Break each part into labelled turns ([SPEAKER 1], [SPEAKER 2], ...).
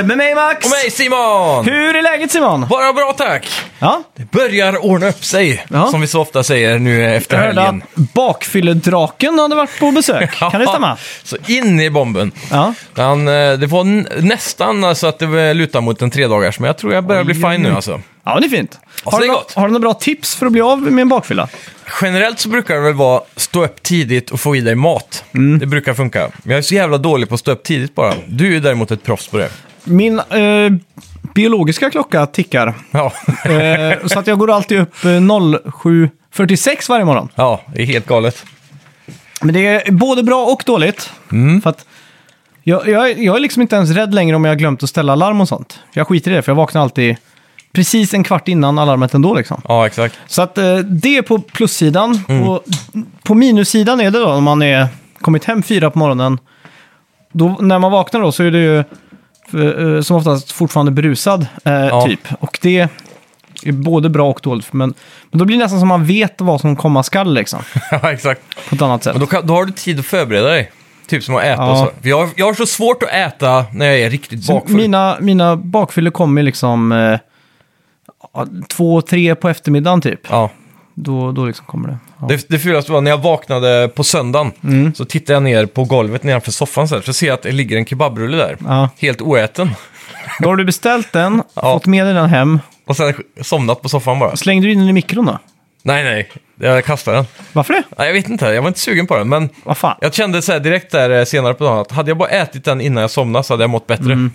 [SPEAKER 1] Och mig Simon!
[SPEAKER 2] Hur är läget Simon?
[SPEAKER 1] Bara bra tack!
[SPEAKER 2] Ja?
[SPEAKER 1] Det börjar ordna upp sig,
[SPEAKER 2] Ja.
[SPEAKER 1] som vi så ofta säger nu efter
[SPEAKER 2] Jag hörde
[SPEAKER 1] helgen.
[SPEAKER 2] att bakfylledraken hade varit på besök. Kan det stämma?
[SPEAKER 1] Så in i bomben.
[SPEAKER 2] Ja.
[SPEAKER 1] Han, eh, det var n- nästan alltså att det var- lutade mot en tredagars, men jag tror jag börjar bli fin nu alltså.
[SPEAKER 2] ja, men det är fint.
[SPEAKER 1] så
[SPEAKER 2] Har,
[SPEAKER 1] det är
[SPEAKER 2] du, nå-
[SPEAKER 1] gott.
[SPEAKER 2] har du några bra tips för att bli av med en bakfylla?
[SPEAKER 1] Generellt så brukar det väl vara stå upp tidigt och få i dig mat.
[SPEAKER 2] Mm.
[SPEAKER 1] Det brukar funka. Men jag är så jävla dålig på att stå upp tidigt bara. Du är ju däremot ett proffs på det.
[SPEAKER 2] Min eh, biologiska klocka tickar.
[SPEAKER 1] Ja,
[SPEAKER 2] Eh, så att jag går alltid upp eh, 07.46 varje morgon.
[SPEAKER 1] ja det är helt galet.
[SPEAKER 2] Men det är både bra och dåligt. För att jag, jag, är- jag är liksom inte ens rädd längre om jag har glömt att ställa alarm och sånt. Jag skiter i det, för jag vaknar alltid precis en kvart innan alarmet ändå. Liksom.
[SPEAKER 1] Ja, exakt.
[SPEAKER 2] Så att eh, det är på plussidan. Och på minussidan är det då, om man är kommit hem fyra på morgonen. Då, när man vaknar då så är det ju eh, som oftast fortfarande berusad, eh, typ. Och det är både bra och dåligt. Men, men då blir det nästan som man vet vad som komma skall, liksom.
[SPEAKER 1] ja, exakt.
[SPEAKER 2] På ett annat sätt.
[SPEAKER 1] Men då, kan, då har du tid att förbereda dig. Typ som att äta
[SPEAKER 2] Ja.
[SPEAKER 1] och så. För jag, har- jag har så svårt att äta när jag är riktigt
[SPEAKER 2] Så
[SPEAKER 1] bakfull.
[SPEAKER 2] mina, mina bakfyllor kommer liksom eh, ja, två, tre på eftermiddagen, typ.
[SPEAKER 1] Ja.
[SPEAKER 2] Då, då liksom kommer det. Ja. Mm.
[SPEAKER 1] Det, det fulaste var när jag vaknade på söndagen. Så tittade jag ner på golvet nedanför soffan så här. Så ser jag att det ligger en kebabrulle där.
[SPEAKER 2] Ja.
[SPEAKER 1] Helt oäten.
[SPEAKER 2] Då har du beställt den,
[SPEAKER 1] Ja.
[SPEAKER 2] fått med dig den hem.
[SPEAKER 1] Och sen somnat på soffan bara.
[SPEAKER 2] Slängde du in den i mikron då?
[SPEAKER 1] Nej, nej. Jag kastade den.
[SPEAKER 2] Varför det?
[SPEAKER 1] Nej, jag vet inte. Jag var inte sugen på den. Men
[SPEAKER 2] Vad fan?
[SPEAKER 1] jag kände så här direkt där eh, senare på dagen att hade jag bara ätit den innan jag somnade så hade jag mått bättre.
[SPEAKER 2] Mm.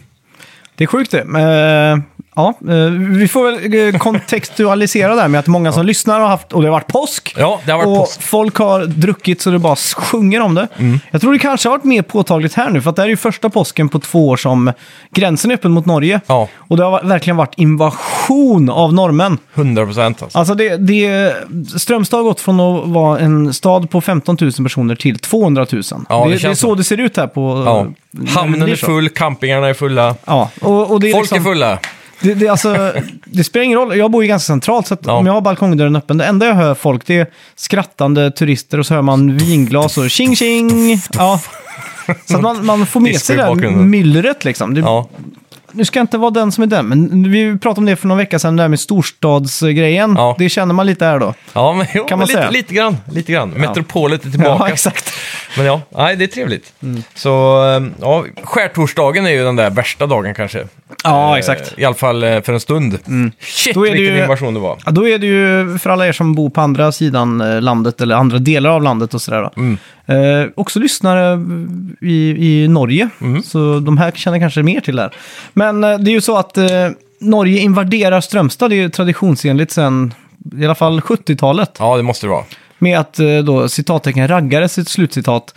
[SPEAKER 2] Det är sjukt det. Eh, ja, eh, vi får väl eh, kontextualisera det här med att många som lyssnar har haft, och det har varit påsk.
[SPEAKER 1] Ja, det har varit
[SPEAKER 2] och
[SPEAKER 1] påsk. Mm.
[SPEAKER 2] folk har druckit så det bara sjunger om det. Jag tror det kanske har varit mer påtagligt här nu, för att det här är ju första påsken på två år som gränsen är öppen mot Norge.
[SPEAKER 1] Ja.
[SPEAKER 2] Och det har verkligen varit invasion av norrmän.
[SPEAKER 1] 100 procent alltså.
[SPEAKER 2] Alltså det, det, Strömstad har gått från att vara en stad på 15 000 personer till 200 000.
[SPEAKER 1] Ja, det
[SPEAKER 2] det, det är
[SPEAKER 1] känns
[SPEAKER 2] så det ser ut här på...
[SPEAKER 1] Ja.
[SPEAKER 2] när det
[SPEAKER 1] Hamnen
[SPEAKER 2] blir
[SPEAKER 1] är
[SPEAKER 2] så.
[SPEAKER 1] full, campingarna är fulla,
[SPEAKER 2] Ja, och, och det är
[SPEAKER 1] folk
[SPEAKER 2] liksom,
[SPEAKER 1] är fulla.
[SPEAKER 2] Det, det, är alltså, det spelar ingen roll, jag bor ju ganska centralt så att
[SPEAKER 1] Ja.
[SPEAKER 2] om jag har balkongdörren öppen, det enda jag hör folk det är skrattande turister och så hör man vinglas och tjing tjing. Ja. Så att man, man får med
[SPEAKER 1] Disco
[SPEAKER 2] sig
[SPEAKER 1] i
[SPEAKER 2] det här
[SPEAKER 1] bakgrunden.
[SPEAKER 2] myllret liksom. Det,
[SPEAKER 1] Ja.
[SPEAKER 2] Nu ska jag inte vara den som är den, men vi pratade om det för någon vecka sedan, det här med storstadsgrejen.
[SPEAKER 1] Ja.
[SPEAKER 2] Det känner man lite här då.
[SPEAKER 1] Ja, men jo,
[SPEAKER 2] Kan man
[SPEAKER 1] men lite,
[SPEAKER 2] säga.
[SPEAKER 1] lite grann. Lite grann. Metropolet är tillbaka.
[SPEAKER 2] Ja, exakt. Mm.
[SPEAKER 1] Men ja, nej, det är trevligt. Så eh, ja, skärtorsdagen är ju den där värsta dagen kanske.
[SPEAKER 2] Ja,
[SPEAKER 1] Eh,
[SPEAKER 2] exakt. Mm.
[SPEAKER 1] I alla fall eh, för en stund. Shit,
[SPEAKER 2] Då är det
[SPEAKER 1] vilken
[SPEAKER 2] ju-
[SPEAKER 1] invasion det var.
[SPEAKER 2] Ja, då är det ju för alla er som bor på andra sidan eh, landet eller andra delar av landet och sådär.
[SPEAKER 1] Mm.
[SPEAKER 2] då. Eh, också lyssnare i, i Norge,
[SPEAKER 1] Mm.
[SPEAKER 2] så de här känner kanske mer till det här. Men eh, det är ju så att eh, Norge invaderar Strömstad, det är ju traditionsenligt sedan i alla fall 70-talet.
[SPEAKER 1] Ja, det måste det vara.
[SPEAKER 2] Med att eh, då citattecken raggare, sitt slutcitat,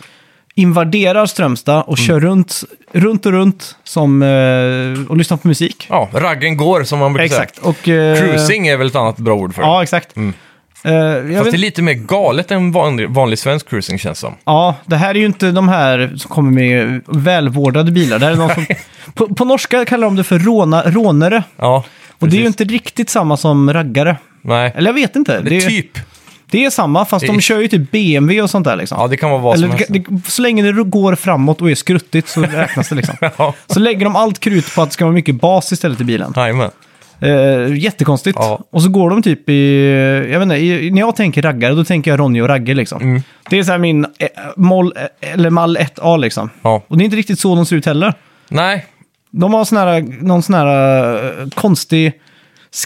[SPEAKER 2] invaderar Strömstad och
[SPEAKER 1] Mm.
[SPEAKER 2] kör runt, runt och runt som, eh, och lyssnar på musik.
[SPEAKER 1] Ja, raggen går som man brukar
[SPEAKER 2] Exakt.
[SPEAKER 1] säga.
[SPEAKER 2] Och, eh,
[SPEAKER 1] Cruising är väl ett annat bra ord för det.
[SPEAKER 2] Ja, exakt. Eh, jag
[SPEAKER 1] Fast
[SPEAKER 2] vet-
[SPEAKER 1] det är lite mer galet än vanlig, vanlig svensk cruising känns som.
[SPEAKER 2] Ja, det här är ju inte de här som kommer med välvårdade bilar. Det här är någon som, på, på norska kallar de det för råna, rånare.
[SPEAKER 1] Ja,
[SPEAKER 2] Och det är ju
[SPEAKER 1] precis.
[SPEAKER 2] inte riktigt samma som raggare.
[SPEAKER 1] Nej,
[SPEAKER 2] Eller jag vet inte. Det,
[SPEAKER 1] det
[SPEAKER 2] är-
[SPEAKER 1] typ.
[SPEAKER 2] det är samma, fast
[SPEAKER 1] Det är-
[SPEAKER 2] de kör ju typ BMW och sånt där liksom.
[SPEAKER 1] Ja, det kan vara vad som
[SPEAKER 2] Eller,
[SPEAKER 1] helst.
[SPEAKER 2] det, det, så länge det går framåt och är skruttigt så räknas det liksom.
[SPEAKER 1] Ja,
[SPEAKER 2] Så lägger de allt krut på att det ska vara mycket bas istället i bilen.
[SPEAKER 1] jajamän.
[SPEAKER 2] Eh, jättekonstigt.
[SPEAKER 1] Ja.
[SPEAKER 2] Och så går de typ i, jag vet inte, i, när jag tänker raggare då tänker jag Ronny och Ragge liksom.
[SPEAKER 1] Mm.
[SPEAKER 2] Det är så här min eh, moll, eh, eller mall 1A liksom.
[SPEAKER 1] Ja.
[SPEAKER 2] Och det är inte riktigt så de ser ut heller.
[SPEAKER 1] Nej,
[SPEAKER 2] De har sån här, någon sån här eh, konstig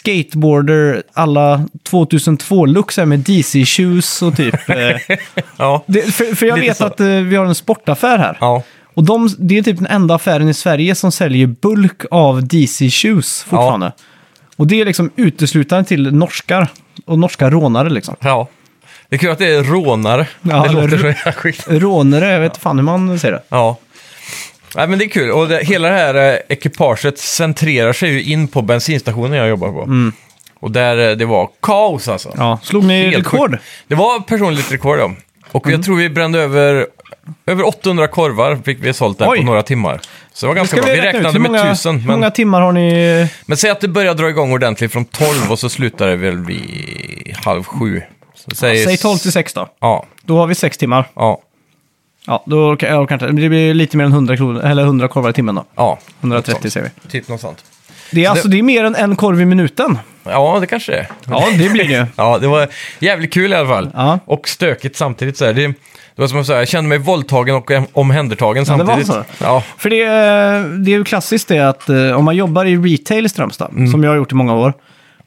[SPEAKER 2] skateboarder alla 2002-look så här med DC-shoes och typ. eh,
[SPEAKER 1] ja.
[SPEAKER 2] det, för, för jag
[SPEAKER 1] Lite
[SPEAKER 2] vet
[SPEAKER 1] så.
[SPEAKER 2] att eh, vi har en sportaffär här.
[SPEAKER 1] ja.
[SPEAKER 2] Och de, det är typ den enda affären i Sverige som säljer bulk av DC-shoes fortfarande. Och det är liksom uteslutande till norskar och norska rånare liksom.
[SPEAKER 1] Ja. Det är kul att det är rånare.
[SPEAKER 2] Ja,
[SPEAKER 1] det
[SPEAKER 2] eller-
[SPEAKER 1] låter så jävla sjukt.
[SPEAKER 2] Rånare, jag vet fan hur man säger det.
[SPEAKER 1] Ja. Nej, men det är kul. Och det, hela det här eh, ekipaget centrerar sig ju in på bensinstationen jag jobbar på. Och där eh, det var kaos alltså.
[SPEAKER 2] Mm. Ja, slog ni
[SPEAKER 1] Helt
[SPEAKER 2] rekord? Mm.
[SPEAKER 1] sjukt. Det var personligt rekord ja. Och jag tror vi brände över, över 800 korvar fick vi sålt där
[SPEAKER 2] Oj.
[SPEAKER 1] på några timmar. Så det var ganska
[SPEAKER 2] Ska
[SPEAKER 1] bra. Vi
[SPEAKER 2] räkna ut
[SPEAKER 1] räknade
[SPEAKER 2] hur
[SPEAKER 1] med
[SPEAKER 2] många,
[SPEAKER 1] 1000.
[SPEAKER 2] Hur
[SPEAKER 1] Men,
[SPEAKER 2] många timmar har ni?
[SPEAKER 1] men säg att det började dra igång ordentligt från 12 och så slutade det väl vid halv sju. Så säg,
[SPEAKER 2] Säg 12 till 6 då.
[SPEAKER 1] Ja,
[SPEAKER 2] Då har vi 6 timmar.
[SPEAKER 1] ja,
[SPEAKER 2] Ja, då orkar jag orkar inte. Det blir lite mer än 100, kronor, eller 100 korvar i timmen då.
[SPEAKER 1] ja.
[SPEAKER 2] 130 säger vi.
[SPEAKER 1] Typ något sånt.
[SPEAKER 2] Det är, alltså, det är mer än en korv i minuten.
[SPEAKER 1] Ja, det kanske det är.
[SPEAKER 2] Ja, det blir det ju.
[SPEAKER 1] Ja, det var jävligt kul i alla fall.
[SPEAKER 2] Ja.
[SPEAKER 1] Och stökigt samtidigt. Så här. Det, det var som att säga, jag kände mig våldtagen och om- omhändertagen
[SPEAKER 2] det var
[SPEAKER 1] samtidigt.
[SPEAKER 2] så.
[SPEAKER 1] Ja,
[SPEAKER 2] För det, eh, det är ju klassiskt det att eh, om man jobbar i retail i Strömstad,
[SPEAKER 1] Mm.
[SPEAKER 2] som jag har gjort i många år,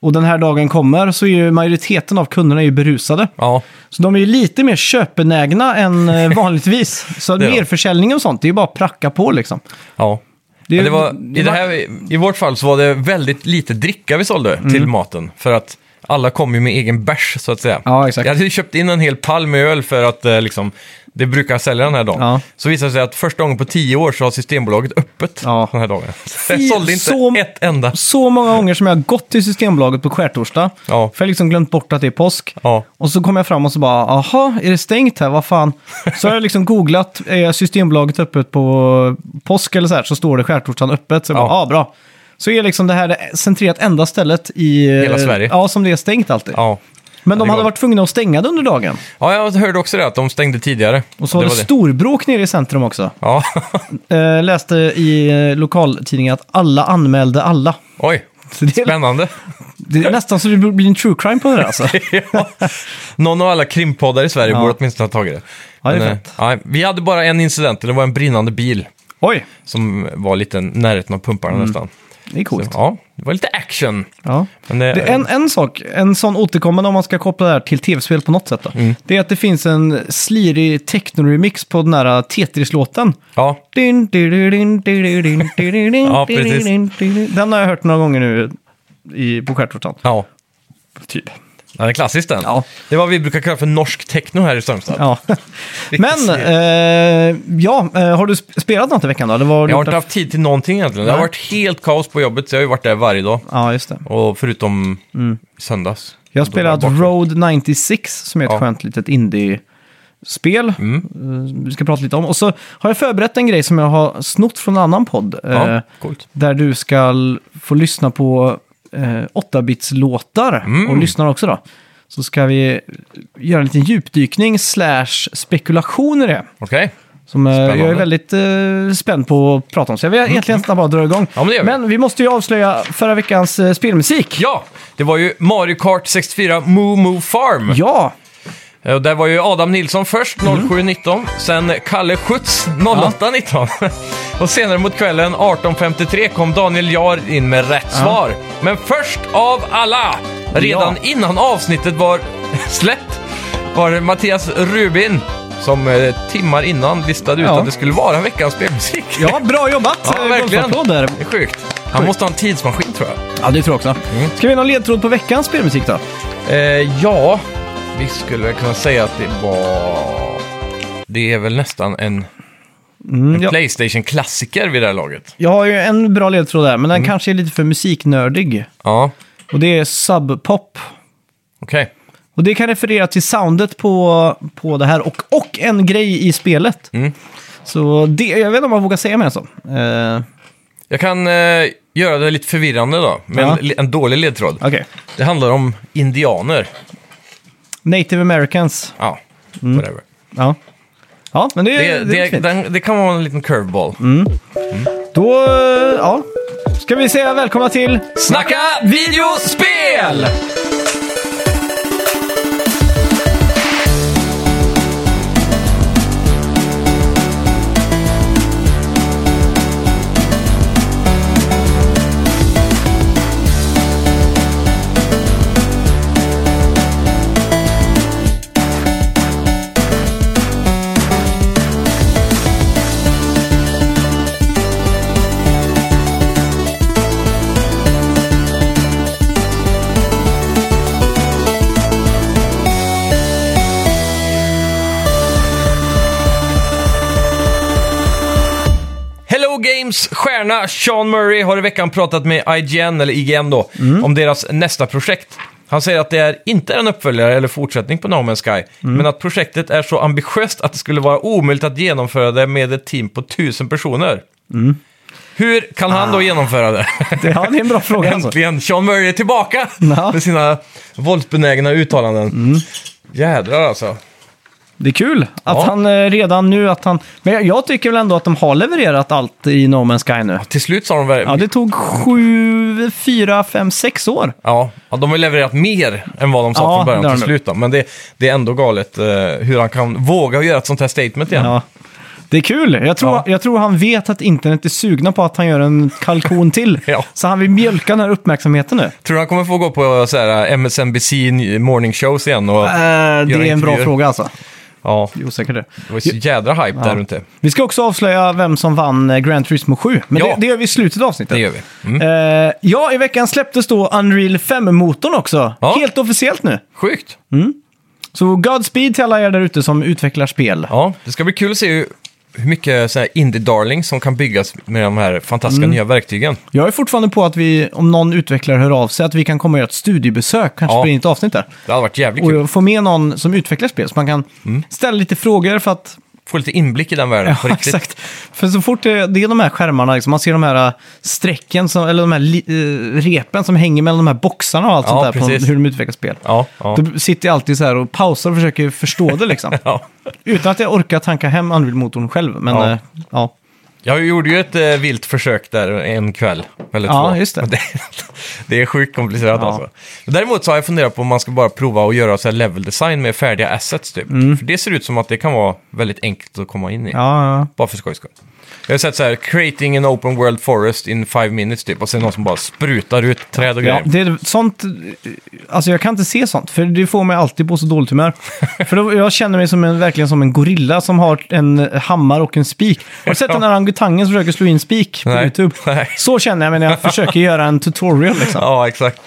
[SPEAKER 2] och den här dagen kommer så är ju majoriteten av kunderna är ju berusade.
[SPEAKER 1] ja,
[SPEAKER 2] Så de är ju lite mer köpenägna än eh, vanligtvis. Så
[SPEAKER 1] Det är de.
[SPEAKER 2] merförsäljning och sånt, det är ju bara att pracka på liksom.
[SPEAKER 1] ja.
[SPEAKER 2] Det är
[SPEAKER 1] Men
[SPEAKER 2] ju-
[SPEAKER 1] det var,
[SPEAKER 2] det
[SPEAKER 1] i, det
[SPEAKER 2] var-
[SPEAKER 1] här, I vårt fall så var det väldigt lite dricka vi sålde till
[SPEAKER 2] Mm.
[SPEAKER 1] maten. För att alla kom ju med egen bärs så att säga.
[SPEAKER 2] Ja, exakt.
[SPEAKER 1] Jag hade ju köpt in en hel palm med öl för att eh, liksom, det brukar sälja den här dagen.
[SPEAKER 2] Ja.
[SPEAKER 1] Så visade det sig att första gången på tio år så har Systembolaget öppet
[SPEAKER 2] Ja.
[SPEAKER 1] den här dagen. Så jag
[SPEAKER 2] Fy,
[SPEAKER 1] sålde inte
[SPEAKER 2] så-
[SPEAKER 1] ett enda.
[SPEAKER 2] Så många gånger som jag har gått till Systembolaget på skärtorsdag,
[SPEAKER 1] Ja.
[SPEAKER 2] för jag har liksom glömt bort att det är påsk.
[SPEAKER 1] Ja.
[SPEAKER 2] Och så kom jag fram och så bara, aha, är det stängt här? Vad fan? Så har jag liksom googlat, är Systembolaget öppet på påsk eller så här? Så står det skärtorsdagen öppet. Så jag
[SPEAKER 1] Ja.
[SPEAKER 2] bara, ja, ah, bra. Så är liksom det här centrerat enda stället i...
[SPEAKER 1] Hela Sverige.
[SPEAKER 2] Ja, som det är stängt alltid.
[SPEAKER 1] Ja.
[SPEAKER 2] Men
[SPEAKER 1] Ja,
[SPEAKER 2] de
[SPEAKER 1] det
[SPEAKER 2] hade
[SPEAKER 1] går.
[SPEAKER 2] varit tvungna att stänga det under dagen.
[SPEAKER 1] ja, jag hörde också det att de stängde tidigare.
[SPEAKER 2] Och så var det, storbråk nere i centrum också.
[SPEAKER 1] Ja,
[SPEAKER 2] Eh, läste i eh, lokaltidningen att alla anmälde alla.
[SPEAKER 1] oj.
[SPEAKER 2] Så det, är,
[SPEAKER 1] Spännande.
[SPEAKER 2] det är nästan så det blir en true crime på det där alltså.
[SPEAKER 1] ja. Någon av alla krimpoddar i Sverige
[SPEAKER 2] Ja.
[SPEAKER 1] borde åtminstone ha tagit det.
[SPEAKER 2] Ja, det är
[SPEAKER 1] Men, eh,
[SPEAKER 2] fett.
[SPEAKER 1] nej, vi hade bara en incident, det var en brinnande bil
[SPEAKER 2] Oj,
[SPEAKER 1] som var lite i närheten av pumparna nästan.
[SPEAKER 2] det är Mm. coolt.
[SPEAKER 1] Så, ja, det var lite action.
[SPEAKER 2] Ja.
[SPEAKER 1] Men det,
[SPEAKER 2] Det är en, en sak, en sån återkommande om man ska koppla det här till tv-spel på något sätt då,
[SPEAKER 1] Mm.
[SPEAKER 2] det är att det finns en slirig techno-remix på den här äh, Tetris-låten.
[SPEAKER 1] Ja,
[SPEAKER 2] Din, din, din, din, din, din, din, din,
[SPEAKER 1] Ja, precis.
[SPEAKER 2] din, din, din. Den har jag hört några gånger nu i, på Skärtorsdagen.
[SPEAKER 1] ja.
[SPEAKER 2] Typ.
[SPEAKER 1] Den är klassisk den.
[SPEAKER 2] Ja.
[SPEAKER 1] Det var vad vi brukar kalla för norsk techno här i Strömstad.
[SPEAKER 2] Ja. Men, eh, ja, eh, har du sp- spelat något i veckan då? Det var
[SPEAKER 1] Jag har inte haft tid till någonting egentligen. Det har
[SPEAKER 2] Nej.
[SPEAKER 1] varit helt kaos på jobbet, så jag har ju varit där varje dag.
[SPEAKER 2] Ja, just det.
[SPEAKER 1] Och förutom
[SPEAKER 2] Mm.
[SPEAKER 1] söndags.
[SPEAKER 2] Jag har
[SPEAKER 1] Då var jag
[SPEAKER 2] spelat
[SPEAKER 1] borta.
[SPEAKER 2] Road 96 som är ett
[SPEAKER 1] Ja. Mm.
[SPEAKER 2] skönt litet indie-spel. eh, Vi ska prata lite om. Och så har jag förberett en grej som jag har snott från en annan podd. eh,
[SPEAKER 1] Ja, coolt.
[SPEAKER 2] Där du ska få lyssna på eh, 8-bits-låtar
[SPEAKER 1] Mm.
[SPEAKER 2] och lyssnar också då. Så ska vi göra en liten djupdykning slash spekulation i det.
[SPEAKER 1] Okej.
[SPEAKER 2] Som eh, jag är
[SPEAKER 1] Spännande. Mm.
[SPEAKER 2] väldigt eh, spänd på att prata om. Så jag vill egentligen nästan bara dra igång.
[SPEAKER 1] Ja, men det gör vi.
[SPEAKER 2] vi måste ju avslöja förra veckans eh, spelmusik.
[SPEAKER 1] Ja, det var ju Mario Kart 64 Moo Moo Farm.
[SPEAKER 2] ja.
[SPEAKER 1] Eh, Och där var ju Adam Nilsson först,
[SPEAKER 2] Mm.
[SPEAKER 1] 07.19. Sen Kalle Schütz, 08.19. Och senare mot kvällen, 18.53, kom Daniel Jahr in med rätt svar. Men först av alla, redan
[SPEAKER 2] Ja.
[SPEAKER 1] innan avsnittet var släppt, var det Mattias Rubin som eh, timmar innan listade ut
[SPEAKER 2] Ja.
[SPEAKER 1] att det skulle vara veckans spelmusik.
[SPEAKER 2] Ja, bra jobbat!
[SPEAKER 1] Ja,
[SPEAKER 2] eh,
[SPEAKER 1] verkligen.
[SPEAKER 2] golfapplåder.
[SPEAKER 1] Det är sjukt. Han måste ha en tidsmaskin tror jag.
[SPEAKER 2] Ja, det tror jag också. Mm. Ska vi ha någon ledtråd på veckans spelmusik då?
[SPEAKER 1] Eh, ja, vi skulle väl kunna säga att det var... Det är väl nästan en
[SPEAKER 2] Mm, jag,
[SPEAKER 1] Playstation-klassiker vid det här laget.
[SPEAKER 2] jag har ju en bra ledtråd där, men
[SPEAKER 1] Mm.
[SPEAKER 2] den kanske är lite för musiknördig.
[SPEAKER 1] Ja,
[SPEAKER 2] Och det är subpop.
[SPEAKER 1] okej.
[SPEAKER 2] Och det kan referera till soundet på, på det här och, och en grej i spelet.
[SPEAKER 1] Mm.
[SPEAKER 2] Så det, jag vet inte om jag vågar säga mer än så. Eh,
[SPEAKER 1] Jag kan eh, göra det lite förvirrande då, med
[SPEAKER 2] Ja.
[SPEAKER 1] en, en dålig ledtråd.
[SPEAKER 2] Okej.
[SPEAKER 1] Det handlar om indianer.
[SPEAKER 2] Native Americans.
[SPEAKER 1] Ja, whatever.
[SPEAKER 2] Ja. Ja, men det,
[SPEAKER 1] Det,
[SPEAKER 2] Mm. det, det är
[SPEAKER 1] det,
[SPEAKER 2] fint. Mm.
[SPEAKER 1] den, det kan vara en liten curveball.
[SPEAKER 2] Då, eh, ja. Ska vi säga välkomna till...
[SPEAKER 1] Snacka videospel! Hello Games stjärna Sean Murray har i veckan pratat med IGN, eller IGN då,
[SPEAKER 2] Mm.
[SPEAKER 1] om deras nästa projekt. Han säger att det är inte en uppföljare eller fortsättning på No Man's Sky,
[SPEAKER 2] Mm.
[SPEAKER 1] men att projektet är så ambitiöst att det skulle vara omöjligt att genomföra det med ett team på tusen personer.
[SPEAKER 2] Mm.
[SPEAKER 1] Hur kan han då genomföra det?
[SPEAKER 2] Det, ja, det är en bra fråga Ah. alltså.
[SPEAKER 1] Äntligen! Sean Murray är tillbaka
[SPEAKER 2] Ja. Mm.
[SPEAKER 1] med sina våldsbenägna uttalanden. Jädrar alltså.
[SPEAKER 2] Det är kul att
[SPEAKER 1] Ja.
[SPEAKER 2] han eh, redan nu att han... Men jag- jag tycker väl ändå att de har levererat allt i No Man's Sky nu.
[SPEAKER 1] Till slut sa de väl...
[SPEAKER 2] Ja, det tog sju, fyra, fem, sex år.
[SPEAKER 1] Ja, ja, de har levererat mer än vad de sa
[SPEAKER 2] Ja,
[SPEAKER 1] från
[SPEAKER 2] det har
[SPEAKER 1] början till
[SPEAKER 2] de.
[SPEAKER 1] slut. Då. Men det, det är ändå galet eh, hur han kan våga göra ett sånt här statement igen.
[SPEAKER 2] Ja. Det är kul. Jag tror,
[SPEAKER 1] Ja.
[SPEAKER 2] jag tror han vet att internet är sugna på att han gör en kalkon till.
[SPEAKER 1] Ja.
[SPEAKER 2] Så han vill mjölka den här uppmärksamheten nu.
[SPEAKER 1] Tror du han kommer få gå på eh, så här, MSNBC morning shows igen? Och,
[SPEAKER 2] Eh, det är en bra
[SPEAKER 1] intervjuer.
[SPEAKER 2] fråga alltså.
[SPEAKER 1] ja,
[SPEAKER 2] Det är osäkert det.
[SPEAKER 1] det var ju så jädra hype där runt det.
[SPEAKER 2] Vi ska också avslöja vem som vann eh, Grand Turismo 7. Men
[SPEAKER 1] Ja.
[SPEAKER 2] det, det gör vi i slutet av avsnittet.
[SPEAKER 1] Det gör vi. Mm.
[SPEAKER 2] Eh, ja, i veckan släpptes då Unreal 5-motorn också.
[SPEAKER 1] Ja.
[SPEAKER 2] Helt officiellt nu.
[SPEAKER 1] Sjukt!
[SPEAKER 2] Så Godspeed till alla er där ute som utvecklar spel.
[SPEAKER 1] Ja, det ska bli kul att se hur, hur mycket så här indie-darling som kan byggas med de här
[SPEAKER 2] Mm.
[SPEAKER 1] fantastiska nya verktygen.
[SPEAKER 2] Jag är fortfarande på att vi, om någon utvecklare hör av sig, att vi kan komma och göra ett studiebesök, kanske
[SPEAKER 1] Ja.
[SPEAKER 2] blir ett avsnitt där.
[SPEAKER 1] Det hade varit jävligt kul. Mm.
[SPEAKER 2] Och få med någon som utvecklar spel, så man kan ställa lite frågor för att...
[SPEAKER 1] Få lite inblick i den världen på
[SPEAKER 2] Ja,
[SPEAKER 1] riktigt.
[SPEAKER 2] exakt. För så fort det, det är de här skärmarna, liksom, man ser de här äh, strecken, som, eller de här li, eh, repen som hänger mellan de här boxarna och allt
[SPEAKER 1] Ja,
[SPEAKER 2] sånt där, på
[SPEAKER 1] precis.
[SPEAKER 2] hur de utvecklar spel.
[SPEAKER 1] Ja, ja.
[SPEAKER 2] Då sitter jag alltid så här och pausar och försöker förstå det liksom.
[SPEAKER 1] ja.
[SPEAKER 2] Utan att jag orkar tanka hem Unreal-motorn själv. Men äh,
[SPEAKER 1] Ja.
[SPEAKER 2] ja, ja.
[SPEAKER 1] Jag gjorde ju ett eh, vilt försök där en kväll, eller
[SPEAKER 2] Ja,
[SPEAKER 1] två.
[SPEAKER 2] just det.
[SPEAKER 1] Men det. Det är sjukt komplicerat
[SPEAKER 2] Ja.
[SPEAKER 1] alltså. Däremot så har jag funderat på om man ska bara prova att göra så här level design med färdiga assets typ. För det ser ut som att det kan vara väldigt enkelt att komma in i.
[SPEAKER 2] Mm. ja, ja.
[SPEAKER 1] Bara för skojs skull. Jag har sett så här, creating an open world forest in five minutes typ. Och sen någon som bara sprutar ut träd och
[SPEAKER 2] Ja,
[SPEAKER 1] grejer.
[SPEAKER 2] det är sånt, alltså jag kan inte se sånt, för det får mig alltid på så dåligt humör. för då, jag känner mig som en, verkligen som en gorilla som har en hammare och en spik. Har du sett den här orangutangen som försöker slå in spik på
[SPEAKER 1] Nej.
[SPEAKER 2] YouTube?
[SPEAKER 1] Nej.
[SPEAKER 2] Så känner jag mig när jag försöker göra en tutorial liksom.
[SPEAKER 1] Ja, exakt.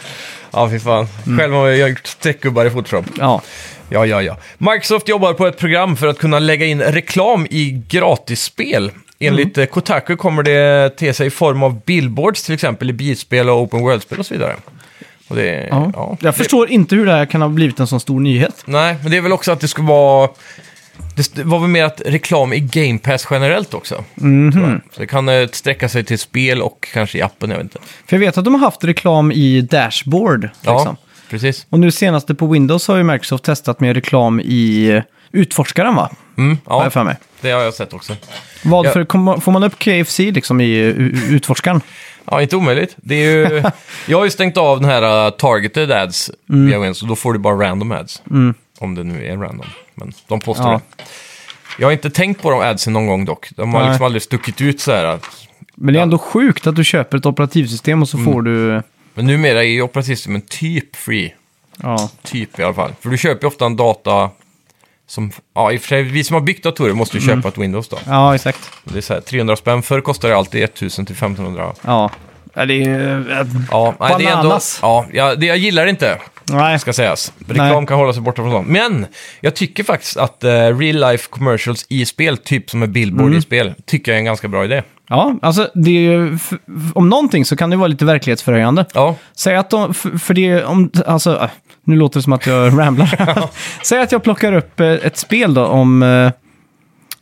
[SPEAKER 1] Ja, fy fan.
[SPEAKER 2] Mm.
[SPEAKER 1] Själv har jag gjort streckgubbar i Photoshop.
[SPEAKER 2] Ja.
[SPEAKER 1] Ja, ja, ja. Microsoft jobbar på ett program för att kunna lägga in reklam i gratisspel. Enligt mm. Kotaku kommer det te sig i form av billboards till exempel i bilspel och open world-spel och så vidare. Och det, ja.
[SPEAKER 2] Ja.
[SPEAKER 1] Det-
[SPEAKER 2] Jag förstår inte hur det här kan ha blivit en sån stor nyhet.
[SPEAKER 1] Nej, men det är väl också att det ska vara... Det det var väl mer att reklam i Game Pass generellt också.
[SPEAKER 2] Mhm.
[SPEAKER 1] tror jag. Så det kan eh, sträcka sig till spel och kanske i appen, jag vet inte.
[SPEAKER 2] För jag vet att de har haft reklam i dashboard.
[SPEAKER 1] Ja,
[SPEAKER 2] Liksom.
[SPEAKER 1] precis.
[SPEAKER 2] Och nu senaste på Windows har ju Microsoft testat med reklam i eh, utforskaren va?
[SPEAKER 1] Mm,
[SPEAKER 2] Har
[SPEAKER 1] ja,
[SPEAKER 2] jag för mig.
[SPEAKER 1] det har jag sett också.
[SPEAKER 2] Vad
[SPEAKER 1] Ja.
[SPEAKER 2] för, kom, får man upp KFC liksom i eh, u- utforskaren?
[SPEAKER 1] Ja, inte omöjligt. Det är ju... Jag har ju stängt av den här uh, targeted ads
[SPEAKER 2] Mm.
[SPEAKER 1] via Win, så då får du bara random ads. Om det nu är random, men de påstår
[SPEAKER 2] Ja.
[SPEAKER 1] det. Jag har inte tänkt på de adsen någon gång dock. De har
[SPEAKER 2] Nej.
[SPEAKER 1] liksom aldrig stuckit ut så här. att-
[SPEAKER 2] Men det är ändå sjukt att du köper ett operativsystem och så
[SPEAKER 1] Mm.
[SPEAKER 2] får du...
[SPEAKER 1] Men numera är ju operativsystemen typ free.
[SPEAKER 2] Ja,
[SPEAKER 1] Typ i alla fall. För du köper ju ofta en data som... Ja, i och för sig, vi som har byggt datorer måste ju
[SPEAKER 2] Mm.
[SPEAKER 1] köpa ett Windows då.
[SPEAKER 2] ja exakt.
[SPEAKER 1] Det är så här, 300 spänn. Förr kostade det alltid 1000 till 1500.
[SPEAKER 2] Ja. Ja, det är... eh,
[SPEAKER 1] Ja, nej, det är ändå...
[SPEAKER 2] Bananas.
[SPEAKER 1] Ja, jag, det jag gillar inte.
[SPEAKER 2] Nej.
[SPEAKER 1] ska sägas. Reklam
[SPEAKER 2] Nej.
[SPEAKER 1] kan hålla sig borta från sånt. Men jag tycker faktiskt att eh, real life commercials i spel, typ som en billboard
[SPEAKER 2] Mm.
[SPEAKER 1] i spel, tycker jag är en ganska bra idé.
[SPEAKER 2] Ja, alltså det är ju... f- f- Om någonting så kan det vara lite verklighetsförhöjande.
[SPEAKER 1] Ja,
[SPEAKER 2] Säg att de... f- För det är om... Alltså, äh, nu låter det som att jag ramlar. Säg att jag plockar upp eh, ett spel då om... eh,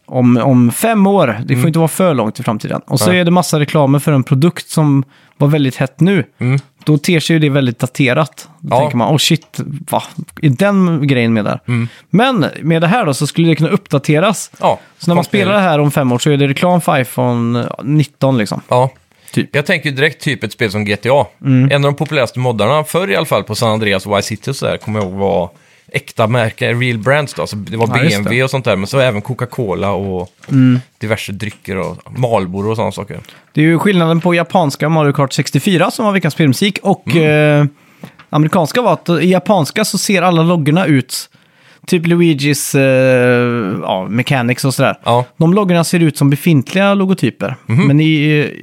[SPEAKER 2] Om, om fem år, det får inte vara för långt i framtiden. Och så
[SPEAKER 1] Mm. Nej.
[SPEAKER 2] är det massa reklamer för en produkt som var väldigt hett nu.
[SPEAKER 1] mm.
[SPEAKER 2] då ter sig ju det väldigt daterat. Då
[SPEAKER 1] Ja.
[SPEAKER 2] tänker man, oh shit, va? Är den grejen med där?
[SPEAKER 1] Mm.
[SPEAKER 2] Men med det här då så skulle det kunna uppdateras.
[SPEAKER 1] ja.
[SPEAKER 2] Så när man
[SPEAKER 1] Kom till-
[SPEAKER 2] spelar det här om fem år så är det reklam för iPhone 19 liksom.
[SPEAKER 1] Ja.
[SPEAKER 2] Typ. Mm.
[SPEAKER 1] Jag tänker ju direkt typ ett spel som GTA. En av de populäraste moddarna förr i alla fall på San Andreas och Vice City och sådär kommer jag ihåg var äkta märken, real brands då. Alltså det var
[SPEAKER 2] Ja, just Mm.
[SPEAKER 1] BMW och sånt där, men så även Coca-Cola och diverse drycker och Marlboro och sådana saker.
[SPEAKER 2] Det är ju skillnaden på japanska Mario Kart 64 som var veckans spelmusik och
[SPEAKER 1] Mm.
[SPEAKER 2] eh, amerikanska var att i japanska så ser alla loggorna ut typ Luigis eh, ja, Mechanics och sådär.
[SPEAKER 1] Ja. Mhm.
[SPEAKER 2] De loggorna ser ut som befintliga logotyper. Men i,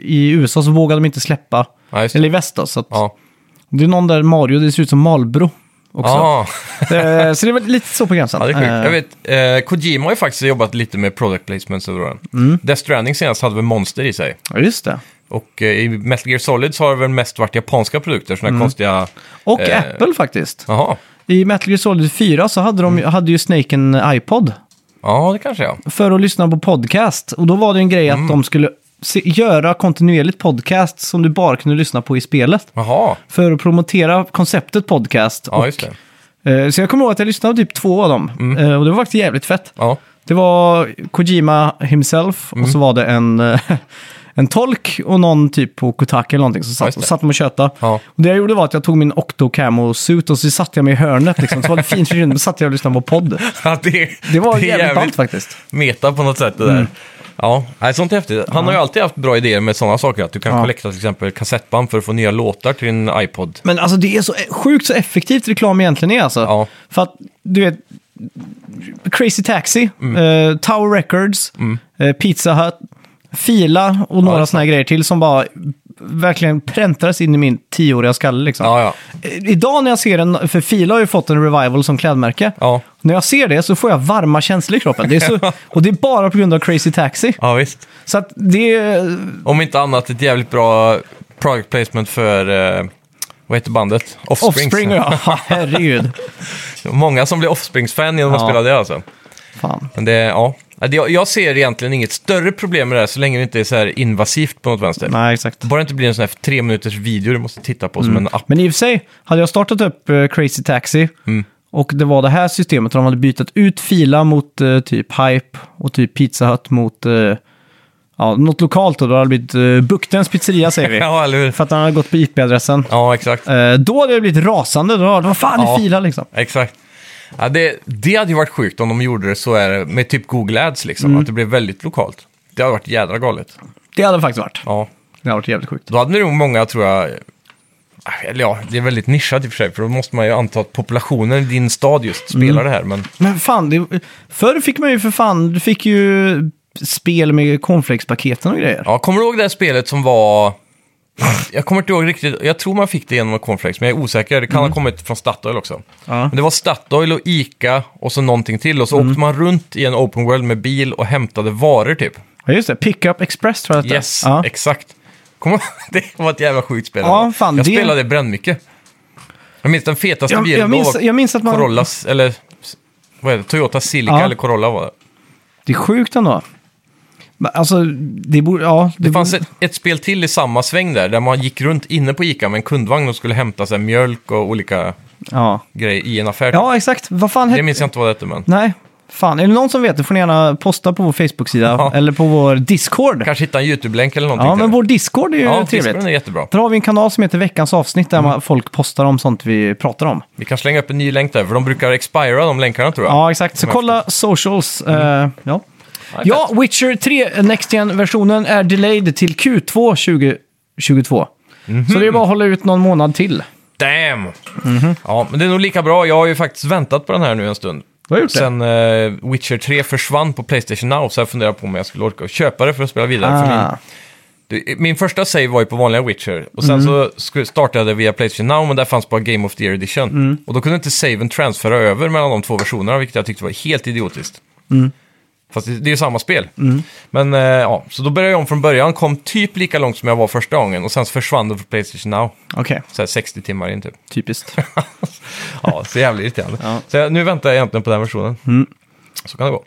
[SPEAKER 2] i USA så vågade de inte släppa,
[SPEAKER 1] Ja, just det.
[SPEAKER 2] eller i väst då, så att
[SPEAKER 1] Ja.
[SPEAKER 2] Det är någon där Mario, det ser ut som Malbro också.
[SPEAKER 1] Ah.
[SPEAKER 2] Eh, så det var lite så på gränsen.
[SPEAKER 1] Ja, det är sjukt.
[SPEAKER 2] Eh,
[SPEAKER 1] Jag vet, eh, Kojima har ju faktiskt jobbat lite med product placements över åren.
[SPEAKER 2] Mm.
[SPEAKER 1] Death Stranding senast hade väl Monster i sig.
[SPEAKER 2] ja, just det.
[SPEAKER 1] Och eh, i Metal Gear Solid så har det väl mest varit japanska produkter, sådana
[SPEAKER 2] Mm.
[SPEAKER 1] här konstiga...
[SPEAKER 2] Och
[SPEAKER 1] Eh.
[SPEAKER 2] Apple faktiskt.
[SPEAKER 1] Jaha,
[SPEAKER 2] I Metal Gear Solid 4 så hade, de,
[SPEAKER 1] Mm.
[SPEAKER 2] hade ju Snake en iPod
[SPEAKER 1] ja det kanske ja.
[SPEAKER 2] för att lyssna på podcast. Och då var det en grej
[SPEAKER 1] Mm.
[SPEAKER 2] att de skulle se, göra kontinuerligt podcast som du bara kunde lyssna på i spelet.
[SPEAKER 1] Jaha,
[SPEAKER 2] För att promotera konceptet podcast
[SPEAKER 1] ja
[SPEAKER 2] och
[SPEAKER 1] just det. Mm.
[SPEAKER 2] Eh, Så jag kommer ihåg att jag lyssnade på typ två av dem. Eh, Och det var faktiskt jävligt fett.
[SPEAKER 1] Ja.
[SPEAKER 2] Det var Kojima himself
[SPEAKER 1] Mm.
[SPEAKER 2] och så var det en, eh, en tolk och någon typ på Kotaku eller någonting som
[SPEAKER 1] Ja,
[SPEAKER 2] satt,
[SPEAKER 1] just det.
[SPEAKER 2] och satt med och tjötade.
[SPEAKER 1] Ja.
[SPEAKER 2] Och det jag gjorde var att jag tog min Octocamo-suit och så satte jag mig i hörnet liksom. Så var det fint förgrundet, då satt jag och lyssnade på podd.
[SPEAKER 1] Ja, det,
[SPEAKER 2] Det var
[SPEAKER 1] är
[SPEAKER 2] jävligt, ballt faktiskt. Mm.
[SPEAKER 1] meta på något sätt det där. Ja, nej, sånt är häftigt. Han har ju alltid haft bra idéer med sådana saker. Att du kan
[SPEAKER 2] Ja.
[SPEAKER 1] kollekta till exempel kassettband för att få nya låtar till din iPod.
[SPEAKER 2] Men alltså det är så sjukt så effektivt reklam egentligen är alltså.
[SPEAKER 1] Ja.
[SPEAKER 2] För att, du vet, Crazy Taxi,
[SPEAKER 1] Mm.
[SPEAKER 2] eh, Tower Records, eh, Pizza Hut, Fila och
[SPEAKER 1] det är
[SPEAKER 2] några sådana grejer till som bara verkligen präntas in i min tioåriga skalle liksom.
[SPEAKER 1] Ja, ja.
[SPEAKER 2] Eh, Idag när jag ser en, för Fila har ju fått en revival som klädmärke.
[SPEAKER 1] Ja,
[SPEAKER 2] När jag ser det så får jag varma känslor i kroppen. Det är så, och det är bara på grund av Crazy Taxi.
[SPEAKER 1] ja visst.
[SPEAKER 2] Så att det är...
[SPEAKER 1] Om inte annat ett jävligt bra product placement för, eh, vad heter bandet? Offspring.
[SPEAKER 2] Offspring och jag, herregud.
[SPEAKER 1] Många som blir Offsprings-fan genom att
[SPEAKER 2] Ja.
[SPEAKER 1] spela det alltså.
[SPEAKER 2] Fan.
[SPEAKER 1] Men det, ja. Ja, det- Jag ser egentligen inget större problem med det här så länge det inte är så här invasivt på något vänster.
[SPEAKER 2] Nej, exakt.
[SPEAKER 1] Bara det inte blir en sån här tre minuters video du måste titta på som en app.
[SPEAKER 2] Men i och för sig, hade jag startat upp eh, Crazy Taxi
[SPEAKER 1] Mm.
[SPEAKER 2] och det var det här systemet där de hade bytt ut Fila mot eh, typ Hype och typ Pizza Hut mot eh, ja, något lokalt då. Då hade det blivit eh, Buktens pizzeria säger vi.
[SPEAKER 1] Ja, eller hur?
[SPEAKER 2] För att han hade gått på IP-adressen.
[SPEAKER 1] Ja, exakt.
[SPEAKER 2] Eh, då hade det blivit rasande. Då hade det, vad fan
[SPEAKER 1] Ja.
[SPEAKER 2] är Fila liksom?
[SPEAKER 1] Exakt. Ja, det, det hade ju varit sjukt om de gjorde det så är det med typ Google Ads liksom,
[SPEAKER 2] Mm.
[SPEAKER 1] att det blev väldigt lokalt. Det hade varit jädra galet.
[SPEAKER 2] Det hade det faktiskt varit.
[SPEAKER 1] Ja.
[SPEAKER 2] Det hade varit jävligt sjukt.
[SPEAKER 1] Då hade nog många, tror jag, eh, eller ja, det är väldigt nischat i och för sig, för då måste man ju anta att populationen i din stad just
[SPEAKER 2] Mm.
[SPEAKER 1] spelar det här. Men
[SPEAKER 2] Men fan, det, förr fick man ju för fan, du fick ju spel med cornflakespaketen och grejer.
[SPEAKER 1] ja, kommer du ihåg det här spelet som var... Jag kommer inte ihåg riktigt, jag tror man fick det genom Cornflakes, men jag är osäker. Det kan ha kommit från Statoil också.
[SPEAKER 2] Mm. Ja. Mm.
[SPEAKER 1] Men det var Statoil och Ica och så någonting till. Och så åkte man runt i en open world med bil och hämtade varor typ.
[SPEAKER 2] Ja, just det. Pickup Express tror jag att det
[SPEAKER 1] Yes,
[SPEAKER 2] ja.
[SPEAKER 1] exakt. Kom, ihåg- det var ett jävla sjukt spel.
[SPEAKER 2] Ja, fan,
[SPEAKER 1] jag
[SPEAKER 2] det-
[SPEAKER 1] spelade brännmycket. Jag minns den fetaste
[SPEAKER 2] jag,
[SPEAKER 1] bilen
[SPEAKER 2] jag, minns,
[SPEAKER 1] då var
[SPEAKER 2] jag minns att man...
[SPEAKER 1] Corollas, eller vad är det, Toyota Celica
[SPEAKER 2] Ja.
[SPEAKER 1] eller Corolla var det.
[SPEAKER 2] Det är sjukt ändå. Men Alltså, det borde... Ja,
[SPEAKER 1] Det fanns ett, ett spel till i samma sväng där, där man gick runt inne på ICA med en kundvagn och skulle hämta sig mjölk och olika
[SPEAKER 2] Ja.
[SPEAKER 1] grejer i en affär.
[SPEAKER 2] ja, exakt. Vad fan
[SPEAKER 1] Det
[SPEAKER 2] hette...
[SPEAKER 1] minns jag inte vad det hette, men
[SPEAKER 2] Nej, fan. Är det någon som vet det får ni gärna posta på vår Facebook-sida
[SPEAKER 1] Ja.
[SPEAKER 2] eller på vår Discord.
[SPEAKER 1] kanske hitta en YouTube-länk eller någonting.
[SPEAKER 2] Ja,
[SPEAKER 1] till
[SPEAKER 2] men
[SPEAKER 1] det.
[SPEAKER 2] vår Discord är ju
[SPEAKER 1] ja,
[SPEAKER 2] trevligt.
[SPEAKER 1] Discorden är Mm. jättebra.
[SPEAKER 2] Där har vi en kanal som heter Veckans avsnitt där man- folk postar om sånt vi pratar om.
[SPEAKER 1] Vi kan slänga upp en ny länk där, för de brukar expira de länkarna tror jag.
[SPEAKER 2] Ja, exakt. Så kolla socials. eh, ja.
[SPEAKER 1] Mm. Ja,
[SPEAKER 2] ja, Witcher 3 Next Gen-versionen är delayed till Q2 2022.
[SPEAKER 1] Mhm.
[SPEAKER 2] Så det är bara att hålla ut någon månad till.
[SPEAKER 1] Damn!
[SPEAKER 2] Mhm.
[SPEAKER 1] Ja, men det är nog lika bra. Jag har ju faktiskt väntat på den här nu en stund.
[SPEAKER 2] Du har gjort det?
[SPEAKER 1] Sen eh, Witcher 3 försvann på Playstation Now, så jag funderar på om jag skulle orka köpa det för att spela vidare. För min,
[SPEAKER 2] Ah.
[SPEAKER 1] du, min första save var ju på vanliga Witcher, och sen så sku- startade jag via Playstation Now, men där fanns bara Game of the Year Edition. Och då kunde inte saven transfera över mellan de två versionerna, vilket jag tyckte var helt idiotiskt. Fast det, det är ju samma spel. Men eh, ja, så då började jag om från början, kom typ lika långt som jag var första gången, och sen så försvann det från Playstation Now.
[SPEAKER 2] Okej,
[SPEAKER 1] Så här 60 timmar in typ.
[SPEAKER 2] typiskt.
[SPEAKER 1] Ja, så jävligt irriterande.
[SPEAKER 2] Ja. Mm.
[SPEAKER 1] Så jag, nu väntar jag egentligen på den versionen. Så kan det gå.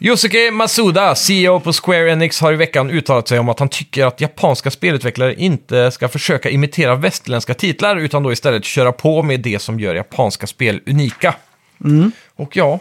[SPEAKER 1] Yosuke Masuda, CEO på Square Enix, har i veckan uttalat sig om att han tycker att japanska spelutvecklare inte ska försöka imitera västerländska titlar, utan då istället köra på med det som gör japanska spel unika.
[SPEAKER 2] Mm.
[SPEAKER 1] Och ja,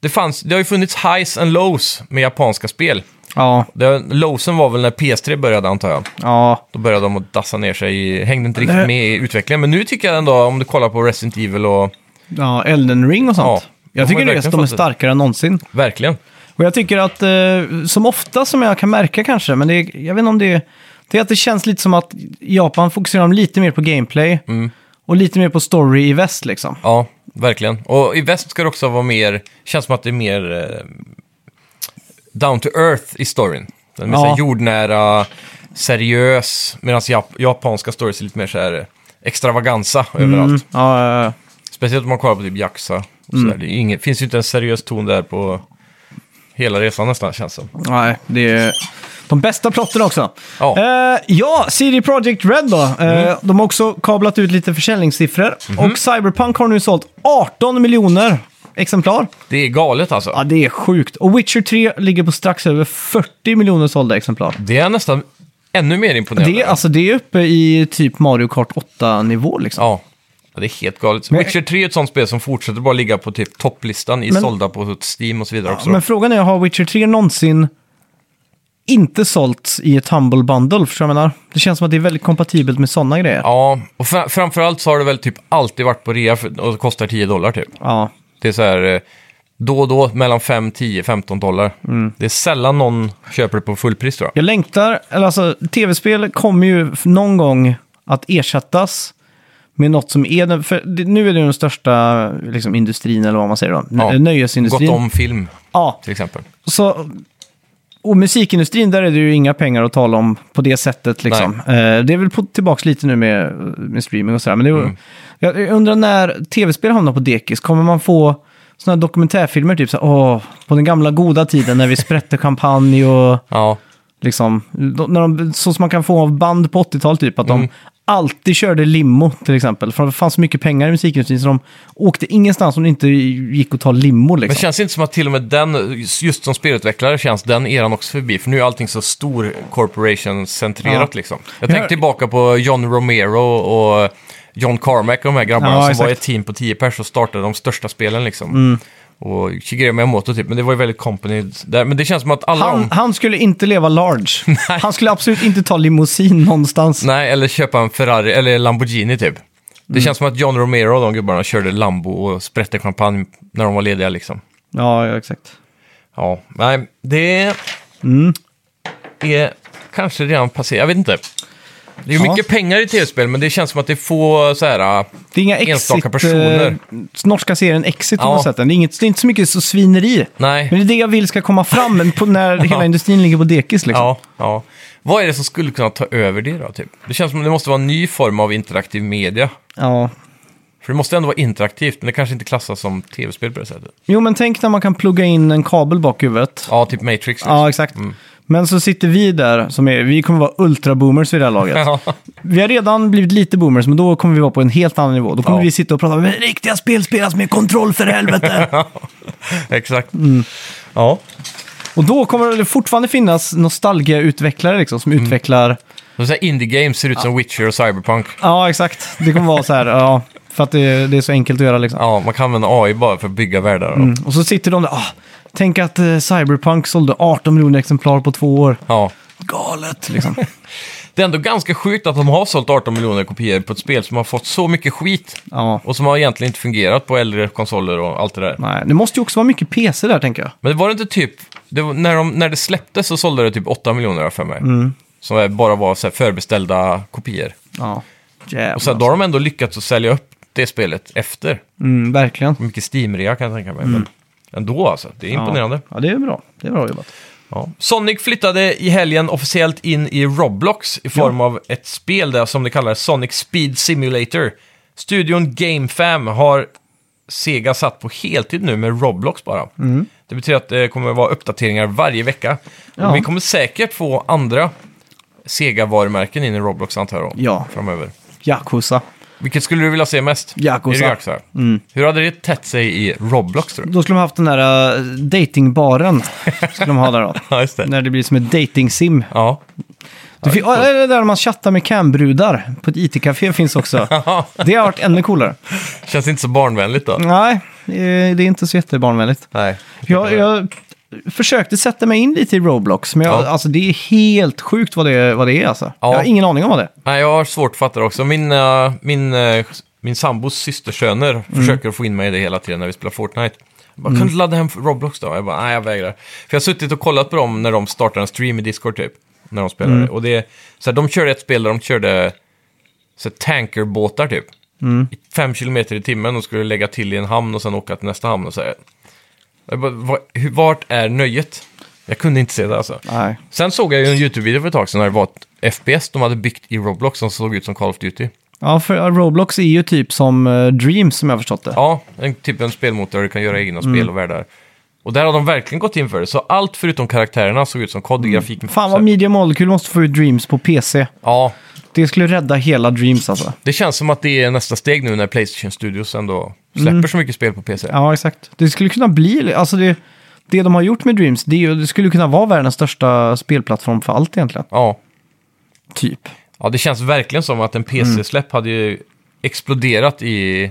[SPEAKER 1] det, fanns, det har ju funnits highs and lows med japanska spel.
[SPEAKER 2] Ja,
[SPEAKER 1] Det, lowsen var väl när PS3 började, antar jag.
[SPEAKER 2] ja.
[SPEAKER 1] Då började de att dassa ner sig, i- hängde inte riktigt
[SPEAKER 2] Nej.
[SPEAKER 1] med i utvecklingen. Men nu tycker jag ändå, om du kollar på Resident Evil och...
[SPEAKER 2] Ja, Elden Ring och sånt.
[SPEAKER 1] Ja, de har
[SPEAKER 2] jag tycker
[SPEAKER 1] verkligen
[SPEAKER 2] det, att de är
[SPEAKER 1] fått det.
[SPEAKER 2] starkare än någonsin.
[SPEAKER 1] Verkligen.
[SPEAKER 2] Och jag tycker att, eh, som ofta som jag kan märka kanske, men det, är- jag vet inte om det är... Det är att det känns lite som att Japan fokuserar lite mer på gameplay
[SPEAKER 1] Mm.
[SPEAKER 2] och lite mer på story i väst liksom.
[SPEAKER 1] Ja, verkligen. Och i väst ska det också vara mer... känns som att det är mer eh, down to earth i storyn. Den är
[SPEAKER 2] Ja.
[SPEAKER 1] så här jordnära, seriös, medan jap japanska stories är lite mer så här eh, extravaganza
[SPEAKER 2] Mm.
[SPEAKER 1] överallt.
[SPEAKER 2] Ja, ja, eh, ja.
[SPEAKER 1] Speciellt om man kollar på typ Yakuza. Och
[SPEAKER 2] Mm.
[SPEAKER 1] så där. Det är inget, finns ju inte en seriös ton där på hela resan nästan, känns det som.
[SPEAKER 2] Nej, det är de bästa plotten också.
[SPEAKER 1] Ja. Mm.
[SPEAKER 2] Eh, ja, CD Projekt Red då. Eh, De har också kablat ut lite försäljningssiffror.
[SPEAKER 1] Mhm.
[SPEAKER 2] Och Cyberpunk har nu sålt 18 miljoner exemplar.
[SPEAKER 1] Det är galet alltså.
[SPEAKER 2] Ja, det är sjukt. Och Witcher 3 ligger på strax över 40 miljoner sålda exemplar.
[SPEAKER 1] Det är nästan ännu mer imponerande.
[SPEAKER 2] Det, är- alltså, det är uppe i typ Mario Kart 8-nivå liksom.
[SPEAKER 1] Ja. Ja, det är helt galet.
[SPEAKER 2] Men-
[SPEAKER 1] Witcher 3 är ett sånt spel som fortsätter bara ligga på typ topplistan i
[SPEAKER 2] Men-
[SPEAKER 1] sålda på Steam och så vidare också.
[SPEAKER 2] Men frågan är, har Witcher 3 någonsin inte sålts i ett Humble Bundle? För jag menar, det känns som att det är väldigt kompatibelt med sådana grejer.
[SPEAKER 1] Ja, och fra- framförallt så har det väl typ alltid varit på rea för, och det kostar 10 dollar typ.
[SPEAKER 2] Ja.
[SPEAKER 1] Det är så här eh, då och då mellan 5, 10, 15 dollar.
[SPEAKER 2] Mm.
[SPEAKER 1] Det är sällan någon köper det på fullpris tror jag.
[SPEAKER 2] Jag längtar, eller alltså tv-spel kommer ju f- någon gång att ersättas med något som är den, för det- nu är det ju den största liksom, industrin eller vad man säger då, N-
[SPEAKER 1] Ja.
[SPEAKER 2] nöjesindustrin.
[SPEAKER 1] Gott om film
[SPEAKER 2] Ja,
[SPEAKER 1] till exempel.
[SPEAKER 2] så, och musikindustrin, där är det ju inga pengar att tala om på det sättet liksom. Eh, det är väl på, tillbaks lite nu med, med streaming och sådär, men det, är- jag, jag undrar när tv-spel hamnar på dekis, kommer man få sådana här dokumentärfilmer, typ så här, åh, på den gamla goda tiden när vi sprätte champagne och
[SPEAKER 1] Ja,
[SPEAKER 2] Liksom, de, när de, så som man kan få av band på 80-talet, typ, att de alltid körde limo till exempel. För det fanns så mycket pengar i musikindustrin så de åkte ingenstans om det inte gick att ta limo.
[SPEAKER 1] men
[SPEAKER 2] Liksom.
[SPEAKER 1] känns det inte som att till och med den, just som spelutvecklare, känns den eran också förbi? För nu är allting så stor corporation-centrerat
[SPEAKER 2] Ja.
[SPEAKER 1] liksom. Jag
[SPEAKER 2] Jag-
[SPEAKER 1] tänker tillbaka på John Romero och John Carmack och de här grabbarna
[SPEAKER 2] Ja,
[SPEAKER 1] som var
[SPEAKER 2] exakt. Mm.
[SPEAKER 1] ett team på 10 pers och startade de största spelen liksom. Och Shigeru Miyamoto typ, men det var ju väldigt company där. Men det känns som att alla de...
[SPEAKER 2] Han, han skulle inte leva large. Han skulle absolut inte ta limousin någonstans.
[SPEAKER 1] Nej, eller köpa en Ferrari eller Lamborghini typ. Det
[SPEAKER 2] Mm.
[SPEAKER 1] känns som att John Romero och de gubbarna körde Lambo och sprätte champagne när de var lediga liksom.
[SPEAKER 2] Ja, ja, exakt.
[SPEAKER 1] Ja, nej, det är kanske redan passerat. Jag vet inte. Det är ju
[SPEAKER 2] Ja.
[SPEAKER 1] mycket pengar i tv-spel, men det känns som att det är få så här... äh,
[SPEAKER 2] Det är inga exit...
[SPEAKER 1] Enstaka personer.
[SPEAKER 2] eh, norska serien Exit
[SPEAKER 1] Ja.
[SPEAKER 2] om man sett den. Det är, inget, det är inte så mycket så svineri. Men
[SPEAKER 1] Nej.
[SPEAKER 2] det är det jag vill ska komma fram men på, när hela industrin ligger på dekis. Liksom.
[SPEAKER 1] Ja, ja. Vad är det som skulle kunna ta över det då, typ? Det känns som att det måste vara en ny form av interaktiv media.
[SPEAKER 2] ja,
[SPEAKER 1] För det måste ändå vara interaktivt, men det kanske inte klassas som tv-spel på det sättet.
[SPEAKER 2] Jo, men tänk när man kan plugga in en kabel bak huvudet.
[SPEAKER 1] Ja, typ Matrix. Liksom.
[SPEAKER 2] Ja, exakt. Men så sitter vi där, som är, vi kommer vara ultra-boomers vid det här laget.
[SPEAKER 1] Ja.
[SPEAKER 2] Vi har redan blivit lite boomers, men då kommer vi vara på en helt annan nivå. Då kommer
[SPEAKER 1] Ja.
[SPEAKER 2] vi sitta och prata om "Men riktiga spel spelas med kontroll för helvete.
[SPEAKER 1] Exakt.
[SPEAKER 2] Mm.
[SPEAKER 1] Ja.
[SPEAKER 2] och då kommer det fortfarande finnas nostalgiautvecklare liksom, som utvecklar...
[SPEAKER 1] Så så här indie games ser ut som Witcher och Cyberpunk.
[SPEAKER 2] Ja, exakt. Det kommer vara så här, ja, för att det, det är så enkelt att göra liksom.
[SPEAKER 1] Ja, man kan använda AI bara för att bygga världar. då.
[SPEAKER 2] Och så sitter de där, ah, tänk att eh, Cyberpunk sålde 18 miljoner exemplar på två år.
[SPEAKER 1] Ja.
[SPEAKER 2] Galet, liksom.
[SPEAKER 1] Det är ändå ganska sjukt att de har sålt 18 miljoner kopior på ett spel som har fått så mycket skit.
[SPEAKER 2] Ja.
[SPEAKER 1] Och som har egentligen inte fungerat på äldre konsoler och allt det där.
[SPEAKER 2] Nej, det måste ju också vara mycket PC där, tänker jag.
[SPEAKER 1] Men var det inte typ, det var, när, de, när det släpptes så sålde det typ 8 miljoner har jag för mig.
[SPEAKER 2] Mm.
[SPEAKER 1] Som bara var så här förbeställda kopior.
[SPEAKER 2] Ja. Jävlar.
[SPEAKER 1] Och sen, då har de ändå lyckats att sälja upp det spelet efter.
[SPEAKER 2] Mm, verkligen.
[SPEAKER 1] Mycket Steam-rea kan jag tänka mig.
[SPEAKER 2] Mm.
[SPEAKER 1] Men ändå alltså, det är imponerande.
[SPEAKER 2] Ja. ja, det är bra. Det är bra jobbat.
[SPEAKER 1] Ja. Sonic flyttade i helgen officiellt in i Roblox i form av ett spel där som det kallas Sonic Speed Simulator. Studion GameFam har Sega satt på heltid nu med Roblox bara.
[SPEAKER 2] Mm.
[SPEAKER 1] Det betyder att det kommer att vara uppdateringar varje vecka.
[SPEAKER 2] Ja.
[SPEAKER 1] Och vi kommer säkert få andra Sega-varumärken in i Roblox antar jag då,
[SPEAKER 2] Ja.
[SPEAKER 1] framöver.
[SPEAKER 2] Yakuza.
[SPEAKER 1] Vilket skulle du vilja se mest?
[SPEAKER 2] Yakuza. Mm.
[SPEAKER 1] Är det Yakuza? Hur hade det tätt sig i Roblox tror du?
[SPEAKER 2] Då skulle de haft den där äh, datingbaren. skulle de ha där då.
[SPEAKER 1] Ja, just det.
[SPEAKER 2] När det blir som ett datingsim.
[SPEAKER 1] Ja.
[SPEAKER 2] Du fin- ja, eller där man chattar med cambrudar. På ett IT-café finns också. Det har varit ännu coolare.
[SPEAKER 1] Känns inte så barnvänligt då.
[SPEAKER 2] Nej, eh, det är inte så jättebarnvänligt.
[SPEAKER 1] Nej.
[SPEAKER 2] Jag, jag försökte sätta mig in lite i Roblox, men jag,
[SPEAKER 1] Ja.
[SPEAKER 2] alltså, det är helt sjukt vad det, vad det är. Alltså.
[SPEAKER 1] Ja.
[SPEAKER 2] Jag har ingen aning om vad det är.
[SPEAKER 1] Nej, jag har svårt att fatta det också. Min, eh, min, eh, min sambos systersöner försöker få in mig i det hela tiden när vi spelar Fortnite. Jag bara, kan du inte ladda hem Roblox då? Jag bara, nej jag vägrar. För jag har suttit och kollat på dem när de startade en stream i Discord typ. När de spelade. Och det, så här, de körde ett spel där de körde så här, tankerbåtar typ.
[SPEAKER 2] Mm.
[SPEAKER 1] I fem kilometer i timmen och skulle lägga till i en hamn och sen åka till nästa hamn och så här. Jag bara, "Va- hur- vart är nöjet? Jag kunde inte se det alltså.
[SPEAKER 2] Nej.
[SPEAKER 1] Sen såg jag ju en YouTube-video för ett tag sedan när det var ett FPS de hade byggt i Roblox som såg ut som Call of Duty.
[SPEAKER 2] Ja, för ja, Roblox är ju typ som eh, Dreams som jag har förstått det.
[SPEAKER 1] Ja, en, typ en spelmotor där du kan göra egna
[SPEAKER 2] Mm.
[SPEAKER 1] spel och världar. Och där har de verkligen gått in för det. Så allt förutom karaktärerna såg ut som kod i grafiken.
[SPEAKER 2] Mm. Fan vad Media Molecule måste få ut Dreams på PC.
[SPEAKER 1] Ja,
[SPEAKER 2] Det skulle rädda hela Dreams alltså.
[SPEAKER 1] det känns som att det är nästa steg nu när Playstation Studios ändå släpper så mycket spel på PC.
[SPEAKER 2] Mm. Ja, exakt. Det skulle kunna bli, alltså det, det de har gjort med Dreams, det, är ju- det skulle kunna vara världens största spelplattform för allt egentligen.
[SPEAKER 1] Ja.
[SPEAKER 2] Typ.
[SPEAKER 1] ja, det känns verkligen som att en PC-släpp hade ju exploderat i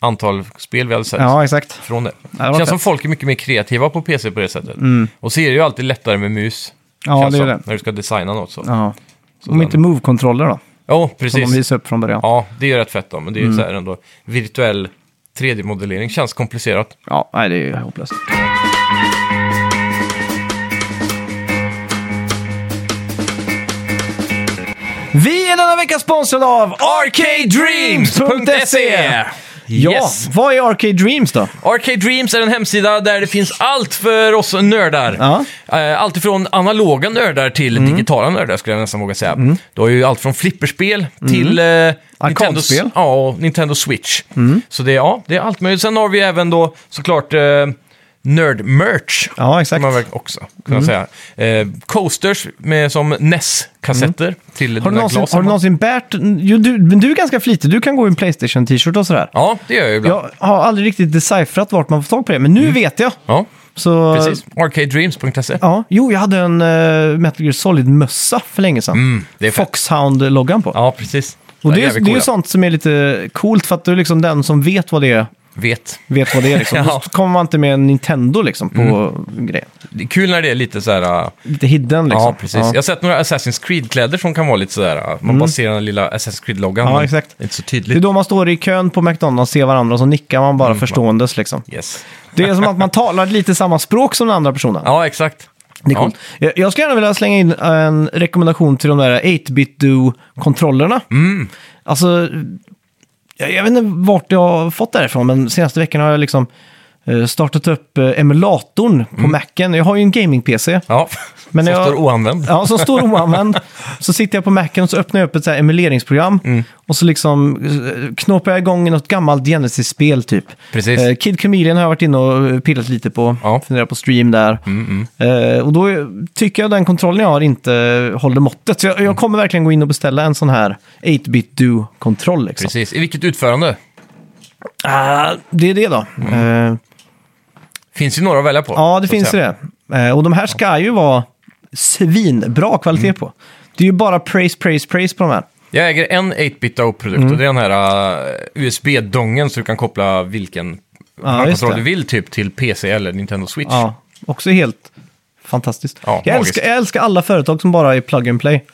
[SPEAKER 1] antal spel vi hade sett
[SPEAKER 2] Ja, exakt.
[SPEAKER 1] från det.
[SPEAKER 2] det var
[SPEAKER 1] det känns som
[SPEAKER 2] fett. Mm.
[SPEAKER 1] folk är mycket mer kreativa på PC på det sättet. Och så är det ju alltid lättare med mus.
[SPEAKER 2] Ja,
[SPEAKER 1] känns
[SPEAKER 2] det är
[SPEAKER 1] som,
[SPEAKER 2] det.
[SPEAKER 1] När du ska designa något så. Ja,
[SPEAKER 2] Ja. Om inte move-kontroller då, som de Mm.
[SPEAKER 1] precis.
[SPEAKER 2] visade upp från början. Ja,
[SPEAKER 1] Ja, det är ju rätt fett då, men det är ju så här ändå. Virtuell 3D-modellering känns komplicerat.
[SPEAKER 2] nej, det är ju hopplöst. Vi är denna vecka sponsrade av
[SPEAKER 1] E!
[SPEAKER 2] arcadedreams.se! Ja,
[SPEAKER 1] Yes.
[SPEAKER 2] vad är Arcade Dreams då?
[SPEAKER 1] Arcade Dreams är en hemsida där det finns allt för oss nördar.
[SPEAKER 2] Ja. Mm.
[SPEAKER 1] Eh, Allt ifrån analoga nördar till digitala nördar skulle jag nästan våga säga. Du har ju allt från flipperspel
[SPEAKER 2] Mm.
[SPEAKER 1] till eh, Nintendo,
[SPEAKER 2] Arkadspel.
[SPEAKER 1] ja, och Nintendo Switch.
[SPEAKER 2] Mm.
[SPEAKER 1] Så det, är- ja, det är allt möjligt. Sen har vi även då såklart eh, nörd-merch.
[SPEAKER 2] Ja,
[SPEAKER 1] kan
[SPEAKER 2] exakt. Mm.
[SPEAKER 1] man väl också kunna säga. Eh, coasters med, som NES-kassetter till
[SPEAKER 2] Mm. Har du,
[SPEAKER 1] dina
[SPEAKER 2] någonsin,
[SPEAKER 1] glas.
[SPEAKER 2] har du någonsin bärt... Jo, du, men du är ganska flitig, du kan gå i en Playstation-t-shirt och sådär.
[SPEAKER 1] Ja, det gör jag ibland.
[SPEAKER 2] Jag har aldrig riktigt decipherat vart man får tag på det, men nu vet jag.
[SPEAKER 1] Ja,
[SPEAKER 2] Så,
[SPEAKER 1] precis. Arcadedreams.se.
[SPEAKER 2] Ja, jo, jag hade en eh, Metal Gear Solid-mössa för länge sedan.
[SPEAKER 1] Mm, det är fett.
[SPEAKER 2] Foxhound-loggan på.
[SPEAKER 1] Ja, precis.
[SPEAKER 2] och
[SPEAKER 1] Ja,
[SPEAKER 2] det, är,
[SPEAKER 1] jävligt
[SPEAKER 2] det är ju
[SPEAKER 1] coola.
[SPEAKER 2] sånt som är lite coolt för att du är liksom den som vet vad det är.
[SPEAKER 1] Vet.
[SPEAKER 2] Vet vad det är liksom.
[SPEAKER 1] Ja.
[SPEAKER 2] Då kommer man inte med en Nintendo liksom på grejen.
[SPEAKER 1] Det är kul när det är lite så här... äh,
[SPEAKER 2] Lite hidden liksom.
[SPEAKER 1] Ja, precis. Jag har sett några Assassin's Creed-kläder som kan vara lite sådär. äh, Man bara ser den lilla Assassin's Creed-loggan.
[SPEAKER 2] Mm. Ja,
[SPEAKER 1] men
[SPEAKER 2] exakt.
[SPEAKER 1] det är Inte så
[SPEAKER 2] Det är
[SPEAKER 1] tydligt.
[SPEAKER 2] då man står i kön på McDonalds och ser varandra och så nickar man
[SPEAKER 1] Mm.
[SPEAKER 2] bara förståendes liksom.
[SPEAKER 1] Yes.
[SPEAKER 2] Det är som att man talar lite samma språk som den andra personen.
[SPEAKER 1] Ja, exakt.
[SPEAKER 2] Det är coolt. Jag- Jag skulle gärna vilja slänga in en rekommendation till de där 8-bit do-kontrollerna. Alltså, jag, jag vet inte vart jag har fått det här ifrån, men senaste veckan har jag liksom eh, startat upp eh, emulatorn på Macen. Jag har ju en gaming-PC.
[SPEAKER 1] Ja,
[SPEAKER 2] Men
[SPEAKER 1] men som
[SPEAKER 2] jag-
[SPEAKER 1] står oanvänd.
[SPEAKER 2] Ja, som står oanvänd. Så sitter jag på Macen och så öppnar jag upp ett så här emuleringsprogram.
[SPEAKER 1] Mm.
[SPEAKER 2] Och så liksom eh, knåpar jag igång något gammalt Genesis-spel typ.
[SPEAKER 1] Precis.
[SPEAKER 2] Eh, Kid Chameleon har jag varit inne och eh, pillat lite på.
[SPEAKER 1] Ja. Mm,
[SPEAKER 2] Funderat på stream där. Eh, och då är- tycker jag den kontrollen jag har inte håller måttet. Så jag, jag kommer verkligen gå in och beställa en sån här 8-bit do-kontroll. Liksom.
[SPEAKER 1] Precis. I vilket utförande?
[SPEAKER 2] Ah, det är det då.
[SPEAKER 1] Mm.
[SPEAKER 2] Eh,
[SPEAKER 1] Finns ju några att välja på.
[SPEAKER 2] Ja, det
[SPEAKER 1] så att
[SPEAKER 2] finns
[SPEAKER 1] säga.
[SPEAKER 2] det. Eh, Och de här ska ju vara svinbra kvalitet
[SPEAKER 1] Mm.
[SPEAKER 2] på. Det är ju bara praise, praise, praise på de här.
[SPEAKER 1] Jag äger en 8-bit AO-produkt
[SPEAKER 2] Mm.
[SPEAKER 1] och det är den här äh, USB-dongen så du kan koppla vilken
[SPEAKER 2] just
[SPEAKER 1] kontroll
[SPEAKER 2] det.
[SPEAKER 1] du vill typ till PC eller Nintendo Switch. Ja,
[SPEAKER 2] Ja, också helt fantastiskt.
[SPEAKER 1] Ja,
[SPEAKER 2] jag,
[SPEAKER 1] magiskt.
[SPEAKER 2] älskar, jag älskar alla företag som bara är plug and play.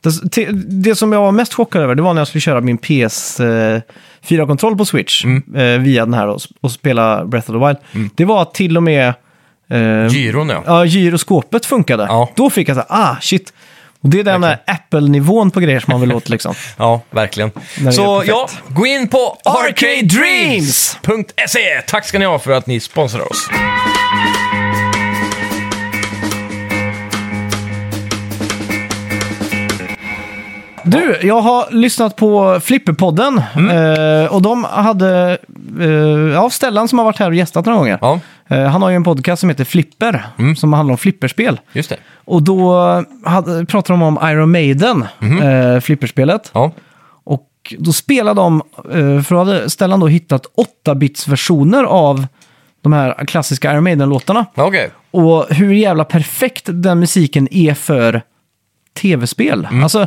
[SPEAKER 2] Det, te- det som jag var mest chockad över, det var när jag skulle köra min PS4-kontroll på Switch
[SPEAKER 1] Mm.
[SPEAKER 2] eh, via den här och, och spela Breath of the Wild. Det var att till och med eh,
[SPEAKER 1] gyron ja.
[SPEAKER 2] ja, gyroskopet funkade.
[SPEAKER 1] Ja.
[SPEAKER 2] Då fick jag så här, ah shit. Och det är den där Apple-nivån på grejer som man vill åt liksom.
[SPEAKER 1] Ja, verkligen.
[SPEAKER 2] är
[SPEAKER 1] Så
[SPEAKER 2] perfekt.
[SPEAKER 1] ja, gå in på arcadedreams.se. Tack ska ni ha för att ni sponsrar oss.
[SPEAKER 2] Du, jag har lyssnat på Flipperpodden
[SPEAKER 1] Mm.
[SPEAKER 2] eh, och de hade, eh, ja, Stellan som har varit här och gästat några gånger.
[SPEAKER 1] Ja,
[SPEAKER 2] Eh, han har ju en podcast som heter Flipper,
[SPEAKER 1] Mm.
[SPEAKER 2] som handlar om flipperspel.
[SPEAKER 1] just det.
[SPEAKER 2] Och då eh, hade, pratade de om Iron Maiden, eh, flipperspelet.
[SPEAKER 1] Mhm. Ja,
[SPEAKER 2] Och då spelade de, eh, för då hade Stellan då hittat 8-bits-versioner av de här klassiska Iron Maiden-låtarna.
[SPEAKER 1] Ja, okej.
[SPEAKER 2] Och hur jävla perfekt den musiken är för tv-spel.
[SPEAKER 1] Mm.
[SPEAKER 2] Alltså,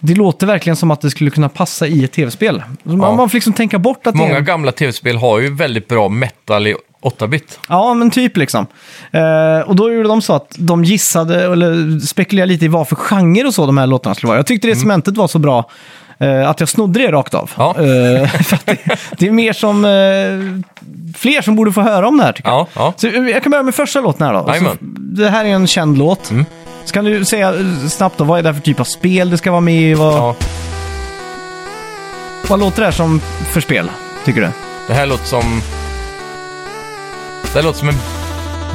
[SPEAKER 2] det låter verkligen som att det skulle kunna passa i ett tv-spel. Man,
[SPEAKER 1] Ja.
[SPEAKER 2] man får liksom tänka bort att det är...
[SPEAKER 1] Många
[SPEAKER 2] en-
[SPEAKER 1] gamla tv-spel har ju väldigt bra metal i 8-bit.
[SPEAKER 2] Ja, men typ liksom. Eh, och då gjorde de så att de gissade, eller spekulerade lite i vad för genre och så de här låtarna skulle vara. Jag tyckte det cementet var så bra eh, att jag snodde det rakt av.
[SPEAKER 1] Mm. Ja.
[SPEAKER 2] Eh, för att det, det är mer som... Eh, fler som borde få höra om det här tycker jag.
[SPEAKER 1] Ja, ja.
[SPEAKER 2] Så eh, jag kan börja med första låten här då. Och Så,
[SPEAKER 1] Jajamän. Mm.
[SPEAKER 2] det här är en känd låt. Så kan du säga eh, snabbt då, vad är det för typ av spel det ska vara med i? Vad,
[SPEAKER 1] ja.
[SPEAKER 2] vad låter det här som för spel, tycker du?
[SPEAKER 1] Det här låter som... Det här låter som en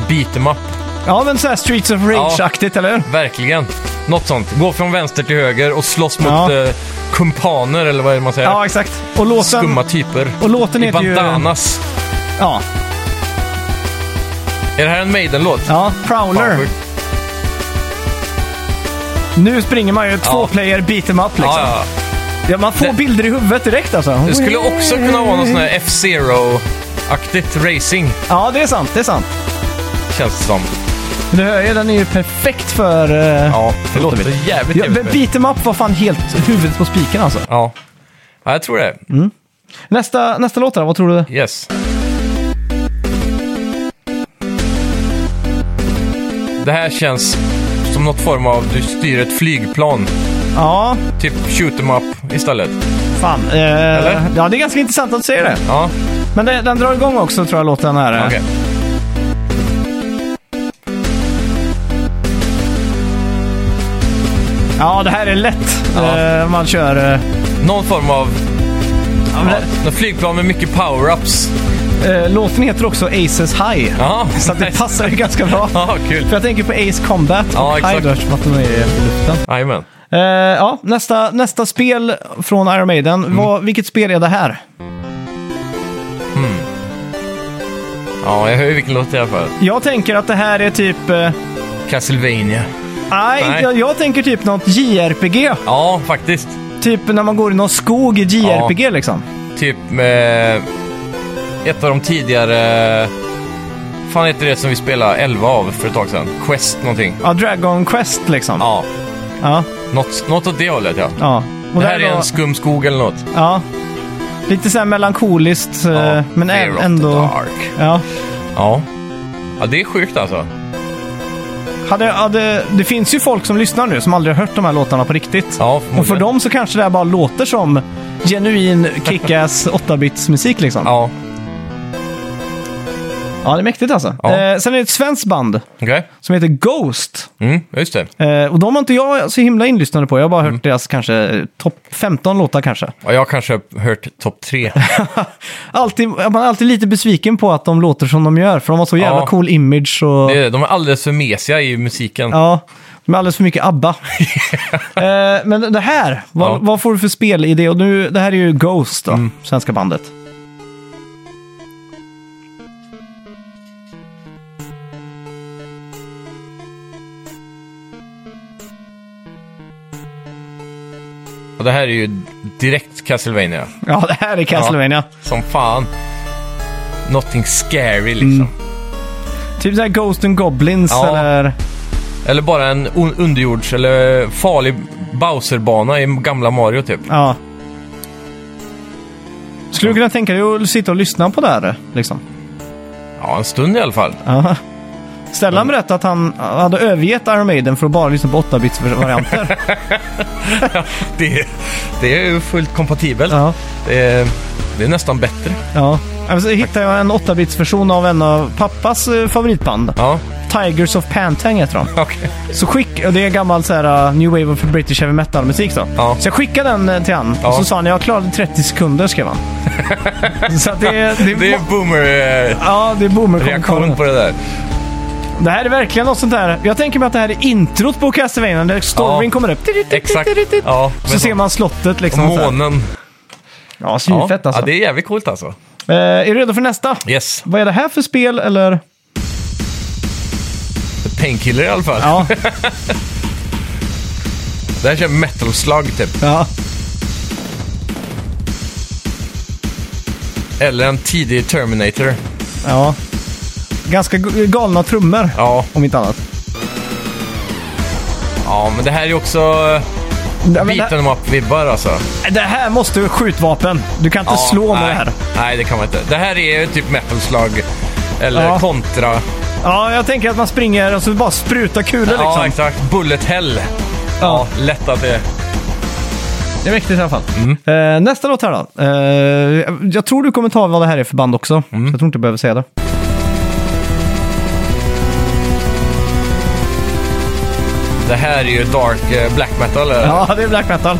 [SPEAKER 1] beat'em up.
[SPEAKER 2] Ja, men så här Streets of Rage-aktigt, eller hur?
[SPEAKER 1] Verkligen. Något sånt. Gå från vänster till höger och slåss mot
[SPEAKER 2] Ja.
[SPEAKER 1] eh, kumpaner eller vad är det man säger?
[SPEAKER 2] Ja, exakt. Och låten...
[SPEAKER 1] Skumma typer.
[SPEAKER 2] och låten
[SPEAKER 1] I
[SPEAKER 2] heter ju-
[SPEAKER 1] bandanas.
[SPEAKER 2] Ja,
[SPEAKER 1] Är det här en Maiden-låt?
[SPEAKER 2] ja Liksom.
[SPEAKER 1] Fan,
[SPEAKER 2] Prowler.
[SPEAKER 1] sjukt.
[SPEAKER 2] Nu springer man ju två
[SPEAKER 1] Ja.
[SPEAKER 2] player beat em up liksom.
[SPEAKER 1] Ja,
[SPEAKER 2] Ja,
[SPEAKER 1] ja.
[SPEAKER 2] man får
[SPEAKER 1] Det-
[SPEAKER 2] bilder i huvudet direkt alltså.
[SPEAKER 1] Det skulle också kunna vara någon sån här F-Zero-aktigt racing,
[SPEAKER 2] Ja, det är sant. Det är sant.
[SPEAKER 1] känns det som.
[SPEAKER 2] Du hör ju, den är ju perfekt för... eh,
[SPEAKER 1] Ja, det låter
[SPEAKER 2] låter
[SPEAKER 1] jävligt
[SPEAKER 2] Ja, men
[SPEAKER 1] trevligt.
[SPEAKER 2] beat em up var fan helt huvudet på spiken alltså.
[SPEAKER 1] Ja. Ja, jag tror det.
[SPEAKER 2] Nästa, nästa låt då, vad tror du?
[SPEAKER 1] Yes. Det här känns som något form av du styr ett flygplan.
[SPEAKER 2] Ja,
[SPEAKER 1] Typ shoot 'em up istället.
[SPEAKER 2] fan. Eh,
[SPEAKER 1] Eller?
[SPEAKER 2] ja, det är ganska intressant att du säger det.
[SPEAKER 1] Ja,
[SPEAKER 2] Men det, den drar igång också tror jag, låten här. eh.
[SPEAKER 1] okej.
[SPEAKER 2] Ja, det här är lätt.
[SPEAKER 1] Ja.
[SPEAKER 2] Eh, man kör... eh,
[SPEAKER 1] Någon form av... Ja, något flygplan med mycket power-ups.
[SPEAKER 2] eh, låten heter också Aces High.
[SPEAKER 1] Ja,
[SPEAKER 2] Så att det
[SPEAKER 1] nice.
[SPEAKER 2] passar ju ganska bra.
[SPEAKER 1] Ja, kul.
[SPEAKER 2] För jag tänker på Ace Combat och
[SPEAKER 1] Ja, exakt.
[SPEAKER 2] High Dutch, för att de är i luften.
[SPEAKER 1] Jajamän.
[SPEAKER 2] Eh, ja, nästa, nästa spel från Iron Maiden.
[SPEAKER 1] Mm.
[SPEAKER 2] Vad, vilket spel är det här?
[SPEAKER 1] Ja, jag hör ju vilken låt det är för.
[SPEAKER 2] Jag tänker att det här är typ... eh,
[SPEAKER 1] Castlevania.
[SPEAKER 2] nej,
[SPEAKER 1] Nej.
[SPEAKER 2] Jag, jag tänker typ något JRPG.
[SPEAKER 1] Ja, faktiskt.
[SPEAKER 2] Typ när man går i någon skog i JRPG liksom.
[SPEAKER 1] Typ med ett av de tidigare... fan heter det som vi spelade 11 av för ett tag sedan? Quest någonting.
[SPEAKER 2] Ja, Dragon Quest liksom.
[SPEAKER 1] Ja,
[SPEAKER 2] Ja.
[SPEAKER 1] något, något åt det hållet ja.
[SPEAKER 2] ja. Och
[SPEAKER 1] Det här
[SPEAKER 2] där
[SPEAKER 1] är
[SPEAKER 2] då-
[SPEAKER 1] en skum skog eller något.
[SPEAKER 2] Ja. Lite så här melankoliskt, eh,
[SPEAKER 1] Ja,
[SPEAKER 2] men ä-
[SPEAKER 1] Fear of the
[SPEAKER 2] ändå...
[SPEAKER 1] Dark.
[SPEAKER 2] Ja.
[SPEAKER 1] Ja. ja, det är sjukt alltså.
[SPEAKER 2] Hade, hade, det finns ju folk som lyssnar nu som aldrig har hört de här låtarna på riktigt.
[SPEAKER 1] Ja,
[SPEAKER 2] Och för
[SPEAKER 1] förmodligen.
[SPEAKER 2] dem så kanske det här bara låter som genuin kickass 8-bits musik liksom. Ja.
[SPEAKER 1] Ja,
[SPEAKER 2] det är mäktigt alltså.
[SPEAKER 1] Ja.
[SPEAKER 2] Eh, sen är det ett svenskt band
[SPEAKER 1] okej.
[SPEAKER 2] som heter Ghost.
[SPEAKER 1] Mm, just det.
[SPEAKER 2] Eh, och de har inte jag så himla inlyssnade på. Jag har bara hört
[SPEAKER 1] Mm.
[SPEAKER 2] deras kanske eh, topp 15 låtar kanske.
[SPEAKER 1] Ja, jag har kanske hört topp tre.
[SPEAKER 2] Alltid, man är alltid lite besviken på att de låter som de gör, för de har så jävla
[SPEAKER 1] Ja.
[SPEAKER 2] cool image och...
[SPEAKER 1] Det är- De är alldeles för mesiga i musiken.
[SPEAKER 2] Ja, de är alldeles för mycket ABBA. eh, men det här, vad,
[SPEAKER 1] Ja. Mm.
[SPEAKER 2] vad får du för spelidé? Och nu, det här är ju Ghost då, svenska bandet.
[SPEAKER 1] Och det här är ju direkt Castlevania.
[SPEAKER 2] Ja, det här är Castlevania.
[SPEAKER 1] Som fan. Någonting scary liksom.
[SPEAKER 2] Mm. Typ såhär Ghost and Goblins
[SPEAKER 1] Ja.
[SPEAKER 2] eller...
[SPEAKER 1] Eller bara en un- underjords eller farlig Bowser-bana i gamla Mario typ.
[SPEAKER 2] Ja. Skulle du kunna tänka dig att sitta och lyssna på det här? Liksom?
[SPEAKER 1] Ja, en stund i alla fall.
[SPEAKER 2] Ja.
[SPEAKER 1] Mm.
[SPEAKER 2] Stellan berättade att han hade övergett Iron Maiden för att bara lyssna på 8-bits-varianter.
[SPEAKER 1] Det, det är ju fullt kompatibelt.
[SPEAKER 2] ja.
[SPEAKER 1] Det, är, det är nästan bättre.
[SPEAKER 2] ja. Så hittade jag en 8-bits-version av en av pappas eh, favoritband.
[SPEAKER 1] Ja,
[SPEAKER 2] Tigers of Pantang heter de.
[SPEAKER 1] okej.
[SPEAKER 2] Så skick, och det är gammal så här, uh, New Wave of British Heavy Metal-musik då.
[SPEAKER 1] Ja.
[SPEAKER 2] Så jag skickade den eh, till han
[SPEAKER 1] Ja.
[SPEAKER 2] och så sa han jag klarade 30 sekunder skrev han. så att det, det,
[SPEAKER 1] Det är boomer-reaktion
[SPEAKER 2] Ja, det är boomer
[SPEAKER 1] på det där.
[SPEAKER 2] Det här är verkligen något sånt där. Jag tänker mig att det här är introt på Castlevania där storyn
[SPEAKER 1] Ja.
[SPEAKER 2] kommer upp.
[SPEAKER 1] Exakt. Ja,
[SPEAKER 2] så
[SPEAKER 1] men-
[SPEAKER 2] ser man slottet liksom. så här.
[SPEAKER 1] Månen.
[SPEAKER 2] Ja,
[SPEAKER 1] Ja.
[SPEAKER 2] svinfett alltså.
[SPEAKER 1] ja, det är jävligt coolt alltså.
[SPEAKER 2] Eh, är du redo för nästa?
[SPEAKER 1] Yes.
[SPEAKER 2] Vad är det här för spel eller?
[SPEAKER 1] Painkiller i alla fall.
[SPEAKER 2] Ja.
[SPEAKER 1] Det här kör metal-slag typ.
[SPEAKER 2] ja.
[SPEAKER 1] Eller en tidig Terminator.
[SPEAKER 2] ja. Ganska g- galna trummor.
[SPEAKER 1] Ja,
[SPEAKER 2] Om inte annat.
[SPEAKER 1] ja men det här är också eh,
[SPEAKER 2] Ja, men det-
[SPEAKER 1] biten om vibbar alltså.
[SPEAKER 2] Det här måste ju skjutvapen. Du kan inte
[SPEAKER 1] Ja,
[SPEAKER 2] slå med
[SPEAKER 1] nej.
[SPEAKER 2] det här.
[SPEAKER 1] Nej, det kan man inte. Det här är ju typ metalslag eller
[SPEAKER 2] Ja.
[SPEAKER 1] kontra.
[SPEAKER 2] Ja, jag tänker att man springer och så bara sprutar kulor
[SPEAKER 1] Ja,
[SPEAKER 2] liksom.
[SPEAKER 1] exakt. Bullet hell.
[SPEAKER 2] Ja.
[SPEAKER 1] Ja, lätt att det...
[SPEAKER 2] Det är mäktigt i alla fall. Eh, nästa låt här då. Eh, jag tror du kommer ta vad det här är för band också. Så jag tror inte du behöver säga det.
[SPEAKER 1] Det här är ju dark eh, black metal. Eller?
[SPEAKER 2] Ja, det är black metal.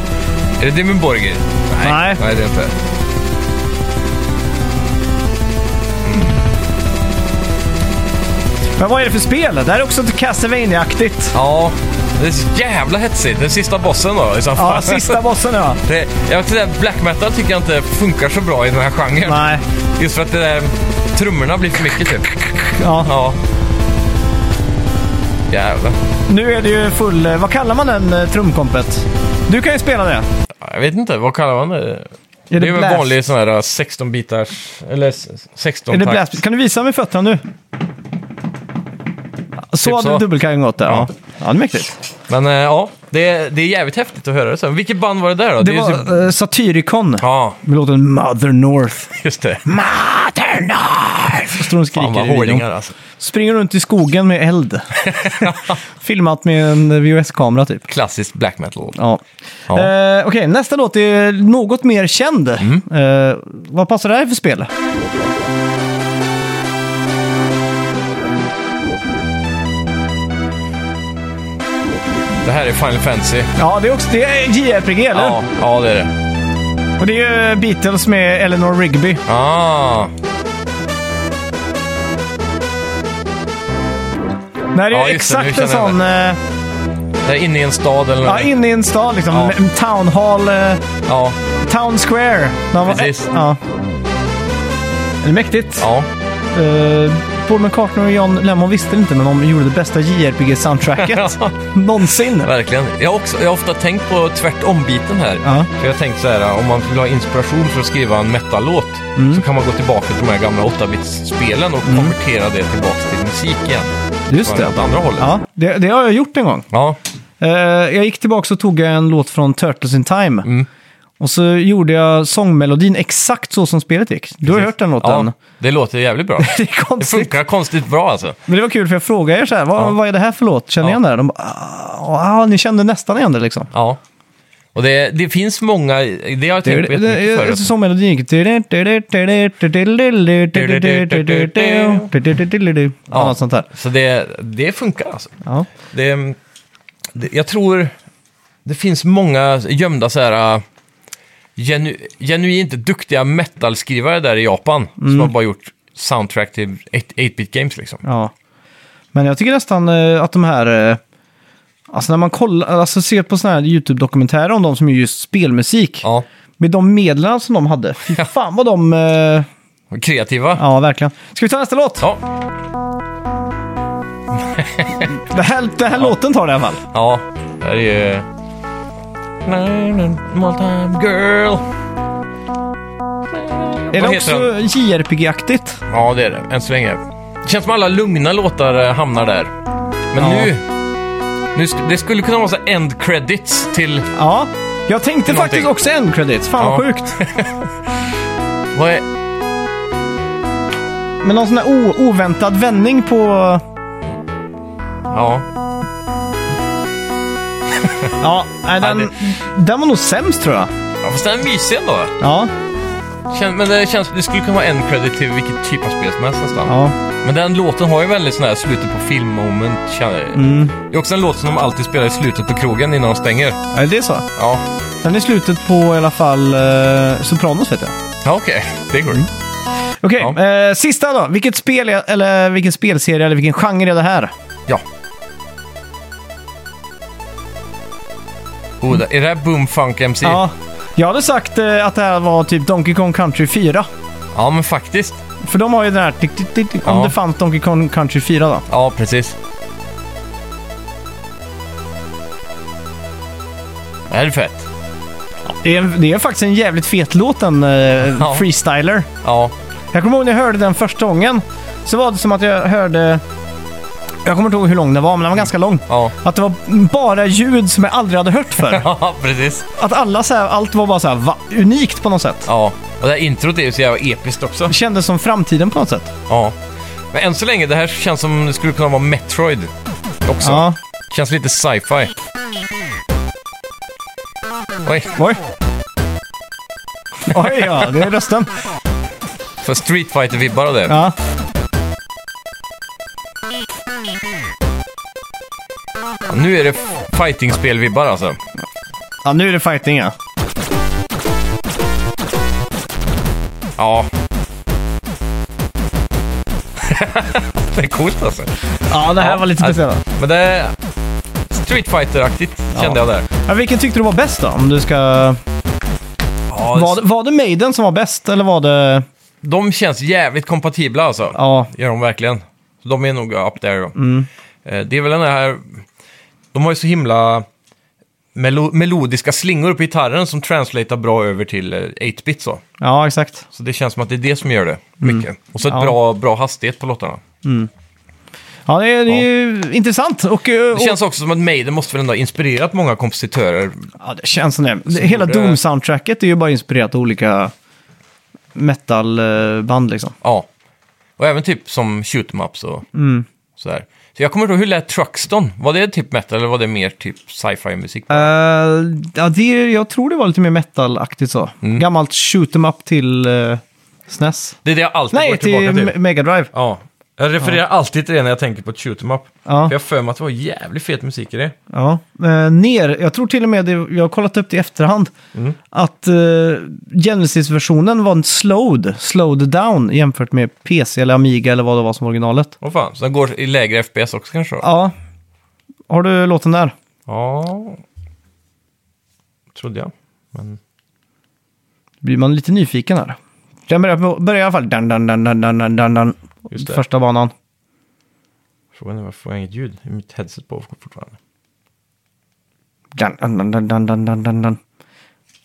[SPEAKER 1] Är det Dimmy Borgir?
[SPEAKER 2] Nej.
[SPEAKER 1] Nej, det är inte.
[SPEAKER 2] Men vad är det för spel? Det här är också Castlevania-aktigt.
[SPEAKER 1] Ja, det är så jävla hetsigt. Den sista bossen då i så fall.
[SPEAKER 2] Ja, sista bossen ja.
[SPEAKER 1] Det, jag vill säga, black metal tycker jag inte funkar så bra i den här genren.
[SPEAKER 2] Nej.
[SPEAKER 1] Just för att det där, trummorna blir för mycket typ.
[SPEAKER 2] Ja.
[SPEAKER 1] Ja. Jävlar.
[SPEAKER 2] Nu är det ju full... eh, Vad kallar man den eh, trumkompet? Du kan ju spela det.
[SPEAKER 1] Ja, Jag vet inte, vad kallar man det?
[SPEAKER 2] Är
[SPEAKER 1] det är väl
[SPEAKER 2] blast-
[SPEAKER 1] vanlig sån här 16-bitars... Eller s- 16
[SPEAKER 2] Är det
[SPEAKER 1] takt.
[SPEAKER 2] blast? Kan du visa med fötterna nu? Så
[SPEAKER 1] Typ
[SPEAKER 2] hade
[SPEAKER 1] så.
[SPEAKER 2] du dubbelkajong åt det. Ja. Ja, det är mäktigt.
[SPEAKER 1] Men eh, ja, det, det är jävligt häftigt att höra det sen. Vilket band var det där då?
[SPEAKER 2] Det
[SPEAKER 1] är ju typ-
[SPEAKER 2] var eh, Satyricon
[SPEAKER 1] Ja,
[SPEAKER 2] med låten Mother North.
[SPEAKER 1] just det.
[SPEAKER 2] Mother North! Så står hon och
[SPEAKER 1] Fan vad
[SPEAKER 2] skriker i videon.
[SPEAKER 1] hårdingar alltså.
[SPEAKER 2] Springer runt i skogen med eld. Filmat med en VHS-kamera typ.
[SPEAKER 1] Klassiskt black metal.
[SPEAKER 2] Ja.
[SPEAKER 1] Ja.
[SPEAKER 2] Eh, Okej, nästa låt är något mer känd.
[SPEAKER 1] Mm.
[SPEAKER 2] Eh, vad passar det här för spel?
[SPEAKER 1] Det här är Final Fantasy.
[SPEAKER 2] Ja, det är också det är JRPG, eller?
[SPEAKER 1] Ja, ja det är det.
[SPEAKER 2] Och det är ju Beatles med Eleanor Rigby.
[SPEAKER 1] Ah,
[SPEAKER 2] Nej, det är
[SPEAKER 1] Ja,
[SPEAKER 2] ju
[SPEAKER 1] just det, nu
[SPEAKER 2] exakt en
[SPEAKER 1] känner jag
[SPEAKER 2] sån... eh,
[SPEAKER 1] det är inne i en stad eller
[SPEAKER 2] ja,
[SPEAKER 1] något.
[SPEAKER 2] inne i en stad liksom.
[SPEAKER 1] Ja.
[SPEAKER 2] En town hall, eh,
[SPEAKER 1] ja,
[SPEAKER 2] town square. När man-
[SPEAKER 1] Precis.
[SPEAKER 2] eh, ja. Det är mäktigt.
[SPEAKER 1] ja.
[SPEAKER 2] Eh, Paul McCartney och John Lennon visste inte, men de gjorde det bästa JRPG-soundtracket någonsin.
[SPEAKER 1] Verkligen. Jag har, också, jag har ofta tänkt på tvärtom-biten här.
[SPEAKER 2] Ja.
[SPEAKER 1] För jag har tänkt så här, om man vill ha inspiration för att skriva en metal-låt
[SPEAKER 2] Mm.
[SPEAKER 1] så kan man gå tillbaka till de här gamla 8-bits-spelen och konvertera det tillbaka till musik igen.
[SPEAKER 2] Just det.
[SPEAKER 1] Åt andra hållet.
[SPEAKER 2] Ja, det, det har jag gjort en gång.
[SPEAKER 1] Ja,
[SPEAKER 2] Eh, jag gick tillbaka och tog en låt från Turtles in Time. Och så gjorde jag sångmelodin exakt så som spelet gick. Du har hört den låten.
[SPEAKER 1] ja. det låter jävligt bra.
[SPEAKER 2] Det är
[SPEAKER 1] Det
[SPEAKER 2] konstigt.
[SPEAKER 1] funkar konstigt bra alltså.
[SPEAKER 2] Men det var kul för jag frågade er så här, vad,
[SPEAKER 1] Ja.
[SPEAKER 2] vad är det här för låt? Känner ni
[SPEAKER 1] Ja.
[SPEAKER 2] igen det? här?" De bara, "Ah, ah, ni kände nästan igen det liksom.
[SPEAKER 1] Ja. Och det, det finns många, det har jag tänkt på jättemycket förut.
[SPEAKER 2] Sångmelodin gick... Ja, något sånt där.
[SPEAKER 1] Så det, det funkar alltså.
[SPEAKER 2] Ja.
[SPEAKER 1] Det, det, jag tror det finns många gömda så här äh, genu, genuint duktiga metalskrivare där i Japan som
[SPEAKER 2] Mm.
[SPEAKER 1] har bara gjort soundtrack till 8- 8-bit games liksom.
[SPEAKER 2] Ja. Men jag tycker nästan eh, att de här... eh, Alltså när man kollar, alltså ser på såna här YouTube-dokumentärer om de som gör just spelmusik.
[SPEAKER 1] Ja,
[SPEAKER 2] Med de medlen som de hade. Fy fan vad de... eh,
[SPEAKER 1] kreativa.
[SPEAKER 2] Ja, verkligen. Ska vi ta nästa låt?
[SPEAKER 1] Ja,
[SPEAKER 2] Det här, det här låten tar det i alla fall.
[SPEAKER 1] ja. Det här är ju... Small time girl.
[SPEAKER 2] Är
[SPEAKER 1] Vad
[SPEAKER 2] det
[SPEAKER 1] heter
[SPEAKER 2] också JRPG-aktigt?
[SPEAKER 1] Ja, det är det. Än så länge. Det känns som alla lugna låtar eh, hamnar där. Men
[SPEAKER 2] Ja.
[SPEAKER 1] nu... nu... sk- Det skulle kunna vara så här end credits till...
[SPEAKER 2] Ja. Jag tänkte
[SPEAKER 1] Någonting.
[SPEAKER 2] faktiskt också end credits. Fan vad
[SPEAKER 1] Ja.
[SPEAKER 2] sjukt.
[SPEAKER 1] Vad är...
[SPEAKER 2] Men någon sån där o- oväntad vändning på...
[SPEAKER 1] Ja.
[SPEAKER 2] Ja, nej, den,
[SPEAKER 1] Ja,
[SPEAKER 2] den var nog sämst tror jag.
[SPEAKER 1] ja fast den är mysig ändå.
[SPEAKER 2] Ja.
[SPEAKER 1] Kän... Men det känns... Det skulle kunna vara end credit till vilket typ av spel som helst nästan.
[SPEAKER 2] ja.
[SPEAKER 1] Men den låten har ju väldigt sån här slutet på film-moment. känner-
[SPEAKER 2] Mm.
[SPEAKER 1] Det är också en låt som de alltid spelar i slutet på krogen innan de stänger.
[SPEAKER 2] Ja, det är så.
[SPEAKER 1] Ja.
[SPEAKER 2] Den är slutet på i alla fall eh, Sopranos vet jag.
[SPEAKER 1] Ja, okej. Det
[SPEAKER 2] Mm.
[SPEAKER 1] går.
[SPEAKER 2] Okej,
[SPEAKER 1] Ja.
[SPEAKER 2] eh, sista då. Vilket spel, är, eller vilken spelserie eller vilken genre är det här?
[SPEAKER 1] Ja. Oh, det- är det här Boom Funk MC?
[SPEAKER 2] Ja. Jag hade sagt eh, att det här var typ Donkey Kong Country 4.
[SPEAKER 1] ja, men faktiskt.
[SPEAKER 2] För de har ju den här... Tick, tick, tick, tick, om
[SPEAKER 1] Ja.
[SPEAKER 2] det fanns Donkey Kong Country 4 då.
[SPEAKER 1] Ja, precis. Det här är fett.
[SPEAKER 2] Det är, det är faktiskt en jävligt fet låt en
[SPEAKER 1] Ja.
[SPEAKER 2] freestyler.
[SPEAKER 1] Ja,
[SPEAKER 2] Jag kommer ihåg när jag hörde den första gången. Så var det som att jag hörde... Jag kommer inte ihåg hur lång den var, men den var ganska lång.
[SPEAKER 1] ja.
[SPEAKER 2] Att det var bara ljud som jag aldrig hade hört förr.
[SPEAKER 1] Ja, precis.
[SPEAKER 2] Att alla så här, allt var bara så här, va, unikt på något sätt.
[SPEAKER 1] Ja, och det här introt är ju så jävla episkt också.
[SPEAKER 2] Det kändes som framtiden på något sätt.
[SPEAKER 1] Ja. Men än så länge, det här känns som det skulle kunna vara Metroid också.
[SPEAKER 2] Ja.
[SPEAKER 1] Känns lite sci-fi. Oj,
[SPEAKER 2] Oj. Oj, ja, det är rösten.
[SPEAKER 1] för Street fighter vibbar av det.
[SPEAKER 2] Ja.
[SPEAKER 1] Nu är det fighting-spel-vibbar alltså.
[SPEAKER 2] ja, nu är det fighting ja.
[SPEAKER 1] Ja. det är coolt alltså.
[SPEAKER 2] Ja, det här var lite
[SPEAKER 1] alltså,
[SPEAKER 2] speciellt.
[SPEAKER 1] Men det är Street Fighter-aktigt kände jag där.
[SPEAKER 2] Ja, vilken tyckte du var bäst då? Om du ska...
[SPEAKER 1] Ja,
[SPEAKER 2] Var, det- var det Maiden som var bäst eller var det...
[SPEAKER 1] De känns jävligt kompatibla alltså.
[SPEAKER 2] Ja,
[SPEAKER 1] Gör de verkligen. Så De är nog up there. Mm. Det är väl den här... De har ju så himla melo melodiska slingor på gitarren som translatear bra över till eh, 8-bit så.
[SPEAKER 2] ja exakt. Mm.
[SPEAKER 1] Så det känns som att det är det som gör det mycket. Och så ett
[SPEAKER 2] Ja.
[SPEAKER 1] bra, bra hastighet på låtarna.
[SPEAKER 2] Ja, det är, det är ju intressant. Och, eh, och,
[SPEAKER 1] Det känns också som att Maiden måste väl ändå ha inspirerat många kompositörer.
[SPEAKER 2] ja, det känns som det. det hela
[SPEAKER 1] gjorde-
[SPEAKER 2] Doom-soundtracket är ju bara inspirerat av olika metalband liksom.
[SPEAKER 1] Ja. Och även typ som shoot 'em ups och
[SPEAKER 2] Mm.
[SPEAKER 1] sådär. Så jag kommer inte ihåg, hur lät Truxton? Var det typ metal eller var det mer typ sci-fi musik?
[SPEAKER 2] Eh, ja, det, jag tror det var lite mer metal-aktigt så.
[SPEAKER 1] Mm.
[SPEAKER 2] Gammalt shoot 'em up till eh, SNES.
[SPEAKER 1] Det är det jag alltid går
[SPEAKER 2] Nej,
[SPEAKER 1] tillbaka
[SPEAKER 2] till
[SPEAKER 1] till.
[SPEAKER 2] Me- Mega Drive.
[SPEAKER 1] Ja. Jag refererar alltid till det när jag tänker på ett shoot 'em up.
[SPEAKER 2] Ja.
[SPEAKER 1] För jag har för mig att det var jävligt fet musik i det.
[SPEAKER 2] Ja, eh, ner. Jag tror till och med, det, jag har kollat upp det i efterhand,
[SPEAKER 1] Mm.
[SPEAKER 2] att eh, Genesis-versionen var en slowed, slowed down jämfört med PC eller Amiga eller vad det var som originalet.
[SPEAKER 1] Åh fan, så den går i lägre FPS också kanske då?
[SPEAKER 2] Ja, har du låten där?
[SPEAKER 1] Ja. Trodde jag. Men...
[SPEAKER 2] blir man lite nyfiken här. Den börjar, på- börjar i alla fall... Dan, dan, dan, dan, dan, dan, dan, dan,
[SPEAKER 1] Just det.
[SPEAKER 2] första banan.
[SPEAKER 1] Frågan är varför jag har inget ljud i mitt headset på fortfarande.
[SPEAKER 2] Dan, dan, dan, dan, dan, dan, dan, dan, dan.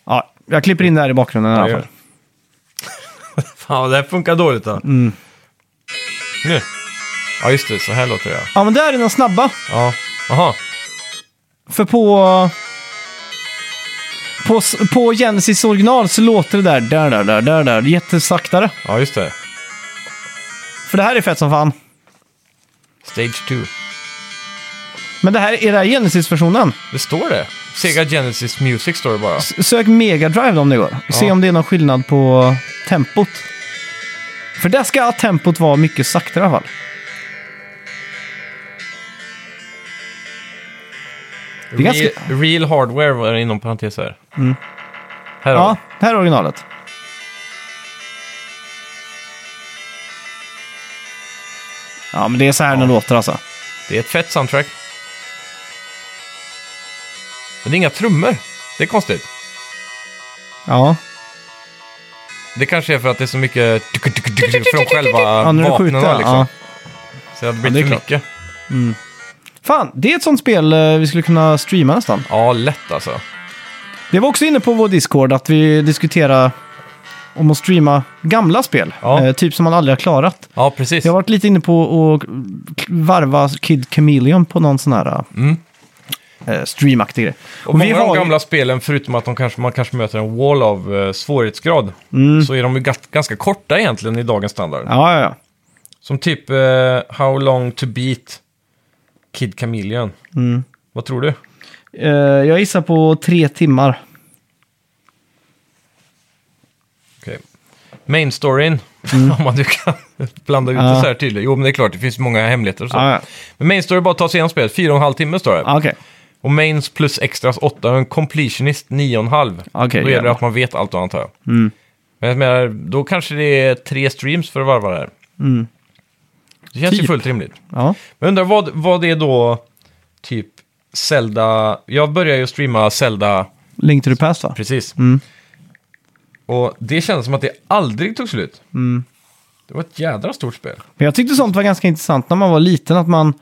[SPEAKER 2] Ja, jag klipper in det här i bakgrunden i alla fall.
[SPEAKER 1] Fan, vad det här funkar dåligt då.
[SPEAKER 2] Mm.
[SPEAKER 1] Nu. Ja, just det. Så här låter det.
[SPEAKER 2] Ja, men där är den snabba.
[SPEAKER 1] Ja. Aha.
[SPEAKER 2] För på... På, s- på Genesis original så låter det där, där, där, där, där, där, jättesaktare.
[SPEAKER 1] Ja, just det.
[SPEAKER 2] För det här är fett som fan.
[SPEAKER 1] Stage 2.
[SPEAKER 2] Men det här är det här Genesis-versionen.
[SPEAKER 1] Det står det. Sega Genesis Music står det bara.
[SPEAKER 2] S- Sök Mega Drive om det går. Se
[SPEAKER 1] Ja.
[SPEAKER 2] om det är någon skillnad på tempot. För där ska tempot vara mycket saktare i alla fall. är ganska- Mm.
[SPEAKER 1] Real, real Hardware var det inom parentes här. Här har
[SPEAKER 2] Ja, det här är originalet. Ja, men det är så här den låter alltså.
[SPEAKER 1] vi. Det är ett fett soundtrack. Men det är inga trummor. Det är konstigt.
[SPEAKER 2] Ja,
[SPEAKER 1] Det kanske är för att det är så mycket från själva
[SPEAKER 2] ja när du
[SPEAKER 1] vapnen.
[SPEAKER 2] skjuter.
[SPEAKER 1] då, Liksom.
[SPEAKER 2] Ja.
[SPEAKER 1] Så det
[SPEAKER 2] Ja, det är
[SPEAKER 1] blir för
[SPEAKER 2] klart.
[SPEAKER 1] mycket.
[SPEAKER 2] Fan, det är ett sånt spel eh, vi skulle kunna streama nästan.
[SPEAKER 1] Ja, lätt alltså.
[SPEAKER 2] Det var också inne på vår Discord att vi diskuterade om att streama gamla spel.
[SPEAKER 1] Ja.
[SPEAKER 2] Eh, typ som man aldrig har klarat.
[SPEAKER 1] Ja, precis.
[SPEAKER 2] Jag har varit lite inne på att k- varva Kid Chameleon på någon sån här
[SPEAKER 1] Mm.
[SPEAKER 2] eh, streamaktig grej.
[SPEAKER 1] Och många av
[SPEAKER 2] ju-
[SPEAKER 1] de gamla spelen, förutom att de kanske, man kanske möter en wall av eh, svårighetsgrad, så är de ju gat- ganska korta egentligen i dagens standard.
[SPEAKER 2] Mm. Ja, ja, ja.
[SPEAKER 1] Som typ eh, How long to beat Kid Chameleon.
[SPEAKER 2] Mm.
[SPEAKER 1] Vad tror du?
[SPEAKER 2] Eh, jag gissar på tre timmar.
[SPEAKER 1] Okay. Main storyn, om man nu kan blanda ut det
[SPEAKER 2] Mm. Ja.
[SPEAKER 1] så här tydligt. Jo, men det är klart, det finns många hemligheter och så.
[SPEAKER 2] Ja, ja.
[SPEAKER 1] Men main story är bara att ta sig igenom spelet, fyra och en halv timme står det.
[SPEAKER 2] Ah, Okej.
[SPEAKER 1] Och mains plus extras 8 och en completionist 9,5.
[SPEAKER 2] Okej, Mm.
[SPEAKER 1] då gäller det
[SPEAKER 2] jävlar.
[SPEAKER 1] att man vet allt då antar jag. Men jag menar, då kanske det är tre streams för att varva det här. Det känns ju
[SPEAKER 2] Mm. Typ.
[SPEAKER 1] fullt rimligt.
[SPEAKER 2] Ja.
[SPEAKER 1] Men undrar vad, vad det är då typ Zelda... Jag började ju streama Zelda
[SPEAKER 2] Link to the past va?
[SPEAKER 1] precis.
[SPEAKER 2] Mm.
[SPEAKER 1] Och det kändes som att det aldrig tog slut.
[SPEAKER 2] Mm.
[SPEAKER 1] Det var ett jädra stort spel.
[SPEAKER 2] Men jag tyckte sånt var ganska intressant när man var liten. Att man,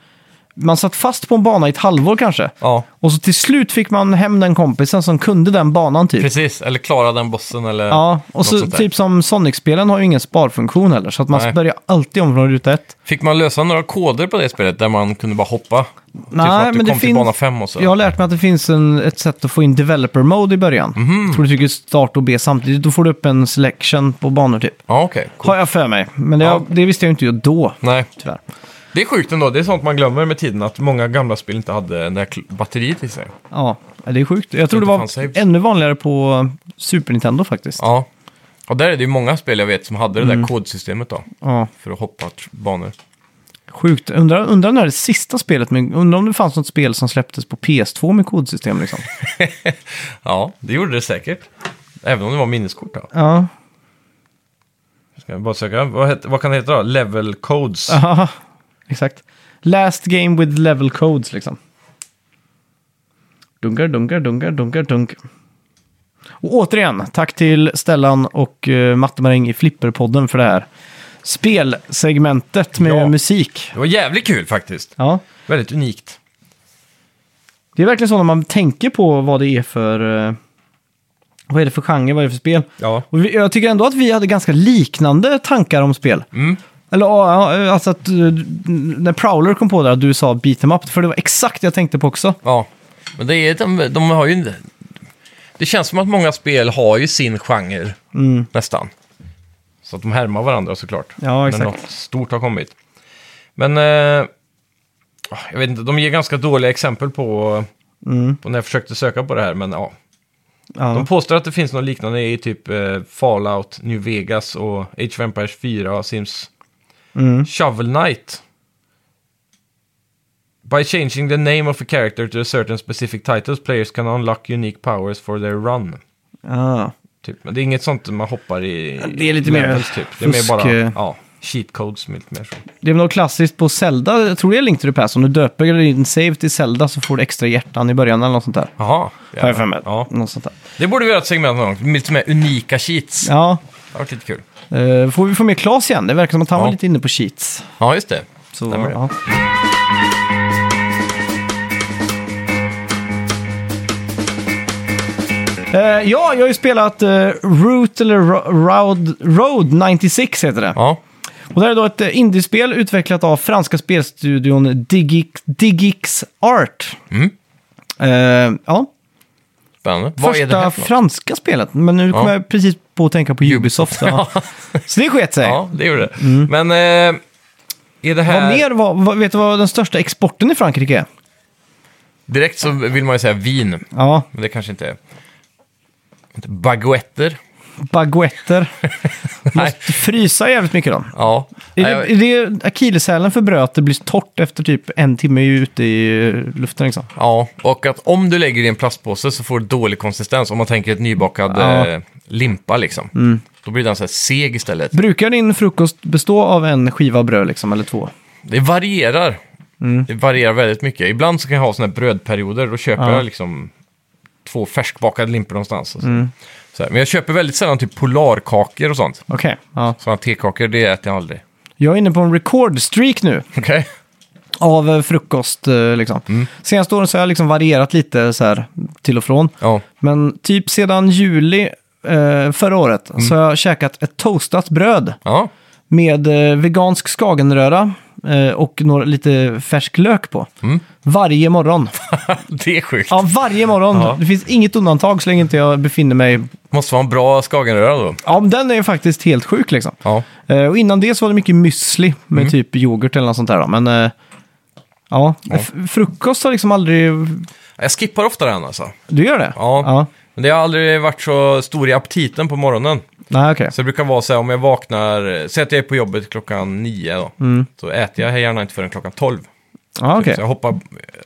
[SPEAKER 2] man satt fast på en bana i ett halvår kanske.
[SPEAKER 1] Ja,
[SPEAKER 2] Och så till slut fick man hem den kompisen som kunde den banan typ.
[SPEAKER 1] precis. Eller klara den bossen eller
[SPEAKER 2] Ja, och
[SPEAKER 1] något
[SPEAKER 2] så
[SPEAKER 1] sånt där.
[SPEAKER 2] typ som Sonic-spelen har ju ingen sparfunktion heller. Så att man
[SPEAKER 1] Nej.
[SPEAKER 2] börjar alltid om från ruta ett.
[SPEAKER 1] Fick man lösa några koder på det spelet där man kunde bara hoppa? Nej, typ som
[SPEAKER 2] Nej,
[SPEAKER 1] att du
[SPEAKER 2] men det
[SPEAKER 1] kom till
[SPEAKER 2] finns-
[SPEAKER 1] bana 5 och så.
[SPEAKER 2] Jag har lärt mig att det finns en, ett sätt att få in developer mode i början.
[SPEAKER 1] Mhm.
[SPEAKER 2] Jag tror du trycker start och B samtidigt. Då får du upp en selection på banor typ.
[SPEAKER 1] Ja, okej. Cool.
[SPEAKER 2] Har jag för mig. Men det,
[SPEAKER 1] Ja.
[SPEAKER 2] det visste jag ju inte då,
[SPEAKER 1] Nej,
[SPEAKER 2] tyvärr.
[SPEAKER 1] det är sjukt ändå. Det är sånt man glömmer med tiden, att många gamla spel inte hade det där kl- batteriet i sig.
[SPEAKER 2] Ja, det är sjukt. Jag tror
[SPEAKER 1] Inte
[SPEAKER 2] det
[SPEAKER 1] fan
[SPEAKER 2] var
[SPEAKER 1] saves.
[SPEAKER 2] ännu vanligare på Super Nintendo faktiskt.
[SPEAKER 1] Ja. Och där är det ju många spel jag vet som hade det
[SPEAKER 2] Mm.
[SPEAKER 1] där kodsystemet då,
[SPEAKER 2] Ja,
[SPEAKER 1] för att hoppa tr- banor.
[SPEAKER 2] sjukt. Undrar, undrar när det sista spelet, med, undrar om det fanns något spel som släpptes på PS2 med kodsystem liksom.
[SPEAKER 1] Ja, det gjorde det säkert. Även om det var minneskort då.
[SPEAKER 2] Ja,
[SPEAKER 1] Ska jag bara söka. Vad, het, vad kan det heta då? Level codes.
[SPEAKER 2] aha, exakt. Last game with level codes liksom. Dunkar, dunkar, dunkar, dunkar, dunk. Och återigen, tack till Stellan och uh, Matte Maräng i Flipperpodden för det här spelsegmentet med
[SPEAKER 1] Ja.
[SPEAKER 2] musik.
[SPEAKER 1] Det var jävligt kul faktiskt.
[SPEAKER 2] Ja.
[SPEAKER 1] Väldigt unikt.
[SPEAKER 2] Det är verkligen så när man tänker på vad det är för... eh, Vad är det för genre, vad är det för spel?
[SPEAKER 1] Ja.
[SPEAKER 2] Och vi, jag tycker ändå att vi hade ganska liknande tankar om spel.
[SPEAKER 1] Mm.
[SPEAKER 2] Eller ja, ja, alltså att eh, när Prowler kom på det att du sa beat em up, för det var exakt det jag tänkte på också.
[SPEAKER 1] Ja, men det är, de, de har ju... Det känns som att många spel har ju sin genre, nästan. Så att de härmar varandra såklart.
[SPEAKER 2] Mm. Ja, exakt.
[SPEAKER 1] När något stort har kommit. Men... Eh, jag vet inte, de ger ganska dåliga exempel på,
[SPEAKER 2] Mm.
[SPEAKER 1] på när jag försökte söka på det här, men ja.
[SPEAKER 2] Ja.
[SPEAKER 1] De påstår att det finns något liknande i typ eh, Fallout, New Vegas och Age of Empires 4 och Sims
[SPEAKER 2] Mm.
[SPEAKER 1] Shovel Knight. By changing the name of a character to a certain specific titles, players can unlock unique powers for their run.
[SPEAKER 2] Ja.
[SPEAKER 1] Typ. Men det är inget sånt man hoppar i
[SPEAKER 2] det är lite mer
[SPEAKER 1] levels, typ. Det är mer
[SPEAKER 2] fusk,
[SPEAKER 1] bara
[SPEAKER 2] eh.
[SPEAKER 1] ja, cheat codes. Lite mer så.
[SPEAKER 2] Det är väl något klassiskt på Zelda, jag tror det är Link to the Past. Om du döper din save till Zelda så får du extra hjärtan i början eller något sånt där.
[SPEAKER 1] Jaha.
[SPEAKER 2] Har jag för mig.
[SPEAKER 1] Ja.
[SPEAKER 2] Något sånt där.
[SPEAKER 1] Det borde vi göra ett segment någon gång. med Lite mer unika cheats.
[SPEAKER 2] Ja,
[SPEAKER 1] Det har varit lite kul.
[SPEAKER 2] eh, får vi få med Claes igen? Det verkar som att han
[SPEAKER 1] Ja.
[SPEAKER 2] var lite inne på cheats.
[SPEAKER 1] Ja, just det.
[SPEAKER 2] Så,
[SPEAKER 1] Stämmer det.
[SPEAKER 2] ja. Eh, ja, jag har ju spelat eh, Root eller Ro- Road, Road 96 heter det.
[SPEAKER 1] Ja.
[SPEAKER 2] Och det här är då ett eh, indiespel utvecklat av franska spelstudion Digix, Digix Art.
[SPEAKER 1] Mm.
[SPEAKER 2] Eh, ja,
[SPEAKER 1] Spännande. Vad är det
[SPEAKER 2] första
[SPEAKER 1] här för något?
[SPEAKER 2] franska spelet, men nu kommer jag precis på att tänka på Ubisoft. ja. Så det sket sig.
[SPEAKER 1] Ja, Eh. det gjorde det. Men eh, är det
[SPEAKER 2] Mm. Vad
[SPEAKER 1] här...
[SPEAKER 2] mer var, vad, vet du vad den största exporten i Frankrike är?
[SPEAKER 1] Direkt så vill man ju säga vin.
[SPEAKER 2] Ja,
[SPEAKER 1] Men det kanske inte är. Baguetter.
[SPEAKER 2] baguetter.
[SPEAKER 1] Nej.
[SPEAKER 2] Måste frysa jävligt mycket då.
[SPEAKER 1] Ja.
[SPEAKER 2] Är
[SPEAKER 1] Nej,
[SPEAKER 2] det, är det akilleshälen för bröd att det blir torrt efter typ en timme ute i eh, luften liksom?
[SPEAKER 1] ja, och att om du lägger det i en plastpåse så får du dålig konsistens. Om man tänker ett nybakad
[SPEAKER 2] Ja. Mm.
[SPEAKER 1] eh, limpa liksom. Då blir den så här seg istället.
[SPEAKER 2] Brukar din frukost bestå av en skiva bröd liksom, eller två?
[SPEAKER 1] Det varierar.
[SPEAKER 2] Mm.
[SPEAKER 1] Det varierar väldigt mycket. Ibland så kan jag ha såna här brödperioder. Då köper
[SPEAKER 2] Ja.
[SPEAKER 1] jag liksom två färskbakade limpor någonstans. Och så.
[SPEAKER 2] Mm.
[SPEAKER 1] Så här. Men jag köper väldigt sällan typ polarkakor och sånt.
[SPEAKER 2] Okej. Ja.
[SPEAKER 1] Sådana tekakor, det äter jag aldrig.
[SPEAKER 2] Jag är inne på en record-streak nu
[SPEAKER 1] Okej?
[SPEAKER 2] av eh, frukost. eh, Liksom.
[SPEAKER 1] Mm.
[SPEAKER 2] Senaste åren så har jag liksom varierat lite så här, till och från.
[SPEAKER 1] Ja.
[SPEAKER 2] Men typ sedan juli eh, förra året
[SPEAKER 1] Mm.
[SPEAKER 2] så har jag käkat ett toastat bröd
[SPEAKER 1] Ja.
[SPEAKER 2] med eh, vegansk skagenröra eh, och några, lite färsk lök på.
[SPEAKER 1] Mm.
[SPEAKER 2] Varje morgon.
[SPEAKER 1] det är sjukt.
[SPEAKER 2] Ja, varje morgon.
[SPEAKER 1] Ja.
[SPEAKER 2] Det finns inget undantag så länge inte jag befinner mig...
[SPEAKER 1] Måste vara en bra skagenröra då.
[SPEAKER 2] Ja, men den är ju faktiskt helt sjuk liksom.
[SPEAKER 1] Ja.
[SPEAKER 2] Eh, och innan det så var det mycket müsli med
[SPEAKER 1] Mm.
[SPEAKER 2] typ yoghurt eller något sånt där. Då. Men eh, ja, F- frukost har liksom aldrig...
[SPEAKER 1] Jag skippar ofta den alltså.
[SPEAKER 2] Du gör det?
[SPEAKER 1] Ja. Men det har aldrig varit så stor i aptiten på morgonen.
[SPEAKER 2] Nej, okej.
[SPEAKER 1] Så det brukar vara så här om jag vaknar, säg att jag är på jobbet klockan nio då. Så äter jag gärna inte förrän klockan tolv.
[SPEAKER 2] Ja, okej.
[SPEAKER 1] Så jag hoppar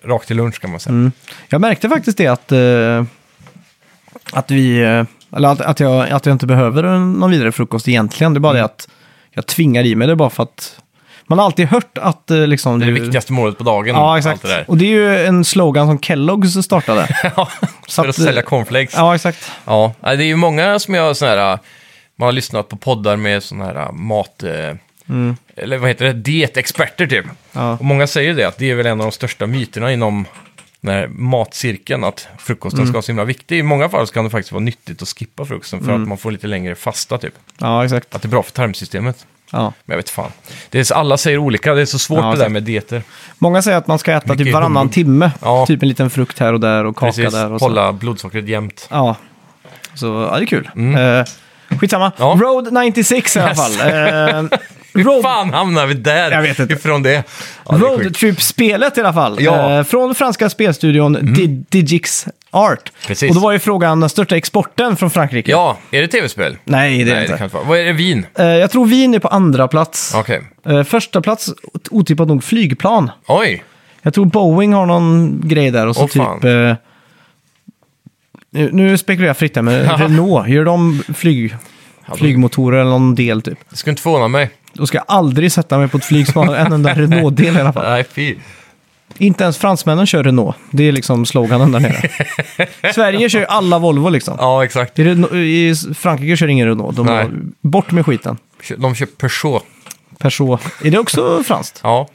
[SPEAKER 1] rakt till lunch kan man säga.
[SPEAKER 2] Mm. Jag märkte faktiskt det att, eh, att vi... eh, Eller att, att, jag, att jag inte behöver en- någon vidare frukost egentligen. Det är bara
[SPEAKER 1] Mm.
[SPEAKER 2] det att jag tvingar i mig det bara för att... Man har alltid hört att eh, liksom...
[SPEAKER 1] Det är det viktigaste målet på dagen.
[SPEAKER 2] Ja, exakt.
[SPEAKER 1] Allt det där.
[SPEAKER 2] och det är ju en slogan som Kellogg's startade.
[SPEAKER 1] För att
[SPEAKER 2] att, eh,
[SPEAKER 1] sälja cornflakes. Ja.
[SPEAKER 2] ja, exakt.
[SPEAKER 1] Nej, Det är ju många som gör sådana här, äh, man har lyssnat på poddar med sådana här mat... eh, Eller vad heter det? Dietexperter typ.
[SPEAKER 2] Mm. Ja.
[SPEAKER 1] Och många säger ju det, att det är väl en av de största myterna inom den här matcirkeln, att
[SPEAKER 2] Mm.
[SPEAKER 1] frukosten ska vara så himla viktig. I många fall så kan det faktiskt vara nyttigt att skippa frukosten
[SPEAKER 2] Mm.
[SPEAKER 1] för att man får lite längre fasta typ.
[SPEAKER 2] Ja, exakt.
[SPEAKER 1] Att det är bra för tarmsystemet.
[SPEAKER 2] Ja.
[SPEAKER 1] Men jag vet fan. Det är, alla säger olika, det är så svårt
[SPEAKER 2] Ja, typ.
[SPEAKER 1] det där
[SPEAKER 2] exakt.
[SPEAKER 1] med dieter.
[SPEAKER 2] Många säger att man ska äta
[SPEAKER 1] Mycket
[SPEAKER 2] typ varannan
[SPEAKER 1] humbug.
[SPEAKER 2] timme.
[SPEAKER 1] Ja.
[SPEAKER 2] Typ en liten frukt här och där och kaka
[SPEAKER 1] Precis,
[SPEAKER 2] där. Och så.
[SPEAKER 1] hålla blodsockret jämnt.
[SPEAKER 2] Ja. Så ja, det är kul. Eh, skitsamma.
[SPEAKER 1] Mm. Ja.
[SPEAKER 2] Road 96 i alla
[SPEAKER 1] Yes.
[SPEAKER 2] fall. Eh, road,
[SPEAKER 1] Fan hamnar vi där?
[SPEAKER 2] Jag vet inte.
[SPEAKER 1] Ifrån det. Ja, det är
[SPEAKER 2] road
[SPEAKER 1] sjukt.
[SPEAKER 2] Trip-spelet i alla fall.
[SPEAKER 1] Ja. Mm.
[SPEAKER 2] Eh, från franska spelstudion Di- Digix Art.
[SPEAKER 1] Precis.
[SPEAKER 2] Och då var ju frågan den största exporten från Frankrike.
[SPEAKER 1] ja, är det tv-spel?
[SPEAKER 2] Nej, det är
[SPEAKER 1] Nej,
[SPEAKER 2] inte.
[SPEAKER 1] det kan inte vara. Vad är det, vin?
[SPEAKER 2] Eh, jag tror Wien är på andra plats.
[SPEAKER 1] Okej.
[SPEAKER 2] Eh, första plats otippat nog flygplan.
[SPEAKER 1] Oj,
[SPEAKER 2] Jag tror Boeing har någon grej där och så
[SPEAKER 1] Åh, fan.
[SPEAKER 2] typ... Eh, nu, nu spekulerar jag fritt här, men Renault, gör de flyg, flygmotorer eller någon del typ?
[SPEAKER 1] det skulle inte förvåna mig.
[SPEAKER 2] Då ska jag aldrig sätta mig på ett flyg som har en enda Renault-del i alla fall.
[SPEAKER 1] Nej, fy.
[SPEAKER 2] Inte ens fransmännen kör Renault. Det är liksom sloganen där nere. Sverige kör ju alla Volvo liksom.
[SPEAKER 1] Ja, exakt.
[SPEAKER 2] I, Renault, I Frankrike kör ingen Renault. De
[SPEAKER 1] Nej.
[SPEAKER 2] har, bort med skiten.
[SPEAKER 1] De köper Peugeot.
[SPEAKER 2] Peugeot. Är det också franskt?
[SPEAKER 1] Ja.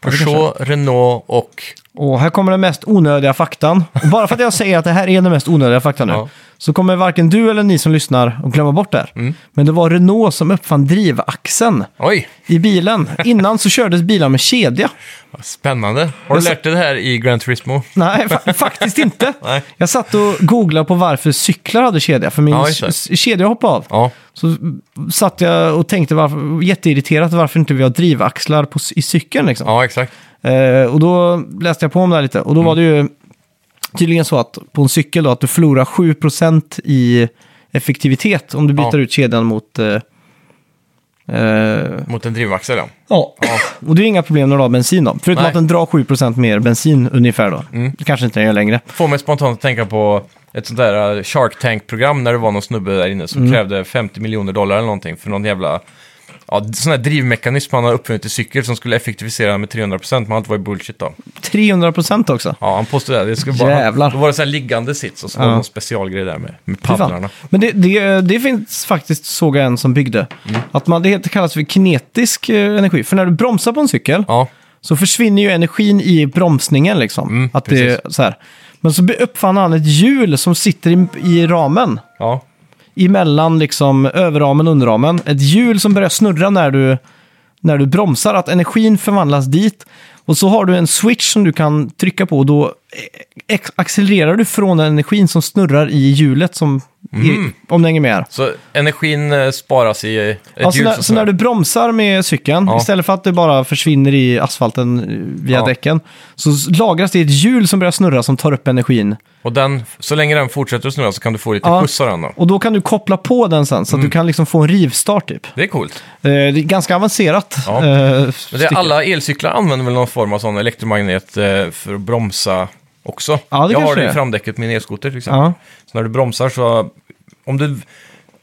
[SPEAKER 1] Peugeot, Renault och
[SPEAKER 2] Och här kommer den mest onödiga faktan. Och bara för att jag säger att det här är den mest onödiga faktan nu,
[SPEAKER 1] Ja.
[SPEAKER 2] så kommer varken du eller ni som lyssnar att glömma bort det här.
[SPEAKER 1] Mm.
[SPEAKER 2] Men det var Renault som uppfann drivaxeln
[SPEAKER 1] Oj,
[SPEAKER 2] i bilen. Innan så kördes bilar med kedja.
[SPEAKER 1] vad spännande. Har du
[SPEAKER 2] sa-
[SPEAKER 1] lärt dig det här i Gran Turismo?
[SPEAKER 2] Nej, fa- faktiskt inte.
[SPEAKER 1] Nej.
[SPEAKER 2] Jag satt och googlade på varför cyklar hade kedja, för min
[SPEAKER 1] Ja, just det.
[SPEAKER 2] s- kedja hoppade av.
[SPEAKER 1] Ja,
[SPEAKER 2] Så satt jag och tänkte varför, jätteirriterat varför inte vi har drivaxlar på, i cykeln. Liksom.
[SPEAKER 1] ja Mm. exakt.
[SPEAKER 2] Eh, och då läste jag på om det här lite. Och då var det ju tydligen så att på en cykel då, att du förlorar 7% i effektivitet om du byter
[SPEAKER 1] Ja.
[SPEAKER 2] ut kedjan mot... Eh, eh,
[SPEAKER 1] Mot en drivaxel, ja.
[SPEAKER 2] ja. Och det är ju inga problem när du har bensin då. Förutom
[SPEAKER 1] Nej. Mm.
[SPEAKER 2] att den drar 7% mer bensin ungefär då. Det kanske inte den gör längre.
[SPEAKER 1] Får mig spontant att tänka på ett sånt där eh, Shark Tank-program när det var någon snubbe där inne som krävde 50 miljoner dollar eller någonting för någon jävla ja, sån här drivmekanism han har uppfunnit i cykel som skulle effektivisera med 300%, men allt var ju bullshit då.
[SPEAKER 2] 300% också.
[SPEAKER 1] Ja, han påstod det. det skulle bara,
[SPEAKER 2] Jävlar.
[SPEAKER 1] Då var det så här liggande sits och så var
[SPEAKER 2] Ja.
[SPEAKER 1] det någon specialgrej där med, med
[SPEAKER 2] Fy fan.
[SPEAKER 1] paddlarna.
[SPEAKER 2] Men det, det, det finns faktiskt, såg jag en som byggde,
[SPEAKER 1] Mm.
[SPEAKER 2] att man, det heter- kallas för kinetisk eh, energi. För när du bromsar på en cykel
[SPEAKER 1] Ja,
[SPEAKER 2] så försvinner ju energin i bromsningen liksom.
[SPEAKER 1] Mm,
[SPEAKER 2] att det, är så här. Men så be- uppfann han ett hjul som sitter i, i ramen.
[SPEAKER 1] ja.
[SPEAKER 2] Emellan liksom överramen och underramen. Ett hjul som börjar snurra när du, när du bromsar. Att energin förvandlas dit. Och så har du en switch som du kan trycka på. Och då eh, ex- accelererar du från den energin som snurrar i hjulet. Som
[SPEAKER 1] Mm.
[SPEAKER 2] i, om du hänger med här.
[SPEAKER 1] Så energin eh, sparas i eh, ett
[SPEAKER 2] Alltså
[SPEAKER 1] hjul
[SPEAKER 2] när,
[SPEAKER 1] som
[SPEAKER 2] så när du
[SPEAKER 1] snurrar.
[SPEAKER 2] bromsar med cykeln,
[SPEAKER 1] Ja.
[SPEAKER 2] istället för att det bara försvinner i asfalten eh, via
[SPEAKER 1] Ja.
[SPEAKER 2] däcken, så s- lagras det i ett hjul som börjar snurra som tar upp energin.
[SPEAKER 1] Och den, så länge den fortsätter att snurra så kan du få lite
[SPEAKER 2] Ja.
[SPEAKER 1] skjuts av den då.
[SPEAKER 2] Och då kan du koppla på den sen,
[SPEAKER 1] Mm.
[SPEAKER 2] så att du kan liksom få en rivstart typ.
[SPEAKER 1] Det är coolt.
[SPEAKER 2] Eh, Det är ganska avancerat.
[SPEAKER 1] Ja.
[SPEAKER 2] eh,
[SPEAKER 1] Men det,
[SPEAKER 2] stycke.
[SPEAKER 1] är- alla elcyklar använder väl någon form av sån elektromagnet eh, för att bromsa också.
[SPEAKER 2] Ja, det
[SPEAKER 1] jag har
[SPEAKER 2] kanske
[SPEAKER 1] det
[SPEAKER 2] det
[SPEAKER 1] i
[SPEAKER 2] är.
[SPEAKER 1] framdäcket på min elskoter till exempel.
[SPEAKER 2] Ja.
[SPEAKER 1] Så när du bromsar så... Om du,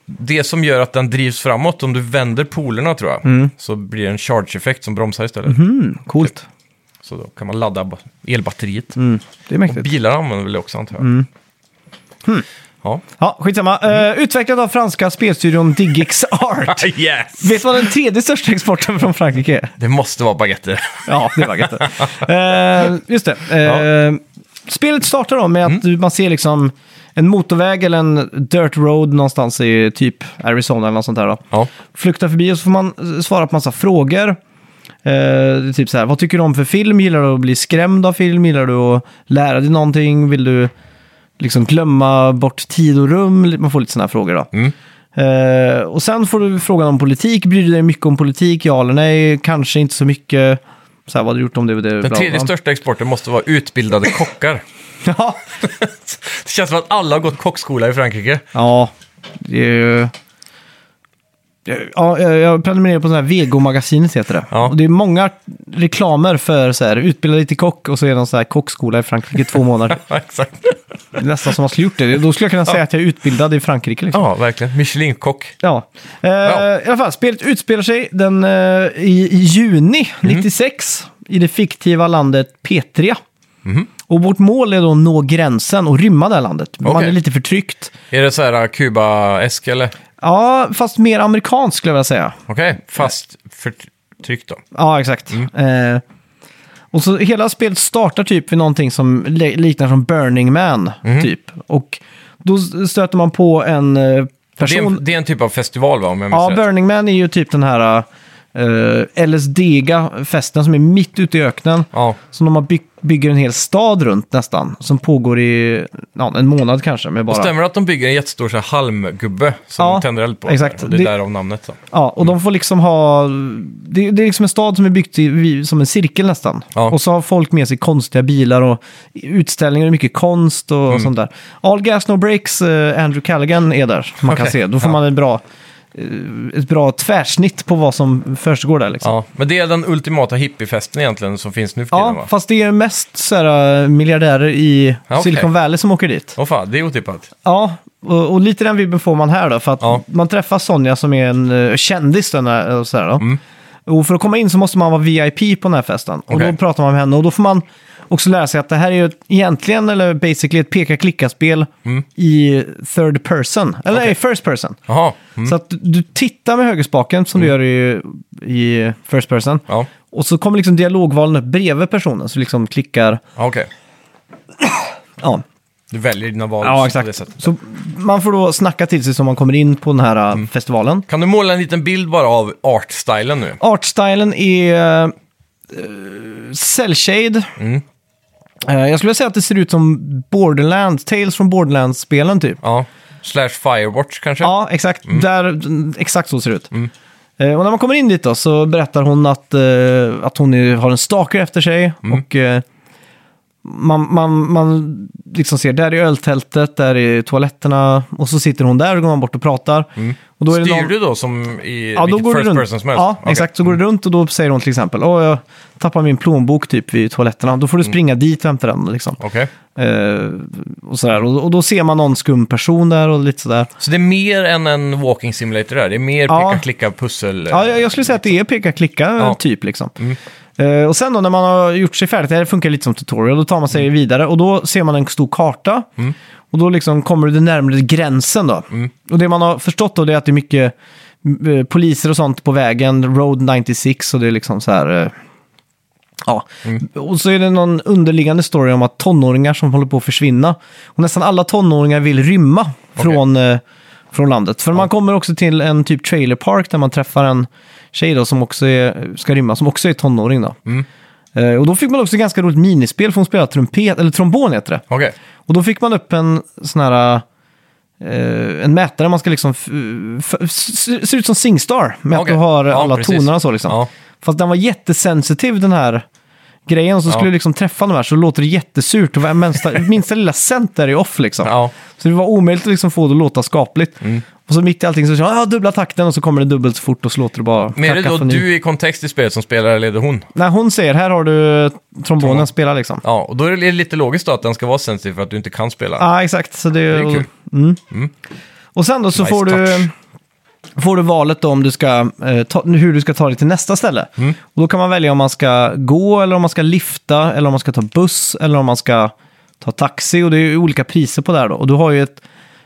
[SPEAKER 1] det som gör att den drivs framåt, om du vänder polerna tror jag, så blir det en charge-effekt som bromsar istället.
[SPEAKER 2] Mm, coolt.
[SPEAKER 1] Så då kan man ladda ba- elbatteriet.
[SPEAKER 2] Det är mäktigt.
[SPEAKER 1] Bilar använder väl det också antar jag. Hm. Ja.
[SPEAKER 2] Ja, skitsamma. Eh, Utvecklat av franska spelstudion Digix Art.
[SPEAKER 1] Yes!
[SPEAKER 2] Vet du vad den tredje största exporten från Frankrike är?
[SPEAKER 1] Det måste vara baguetter.
[SPEAKER 2] Ja, det var gött. Eh, just det. Eh, Spelet startar då med att du-
[SPEAKER 1] Mm.
[SPEAKER 2] man ser liksom en motorväg eller en dirt road någonstans i typ Arizona eller något sånt där. Då.
[SPEAKER 1] Ja.
[SPEAKER 2] Flyktar förbi och så får man eh, svara på massa frågor. Eh, det är typ så här, vad tycker du om för film? Gillar du att bli skrämd av film? Gillar du att lära dig någonting? Vill du liksom glömma bort tid och rum? Man får lite sådana här frågor då.
[SPEAKER 1] Mm.
[SPEAKER 2] Eh, och sen får du frågan om politik. Bryr du dig mycket om politik? Ja eller nej? Kanske inte så mycket. Så här, vad har du gjort om det och det? bla,
[SPEAKER 1] Den
[SPEAKER 2] bla,
[SPEAKER 1] tredje
[SPEAKER 2] bla.
[SPEAKER 1] största exporten måste vara utbildade kockar.
[SPEAKER 2] Ja.
[SPEAKER 1] Det känns som att alla har gått kockskola i Frankrike.
[SPEAKER 2] ja, det är ju... Ja, jag- jag prenumererar på sån här Vego-magasinet heter det.
[SPEAKER 1] Ja.
[SPEAKER 2] Och det är många reklamer för så här, utbilda dig till kock och så är det en sån här kockskola i Frankrike i två månader.
[SPEAKER 1] Ja, exakt.
[SPEAKER 2] Det är nästan som man skulle gjort det. Då skulle jag kunna säga att jag är utbildad i Frankrike. Liksom.
[SPEAKER 1] Ja, verkligen. Michelin-kock.
[SPEAKER 2] Ja. Eh,
[SPEAKER 1] Ja.
[SPEAKER 2] I alla fall, spelet utspelar sig den, eh, i, i juni
[SPEAKER 1] Mhm.
[SPEAKER 2] 96 i det fiktiva landet Petria.
[SPEAKER 1] Mhm.
[SPEAKER 2] Och vårt mål är då att nå gränsen och rymma det här landet. Man
[SPEAKER 1] Okej.
[SPEAKER 2] är lite förtryckt.
[SPEAKER 1] Är det så här uh, Kuba-esk eller?
[SPEAKER 2] Ja, fast mer amerikanskt skulle jag vilja säga.
[SPEAKER 1] Okej, fast förtryck då.
[SPEAKER 2] Ja, exakt.
[SPEAKER 1] Mm.
[SPEAKER 2] Eh, och så hela spelet startar typ vid någonting som li- liknar som Burning Man, typ. Och då s- stöter man på en eh,
[SPEAKER 1] Mm. Det är,
[SPEAKER 2] person...
[SPEAKER 1] en, det är en typ av festival va, om jag minns
[SPEAKER 2] Ja,
[SPEAKER 1] rätt?
[SPEAKER 2] Burning Man är ju typ den här uh, LSD-ga festen som är mitt ute i öknen.
[SPEAKER 1] Ja,
[SPEAKER 2] Som de har byg- bygger en hel stad runt nästan. Som pågår i ja, en månad kanske. Med
[SPEAKER 1] och
[SPEAKER 2] bara,
[SPEAKER 1] stämmer det att de bygger en jättestor så här, halmgubbe som
[SPEAKER 2] Ja,
[SPEAKER 1] de tänder eld på?
[SPEAKER 2] exakt.
[SPEAKER 1] Och Det är
[SPEAKER 2] Det-
[SPEAKER 1] därav namnet. Då.
[SPEAKER 2] ja, och de får liksom ha... Det, det är liksom en stad som är byggt i, vi- som en cirkel nästan.
[SPEAKER 1] Ja.
[SPEAKER 2] Och så har folk med sig konstiga bilar och utställningar och mycket konst och
[SPEAKER 1] Mm.
[SPEAKER 2] sånt där. All Gas No Breaks, eh, Andrew Callaghan är där. som Man kan
[SPEAKER 1] Okej,
[SPEAKER 2] se. Då får
[SPEAKER 1] ja.
[SPEAKER 2] man en bra, eh, ett bra tvärsnitt på vad som försiggår där. Liksom.
[SPEAKER 1] Ja, men det är den ultimata hippiefesten egentligen som finns nu för tiden
[SPEAKER 2] Ja,
[SPEAKER 1] va?
[SPEAKER 2] fast det är mest så här, äh, miljardärer i
[SPEAKER 1] Ja, okej.
[SPEAKER 2] Silicon Valley som åker dit.
[SPEAKER 1] Åh fan, det är otippat.
[SPEAKER 2] Ja, och, och lite den vibben får man här då. För att
[SPEAKER 1] Ja.
[SPEAKER 2] eh,
[SPEAKER 1] Mm.
[SPEAKER 2] man träffar Sonja som är en äh, kändis. Den här, äh, eh, så här, då. Och för att komma in så måste man vara VIP på den här festen. Och
[SPEAKER 1] Okej.
[SPEAKER 2] då pratar man med henne och då får man också lära sig att det här är ju ett- egentligen, eller basically, ett peka-klicka-spel
[SPEAKER 1] Mm.
[SPEAKER 2] i third person. Eller nej, first person.
[SPEAKER 1] Jaha. Mm.
[SPEAKER 2] Så att du, du tittar med högerspaken som du gör i, i first person.
[SPEAKER 1] Ja,
[SPEAKER 2] Och så kommer liksom dialogvalen upp bredvid personen, så liksom klickar...
[SPEAKER 1] ja okej.
[SPEAKER 2] Ja,
[SPEAKER 1] Du väljer dina val
[SPEAKER 2] ja
[SPEAKER 1] på det sättet.
[SPEAKER 2] exakt. Så man får då snacka till sig som man kommer in på den här äh, festivalen.
[SPEAKER 1] Kan du måla en liten bild bara av artstylen nu?
[SPEAKER 2] Artstylen är uh, cellshade.
[SPEAKER 1] Mm.
[SPEAKER 2] Eh, jag skulle säga att det ser ut som Borderlands, Tales från Borderlands-spelen typ.
[SPEAKER 1] Ja. Slash Firewatch kanske?
[SPEAKER 2] Ja, exakt.
[SPEAKER 1] Mm.
[SPEAKER 2] Där, exakt så ser det ut. Eh, och när man kommer in dit då så berättar hon att, eh, att hon är, har en stalker efter sig.
[SPEAKER 1] Mm.
[SPEAKER 2] Och eh, man, man, man liksom ser, där är öltältet, där är toaletterna. Och så sitter hon där och går man bort och pratar. Och då är det
[SPEAKER 1] Mm. Styr
[SPEAKER 2] någon-
[SPEAKER 1] du då som i
[SPEAKER 2] Ja, då
[SPEAKER 1] vilket
[SPEAKER 2] går du
[SPEAKER 1] first
[SPEAKER 2] runt.
[SPEAKER 1] person som helst?
[SPEAKER 2] Ja,
[SPEAKER 1] Okej. Mm.
[SPEAKER 2] exakt. Så går du runt och då säger hon till exempel, åh, jag tappar min plånbok typ vid toaletterna. Då får
[SPEAKER 1] Mm.
[SPEAKER 2] du springa dit och hämta den liksom.
[SPEAKER 1] Okej.
[SPEAKER 2] Eh, och, sådär. Och, och då ser man någon skum person där och lite sådär.
[SPEAKER 1] Så det är mer än en walking simulator där? Det är mer
[SPEAKER 2] Ja.
[SPEAKER 1] peka, klicka, pussel?
[SPEAKER 2] Ja, jag, jag skulle säga att det är peka-klicka
[SPEAKER 1] Ja.
[SPEAKER 2] typ liksom. Eh, och sen då när man har gjort sig färdigt, det här funkar lite som tutorial, då tar man sig vidare och då ser man en stor karta. Och då liksom kommer du närmare gränsen då. Och det man har förstått då det är att det är mycket eh, poliser och sånt på vägen, Road 96 och det är liksom så här... eh, Ja,
[SPEAKER 1] Mm.
[SPEAKER 2] och så är det någon underliggande story om att tonåringar som håller på att försvinna. Och nästan alla tonåringar vill rymma från, eh, från landet. För man kommer också till en typ trailer park där man träffar en tjej då som också är, ska rymma, som också är tonåring då.
[SPEAKER 1] Mm.
[SPEAKER 2] Eh, och då fick man också ganska roligt minispel för hon spelade trumpet, eller trombon heter det.
[SPEAKER 1] Okej.
[SPEAKER 2] Och då fick man upp en sån här... eh, en mätare man ska liksom... f- f- s- ser ut som Singstar med
[SPEAKER 1] Okej.
[SPEAKER 2] att du har
[SPEAKER 1] Ja,
[SPEAKER 2] alla
[SPEAKER 1] precis.
[SPEAKER 2] tonerna så liksom.
[SPEAKER 1] Ja.
[SPEAKER 2] Fast den var jättesensitiv den här grejen. Och så skulle
[SPEAKER 1] Ja.
[SPEAKER 2] du liksom träffa de här så låter det jättesurt. Och var- minsta, minsta lilla cent där är off liksom.
[SPEAKER 1] Ja. Mm.
[SPEAKER 2] Så det var omöjligt att liksom få det att låta skapligt. Och så mitt i allting så kör jag "Ah, dubbla takten och så kommer det dubbelt så fort och så låter det bara...
[SPEAKER 1] Men är det då
[SPEAKER 2] kakafoni.
[SPEAKER 1] du i kontext i spelet som spelar eller är det hon?
[SPEAKER 2] Nej, hon säger här har du trombonen, spela liksom.
[SPEAKER 1] Ja, och då är det lite logiskt då att den ska vara sensitiv för att du inte kan spela.
[SPEAKER 2] Ja, exakt. Så det,
[SPEAKER 1] är kul.
[SPEAKER 2] Mm. Och sen då så
[SPEAKER 1] Nice
[SPEAKER 2] får
[SPEAKER 1] touch.
[SPEAKER 2] du, får du valet då om du ska, eh, ta, hur du ska ta dig till nästa ställe.
[SPEAKER 1] Mm.
[SPEAKER 2] Och då kan man välja om man ska gå, eller om man ska lifta, eller om man ska ta buss, eller om man ska ta taxi. Och det är ju olika priser på det här då. Och du har ju ett,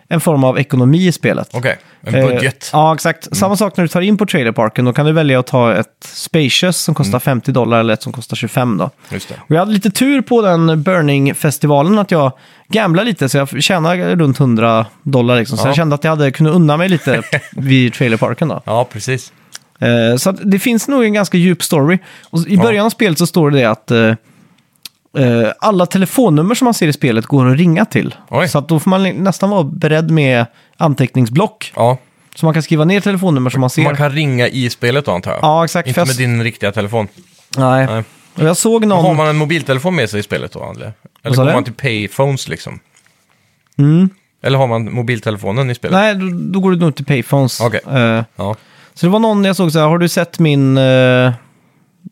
[SPEAKER 2] en form av ekonomi i spelet.
[SPEAKER 1] Okej, en
[SPEAKER 2] Eh,
[SPEAKER 1] budget. Mm.
[SPEAKER 2] ja, exakt. Samma sak när du tar in på trailerparken. Då kan du välja att ta ett spacious som
[SPEAKER 1] Mm.
[SPEAKER 2] kostar 50 dollar eller ett som kostar 25 då.
[SPEAKER 1] Just det.
[SPEAKER 2] Och jag hade lite tur på den Burning-festivalen att jag gamblade lite, så jag tjänade runt 100 dollar. Liksom. Så
[SPEAKER 1] Ja.
[SPEAKER 2] jag kände att jag hade kunnat unna mig lite vid trailerparken. Då.
[SPEAKER 1] Ja, precis.
[SPEAKER 2] Eh, så att det finns nog en ganska djup story. Och I början av spelet så står det det att eh, eh, alla telefonnummer som man ser i spelet går att ringa till.
[SPEAKER 1] Oj.
[SPEAKER 2] Så att då får man li- nästan vara beredd med anteckningsblock.
[SPEAKER 1] Ja.
[SPEAKER 2] Så man kan skriva ner telefonnummer som man ser.
[SPEAKER 1] Man kan ringa i spelet då antar jag?
[SPEAKER 2] Ja, exakt.
[SPEAKER 1] Inte
[SPEAKER 2] Fast-
[SPEAKER 1] med din riktiga telefon.
[SPEAKER 2] Nej.
[SPEAKER 1] Nej.
[SPEAKER 2] Och jag såg någon...
[SPEAKER 1] Har man en mobiltelefon med sig i spelet då, André? Eller
[SPEAKER 2] sa
[SPEAKER 1] går
[SPEAKER 2] du?
[SPEAKER 1] man till payphones liksom? Eller har man mobiltelefonen i spelet?
[SPEAKER 2] Mm. Nej, då, då går du nog till Payphones.
[SPEAKER 1] Okej.
[SPEAKER 2] Eh,
[SPEAKER 1] Ja.
[SPEAKER 2] Så det var någon jag såg så här, har du sett min... Eh,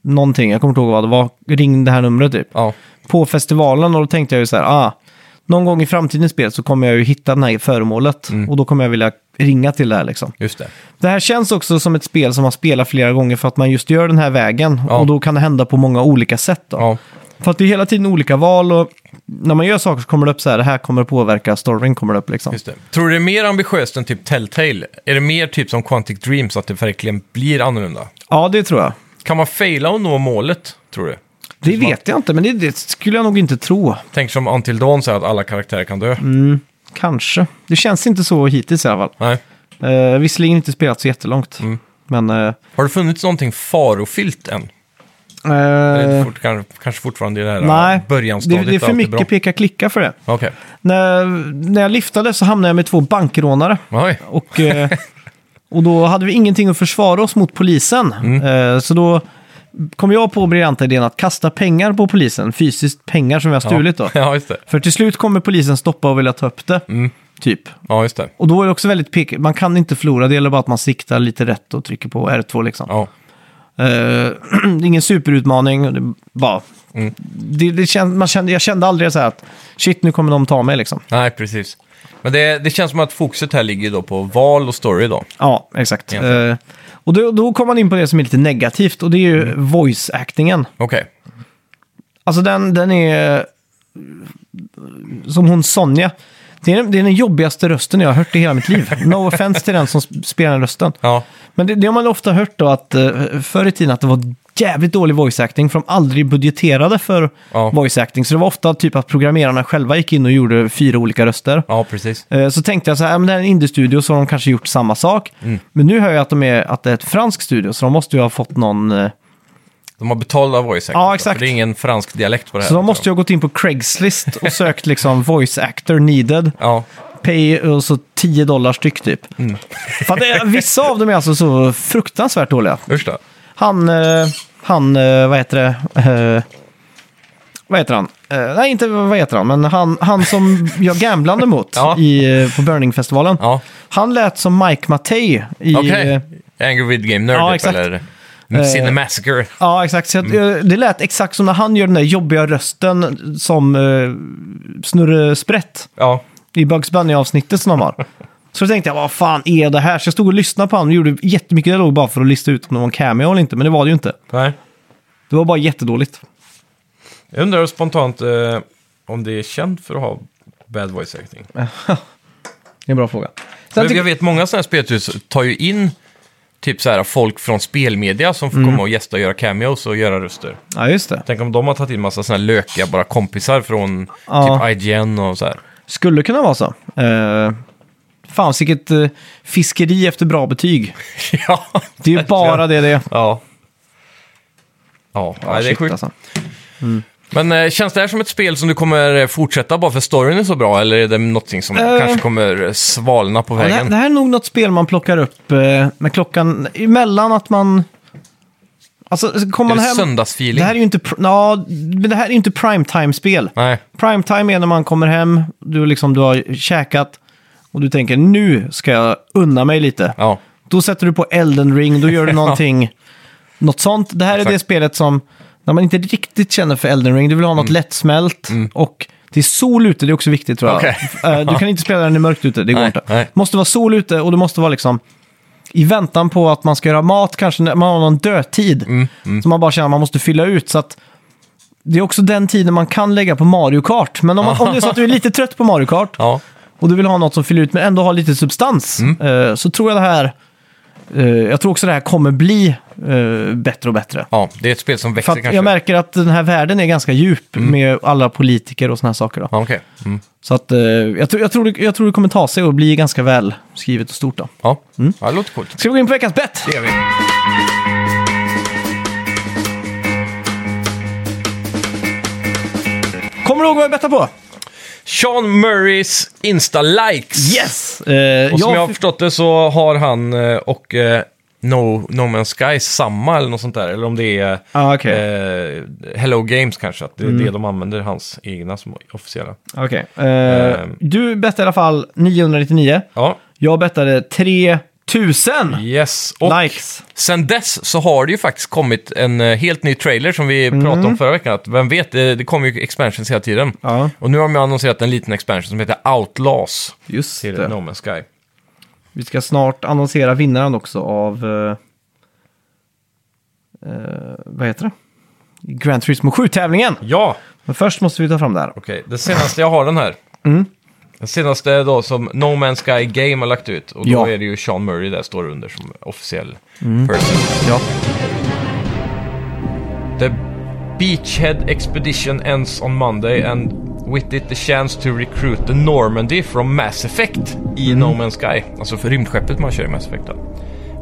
[SPEAKER 2] någonting, jag kommer inte ihåg vad det var. Ring det här numret typ.
[SPEAKER 1] ja.
[SPEAKER 2] På festivalen och då tänkte jag ju så här, ah, någon gång i framtiden i spelet så kommer jag ju hitta det här föremålet.
[SPEAKER 1] Mm.
[SPEAKER 2] Och då kommer jag vilja ringa till det här liksom.
[SPEAKER 1] Just det.
[SPEAKER 2] Det här känns också som ett spel som man spelar flera gånger för att man just gör den här vägen.
[SPEAKER 1] Ja.
[SPEAKER 2] Och då kan det hända på många olika sätt då.
[SPEAKER 1] Ja.
[SPEAKER 2] För att det är hela tiden olika val och när man gör saker så kommer det upp så här, det här kommer påverka storyn kommer det upp liksom.
[SPEAKER 1] Just det. Tror du det är mer ambitiöst än typ Telltale? Är det mer typ som Quantic Dreams, att det verkligen blir annorlunda?
[SPEAKER 2] Ja, det tror jag.
[SPEAKER 1] Kan man faila och nå målet, tror du?
[SPEAKER 2] Det vet jag inte, men det, det skulle jag nog inte tro.
[SPEAKER 1] Tänk som Until Dawn säger att alla karaktärer kan dö.
[SPEAKER 2] Mm. Kanske. Det känns inte så hittills i alla fall.
[SPEAKER 1] Nej.
[SPEAKER 2] Eh, visserligen inte spelat så jättelångt.
[SPEAKER 1] Mm.
[SPEAKER 2] Men... eh,
[SPEAKER 1] Har det funnits någonting farofyllt än? Eller är det
[SPEAKER 2] eh,
[SPEAKER 1] fort, kanske, kanske fortfarande i det här
[SPEAKER 2] nej, det,
[SPEAKER 1] börjanstadiet?
[SPEAKER 2] det är för
[SPEAKER 1] allt bra?
[SPEAKER 2] mycket peka-klicka för det.
[SPEAKER 1] Okej.
[SPEAKER 2] När, när jag liftade så hamnade jag med två bankrånare.
[SPEAKER 1] Oj.
[SPEAKER 2] Och, eh, och då hade vi ingenting att försvara oss mot polisen.
[SPEAKER 1] Mm.
[SPEAKER 2] Eh, så då kom jag på briljanta idén att kasta pengar på polisen. Fysiskt pengar som vi har stulit då.
[SPEAKER 1] Ja, just det.
[SPEAKER 2] För till slut kommer polisen stoppa och vilja ta upp det.
[SPEAKER 1] Mm.
[SPEAKER 2] Typ.
[SPEAKER 1] Ja, just det.
[SPEAKER 2] Och då är det också väldigt pek. Man kan inte förlora, det gäller bara att man siktar lite rätt och trycker på R2 liksom.
[SPEAKER 1] Ja.
[SPEAKER 2] Eh, det är ingen superutmaning, och det, bara, det, det känd, man kände, jag kände aldrig så här att shit, nu kommer de ta mig liksom.
[SPEAKER 1] Nej, precis. Men det, det känns som att fokuset här ligger då på val och story då.
[SPEAKER 2] Ja, exakt.
[SPEAKER 1] Egentligen.
[SPEAKER 2] Eh, och då, då kommer man in på det som är lite negativt och det är ju voice-actingen.
[SPEAKER 1] Okej.
[SPEAKER 2] Alltså den, den är... eh, Som hon Sonja. Det är, den- det är den jobbigaste rösten jag har hört i hela mitt liv. No offense till den som sp- spelar den rösten.
[SPEAKER 1] Ja.
[SPEAKER 2] Men det, det har man ofta hört då att eh, förr i tiden att det var jävligt dålig voice-acting för de aldrig budgeterade för
[SPEAKER 1] Ja.
[SPEAKER 2] voice-acting. Så det var ofta typ att programmerarna själva gick in och gjorde fyra olika röster.
[SPEAKER 1] ja, precis.
[SPEAKER 2] Eh, Så tänkte jag så här, "Ja, men det här är en indie-studio så har de kanske gjort samma sak.
[SPEAKER 1] Mm.
[SPEAKER 2] Men nu hör jag att, de är, att det är ett fransk studio så de måste ju ha fått någon... eh,
[SPEAKER 1] De har betalda voice actors,
[SPEAKER 2] Ja,
[SPEAKER 1] för
[SPEAKER 2] exakt.
[SPEAKER 1] Det är ingen fransk dialekt på det här. liksom.
[SPEAKER 2] Så de måste ju ha gått in på Craigslist och sökt liksom voice actor needed.
[SPEAKER 1] Ja,
[SPEAKER 2] Pay eh, och så 10 dollar styck typ.
[SPEAKER 1] Mm.
[SPEAKER 2] För att det, är- vissa av dem är alltså så fruktansvärt dåliga.
[SPEAKER 1] usch då.
[SPEAKER 2] Han, eh, han, eh, vad heter det? Eh, vad heter han? Eh, nej, inte vad heter han, men han, han som jag gamblade mot
[SPEAKER 1] Ja.
[SPEAKER 2] i, eh, på Burning-festivalen.
[SPEAKER 1] Ja,
[SPEAKER 2] Han lät som Mike Mattei i...
[SPEAKER 1] okej.
[SPEAKER 2] eh,
[SPEAKER 1] Angry Video Game Nerd
[SPEAKER 2] ja,
[SPEAKER 1] typ,
[SPEAKER 2] exakt. Eh,
[SPEAKER 1] eller Cinemassacre.
[SPEAKER 2] Ja, exakt. Så jag,
[SPEAKER 1] Mm.
[SPEAKER 2] eh, Det lät exakt som när han gör den där jobbiga rösten som eh, Snurre Sprätt
[SPEAKER 1] Ja,
[SPEAKER 2] i Bugs Bunny-avsnittet som de har. Så tänkte jag, vad fan är det här? Så jag stod och lyssnade på honom och gjorde jättemycket dialog bara för att lista ut om det var en cameo eller inte, men det var det ju inte.
[SPEAKER 1] nej.
[SPEAKER 2] Det var bara jättedåligt.
[SPEAKER 1] Jag undrar spontant eh, om det är känt för att ha bad voice acting.
[SPEAKER 2] Det är en bra fråga. Sen
[SPEAKER 1] Men
[SPEAKER 2] tycker
[SPEAKER 1] jag vet många sådana här spelhus tar ju in typ så här folk från spelmedia som får
[SPEAKER 2] Mm.
[SPEAKER 1] komma och gästa och göra cameos och göra röster.
[SPEAKER 2] Ja, just det.
[SPEAKER 1] Tänk om de har tagit in massa sådana här lökiga bara kompisar från
[SPEAKER 2] Ja.
[SPEAKER 1] typ IGN och så här.
[SPEAKER 2] Skulle kunna vara så. Uh, fan, vilket eh, fiskeri efter bra betyg.
[SPEAKER 1] ja.
[SPEAKER 2] Det är ju bara det det är.
[SPEAKER 1] Ja. Ja, nej, det är
[SPEAKER 2] Shit,
[SPEAKER 1] sjukt.
[SPEAKER 2] alltså.
[SPEAKER 1] Men eh, känns det här som ett spel som du kommer eh, fortsätta bara för storyn är så bra? Eller är det någonting som
[SPEAKER 2] Eh.
[SPEAKER 1] kanske kommer eh, svalna på
[SPEAKER 2] Ja, det, här,
[SPEAKER 1] vägen?
[SPEAKER 2] det här är nog något spel man plockar upp eh, med klockan emellan att man... Alltså, så kommer
[SPEAKER 1] är
[SPEAKER 2] man
[SPEAKER 1] det
[SPEAKER 2] hem...
[SPEAKER 1] söndagsfeeling?
[SPEAKER 2] Det här är ju inte, pr- ja, men det här är ju inte primetime-spel.
[SPEAKER 1] Nej,
[SPEAKER 2] Primetime är när man kommer hem, du, liksom, du har käkat och du tänker nu ska jag unna mig lite.
[SPEAKER 1] ja.
[SPEAKER 2] Då sätter du på Elden ring, då gör du någonting, något sånt. Det här är det
[SPEAKER 1] Exakt.
[SPEAKER 2] spelet som, när man inte riktigt känner för Elden ring, du vill ha
[SPEAKER 1] Mm.
[SPEAKER 2] något lättsmält och det är sol ute, det är också viktigt tror jag.
[SPEAKER 1] Okej.
[SPEAKER 2] Eh, du kan inte spela den i mörkt ute, det går
[SPEAKER 1] Nej,
[SPEAKER 2] inte.
[SPEAKER 1] nej.
[SPEAKER 2] måste vara sol ute och det måste vara liksom, i väntan på att man ska göra mat, kanske när man har någon dödtid.
[SPEAKER 1] Mm,
[SPEAKER 2] Som man bara känner att man måste fylla ut. Så att det är också den tiden man kan lägga på Mario Kart. Men om, man, om det är så att du är lite trött på Mario Kart
[SPEAKER 1] ja.
[SPEAKER 2] och du vill ha något som fyller ut men ändå har lite substans,
[SPEAKER 1] Mm.
[SPEAKER 2] eh, så tror jag det här... eh, jag tror också det här kommer bli eh, bättre och bättre.
[SPEAKER 1] Ja, det är Mm. ett spel som växer
[SPEAKER 2] För att
[SPEAKER 1] kanske.
[SPEAKER 2] jag märker att den här världen är ganska djup med alla politiker och såna här saker. Då.
[SPEAKER 1] Ja, okej. Mm.
[SPEAKER 2] Så att, eh, jag, tror, jag, tror det, jag tror det kommer ta sig och bli ganska väl skrivet och stort. Då.
[SPEAKER 1] Ja.
[SPEAKER 2] Mm.
[SPEAKER 1] ja, det låter coolt.
[SPEAKER 2] Ska vi gå in på veckans bett?
[SPEAKER 1] Det gör vi.
[SPEAKER 2] Kommer du ihåg vad jag bettade på?
[SPEAKER 1] Sean Murrays Insta-likes.
[SPEAKER 2] Yes! Eh,
[SPEAKER 1] Och som jag har
[SPEAKER 2] jag,
[SPEAKER 1] förstått det så har han eh, och eh, no, no Man's Sky samma eller något sånt där. Eller om det är
[SPEAKER 2] Ah, okej. Mm.
[SPEAKER 1] eh, Hello Games kanske. Att det är det de använder, hans egna som officiella.
[SPEAKER 2] Okej. Eh,
[SPEAKER 1] Ehm.
[SPEAKER 2] Du bettade i alla fall 999.
[SPEAKER 1] Ja,
[SPEAKER 2] Jag bettade 3000
[SPEAKER 1] yes. Och
[SPEAKER 2] likes.
[SPEAKER 1] sen dess så har det ju faktiskt kommit en eh, helt ny trailer som vi
[SPEAKER 2] Mm.
[SPEAKER 1] pratade om förra veckan. Att vem vet, eh, det, det kommer ju expansions hela tiden.
[SPEAKER 2] Ja,
[SPEAKER 1] Och nu har de ju annonserat en liten expansion som heter Outlaws
[SPEAKER 2] just
[SPEAKER 1] till No
[SPEAKER 2] det.
[SPEAKER 1] Man's Sky.
[SPEAKER 2] Vi ska snart annonsera vinnaren också av... eh, eh, vad heter det? Grand Turismo 7-tävlingen.
[SPEAKER 1] Ja,
[SPEAKER 2] Men först måste vi ta fram det här.
[SPEAKER 1] Okej, det senaste jag har den här.
[SPEAKER 2] Mm.
[SPEAKER 1] Den senaste då som No Man's Sky Game har lagt ut. Och då
[SPEAKER 2] Ja. Mm.
[SPEAKER 1] är det ju Sean Murray där står under som officiell person.
[SPEAKER 2] Ja.
[SPEAKER 1] The Beachhead Expedition ends on Monday and with it the chance to recruit the Normandy from Mass Effect
[SPEAKER 2] Mm.
[SPEAKER 1] i No Man's Sky. Alltså för rymdskeppet man kör i Mass Effect då.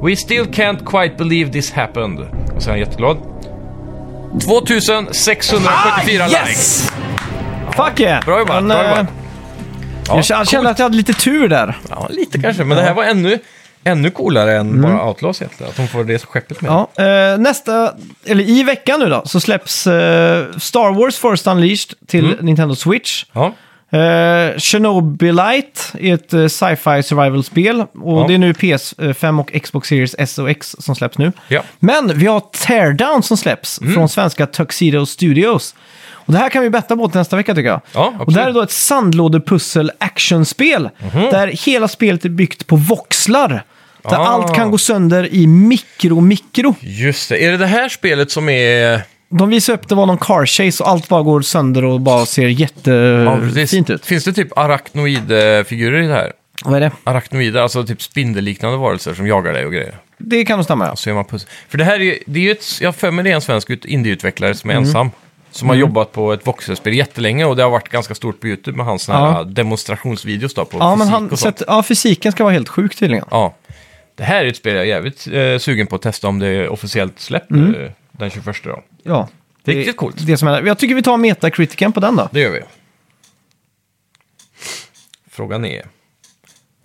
[SPEAKER 1] We still can't quite believe this happened. Och så är han jätteglad.
[SPEAKER 2] Ah,
[SPEAKER 1] 2674 likes!
[SPEAKER 2] Fuck yeah!
[SPEAKER 1] Ah, Bra jobbat,
[SPEAKER 2] Men,
[SPEAKER 1] bra
[SPEAKER 2] eh,
[SPEAKER 1] jobbat. Ja,
[SPEAKER 2] jag kände- kände att jag hade lite tur där.
[SPEAKER 1] Ja, lite kanske. Men det här var ännu, ännu coolare än bara Outlaws egentligen. Att de får det skeppet med.
[SPEAKER 2] Mm. Ja, eh, nästa, eller i
[SPEAKER 1] Mm.
[SPEAKER 2] veckan nu då, så släpps eh, Star Wars Force Unleashed till Nintendo Switch.
[SPEAKER 1] Ja.
[SPEAKER 2] Eh, Chernobylite är ett eh, sci-fi survival-spel. Och
[SPEAKER 1] Ja.
[SPEAKER 2] det är nu PS5 och Xbox Series S och X som släpps nu.
[SPEAKER 1] Ja. Mm.
[SPEAKER 2] Men vi har Teardown som släpps från svenska Tuxedo Studios. Och det här kan vi betta på till nästa vecka tycker jag.
[SPEAKER 1] Ja, absolut. Mhm.
[SPEAKER 2] och det här är då ett sandlådepussel actionspel. Där hela spelet är byggt på voxlar. Där
[SPEAKER 1] Ah.
[SPEAKER 2] allt kan gå sönder i mikro-mikro.
[SPEAKER 1] Just det. Är det det här spelet som är...
[SPEAKER 2] De visar upp det var någon car chase och allt bara går sönder och bara ser
[SPEAKER 1] precis.
[SPEAKER 2] jättefint Eh, ut.
[SPEAKER 1] Finns det typ arachnoidfigurer i det här?
[SPEAKER 2] Vad är det?
[SPEAKER 1] Arachnoider, alltså typ spindelliknande varelser som jagar dig och grejer.
[SPEAKER 2] Det kan nog stämma ja.
[SPEAKER 1] Så gör man puss. För det här är ju, det är ju ett, jag har för mig det är en svensk ut- indieutvecklare som är
[SPEAKER 2] Mm.
[SPEAKER 1] ensam. Som har jobbat på ett voxelspel jättelänge och det har varit ganska stort på YouTube med hans såna här
[SPEAKER 2] Ja.
[SPEAKER 1] demonstrationsvideos då på
[SPEAKER 2] Ja,
[SPEAKER 1] fysik
[SPEAKER 2] men
[SPEAKER 1] och
[SPEAKER 2] han,
[SPEAKER 1] sånt.
[SPEAKER 2] sett, ja, fysiken ska vara helt sjuk tydligen.
[SPEAKER 1] Ja. Det här är ett spel jag är jävligt eh, sugen på att testa om det är officiellt släppt
[SPEAKER 2] Mm.
[SPEAKER 1] eh, den 21 då.
[SPEAKER 2] Ja.
[SPEAKER 1] Det är riktigt coolt.
[SPEAKER 2] Det som är, jag tycker vi tar metakritiken på den då.
[SPEAKER 1] Det gör vi. Frågan är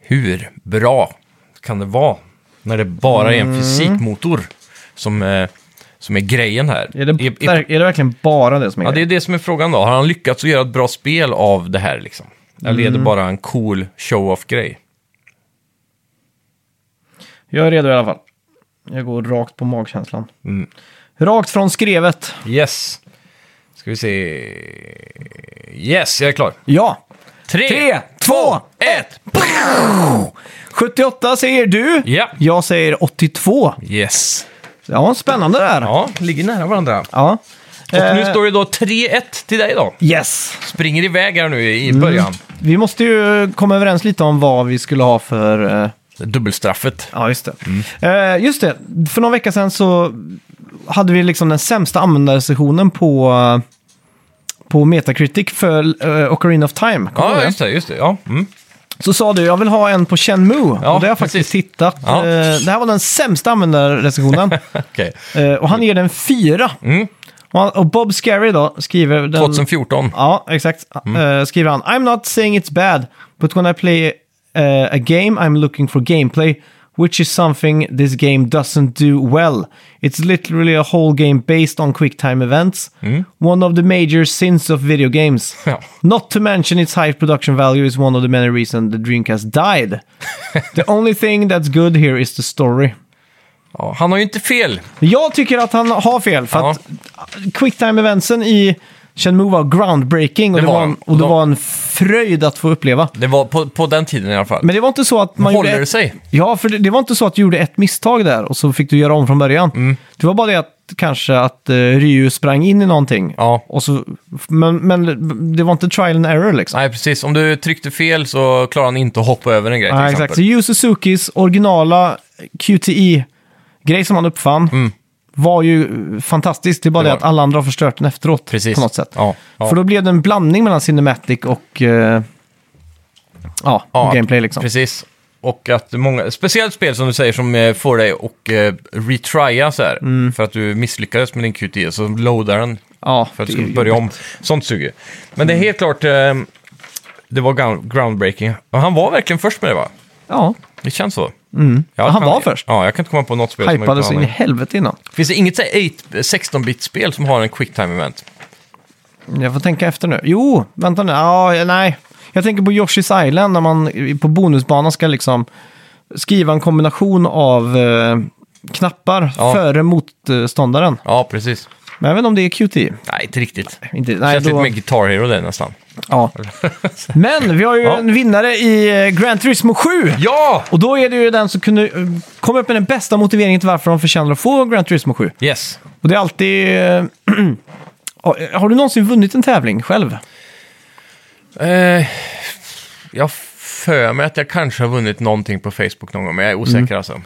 [SPEAKER 1] hur bra kan det vara när det bara är
[SPEAKER 2] Mm.
[SPEAKER 1] en fysikmotor som, eh, som är grejen här?
[SPEAKER 2] Är det,
[SPEAKER 1] Är- är-
[SPEAKER 2] där, är det verkligen bara det som är
[SPEAKER 1] Ja, det är
[SPEAKER 2] grejen?
[SPEAKER 1] det som är frågan då. Har han lyckats att göra ett bra spel av det här liksom? Eller är det
[SPEAKER 2] Mm.
[SPEAKER 1] bara en cool show-off-grej?
[SPEAKER 2] Jag är redo i alla fall. Jag går rakt på magkänslan.
[SPEAKER 1] Mm.
[SPEAKER 2] Rakt från skrevet.
[SPEAKER 1] Yes. Ska vi se... Yes, jag är klar.
[SPEAKER 2] Ja.
[SPEAKER 1] Tre,
[SPEAKER 2] Tre, två,
[SPEAKER 1] ett!
[SPEAKER 2] 78 säger du.
[SPEAKER 1] Ja.
[SPEAKER 2] Jag säger 82.
[SPEAKER 1] Yes.
[SPEAKER 2] Ja, spännande där.
[SPEAKER 1] Ja, ligger nära varandra.
[SPEAKER 2] Ja.
[SPEAKER 1] Och nu
[SPEAKER 2] Eh,
[SPEAKER 1] står det då 3-1 till dig då.
[SPEAKER 2] Yes.
[SPEAKER 1] Springer iväg här nu i i
[SPEAKER 2] Mm.
[SPEAKER 1] början.
[SPEAKER 2] Vi måste ju komma överens lite om vad vi skulle ha för... eh,
[SPEAKER 1] Dubbelstraffet.
[SPEAKER 2] Ja, just det.
[SPEAKER 1] Mm.
[SPEAKER 2] Eh, just det, för någon vecka sedan så hade vi liksom den sämsta användarsessionen på, eh, på Metacritic för uh, Ocarina of Time. Kommer du
[SPEAKER 1] Ja,
[SPEAKER 2] ihåg
[SPEAKER 1] just det. Just det. Ja. Mm.
[SPEAKER 2] det? Så sa du, jag vill ha en på Shenmue.
[SPEAKER 1] Ja,
[SPEAKER 2] och det har jag faktiskt
[SPEAKER 1] precis.
[SPEAKER 2] hittat.
[SPEAKER 1] Ja.
[SPEAKER 2] Eh, det här var den sämsta användarrecensionen.
[SPEAKER 1] Okej.
[SPEAKER 2] Eh, och han ger den fyra.
[SPEAKER 1] Mm.
[SPEAKER 2] Och, han, och Bob Scary då skriver... Den,
[SPEAKER 1] 2014.
[SPEAKER 2] Ja, exakt. Eh, skriver han. I'm not saying it's bad, but when I play eh, a game I'm looking for gameplay, which is something this game doesn't do well. It's literally a whole game based on quick time events. One of the major sins of video games.
[SPEAKER 1] Ja.
[SPEAKER 2] Not to mention its high production value is one of the many reasons the Dreamcast died. the only thing that's good here is the story.
[SPEAKER 1] Ja, han har ju inte fel.
[SPEAKER 2] Jag tycker att han har fel, för
[SPEAKER 1] Ja.
[SPEAKER 2] att quicktime-eventsen i Shenmue var groundbreaking och
[SPEAKER 1] Det
[SPEAKER 2] det,
[SPEAKER 1] var
[SPEAKER 2] var en,
[SPEAKER 1] den.
[SPEAKER 2] och det
[SPEAKER 1] De-
[SPEAKER 2] var en fröjd att få uppleva.
[SPEAKER 1] Det var på, på den tiden i alla fall.
[SPEAKER 2] Men det var inte så att man
[SPEAKER 1] Håller
[SPEAKER 2] gjorde...
[SPEAKER 1] det sig?
[SPEAKER 2] Ja, för det, det var inte så att du gjorde ett misstag där och så fick du göra om från början.
[SPEAKER 1] Mm.
[SPEAKER 2] Det var bara det att kanske att eh, Ryu sprang in i någonting.
[SPEAKER 1] Ja.
[SPEAKER 2] Och så, men, men det var inte trial and error liksom.
[SPEAKER 1] Nej, precis. Om du tryckte fel så klarar han inte att hoppa över en grej till
[SPEAKER 2] Nej,
[SPEAKER 1] exempel.
[SPEAKER 2] exakt. Så Yu Suzukis originala QTE-grej som han uppfann var ju eh, fantastiskt. Det är bara
[SPEAKER 1] Mm. Det
[SPEAKER 2] det,
[SPEAKER 1] var
[SPEAKER 2] att alla andra har förstört den efteråt
[SPEAKER 1] Precis.
[SPEAKER 2] på något sätt.
[SPEAKER 1] Ja, ja.
[SPEAKER 2] För då blev det en blandning mellan Cinematic och, eh, ja,
[SPEAKER 1] Ja,
[SPEAKER 2] och gameplay liksom.
[SPEAKER 1] Precis. Och att många, speciellt spel som du säger som eh, får dig att eh, retrya så här.
[SPEAKER 2] Mm.
[SPEAKER 1] För att du misslyckades med din QTE, så loadar den
[SPEAKER 2] Ja,
[SPEAKER 1] för att
[SPEAKER 2] det är
[SPEAKER 1] du skulle
[SPEAKER 2] ju-
[SPEAKER 1] börja om. Sånt suger. Men det är helt klart, eh, det var ground- groundbreaking. Och han var verkligen först med det va?
[SPEAKER 2] Ja,
[SPEAKER 1] Det känns så.
[SPEAKER 2] Ja,
[SPEAKER 1] Jag
[SPEAKER 2] Mm. han
[SPEAKER 1] kan-
[SPEAKER 2] var först.
[SPEAKER 1] Ja, jag kan inte komma på något spel som har
[SPEAKER 2] hypade
[SPEAKER 1] gjort
[SPEAKER 2] så
[SPEAKER 1] någon
[SPEAKER 2] in i
[SPEAKER 1] annan.
[SPEAKER 2] helvete innan.
[SPEAKER 1] Finns det inget så här 8 16-bit-spel som har en quicktime-event?
[SPEAKER 2] Jag får tänka efter nu. Jo, vänta nu. Ja, nej. Jag tänker på Yoshi's Island när man på bonusbanan ska liksom skriva en kombination av eh, knappar
[SPEAKER 1] Ja.
[SPEAKER 2] före motståndaren.
[SPEAKER 1] Ja, precis.
[SPEAKER 2] Men jag vet inte om det är QT.
[SPEAKER 1] Nej, inte riktigt.
[SPEAKER 2] Inte, nej,
[SPEAKER 1] Känns lite
[SPEAKER 2] då,
[SPEAKER 1] mer Guitar Hero det nästan.
[SPEAKER 2] ja. Men vi har ju
[SPEAKER 1] Ja.
[SPEAKER 2] en vinnare i eh, Gran Turismo 7.
[SPEAKER 1] Ja!
[SPEAKER 2] Och då är det ju den som kunde eh, komma upp med den bästa motiveringen till varför de förtjänar att få Gran Turismo 7.
[SPEAKER 1] Yes.
[SPEAKER 2] Och det är alltid... eh, har- har du någonsin vunnit en tävling själv?
[SPEAKER 1] Eh, jag har för mig att jag kanske har vunnit någonting på Facebook någon gång, men jag är osäker
[SPEAKER 2] Mm.
[SPEAKER 1] alltså.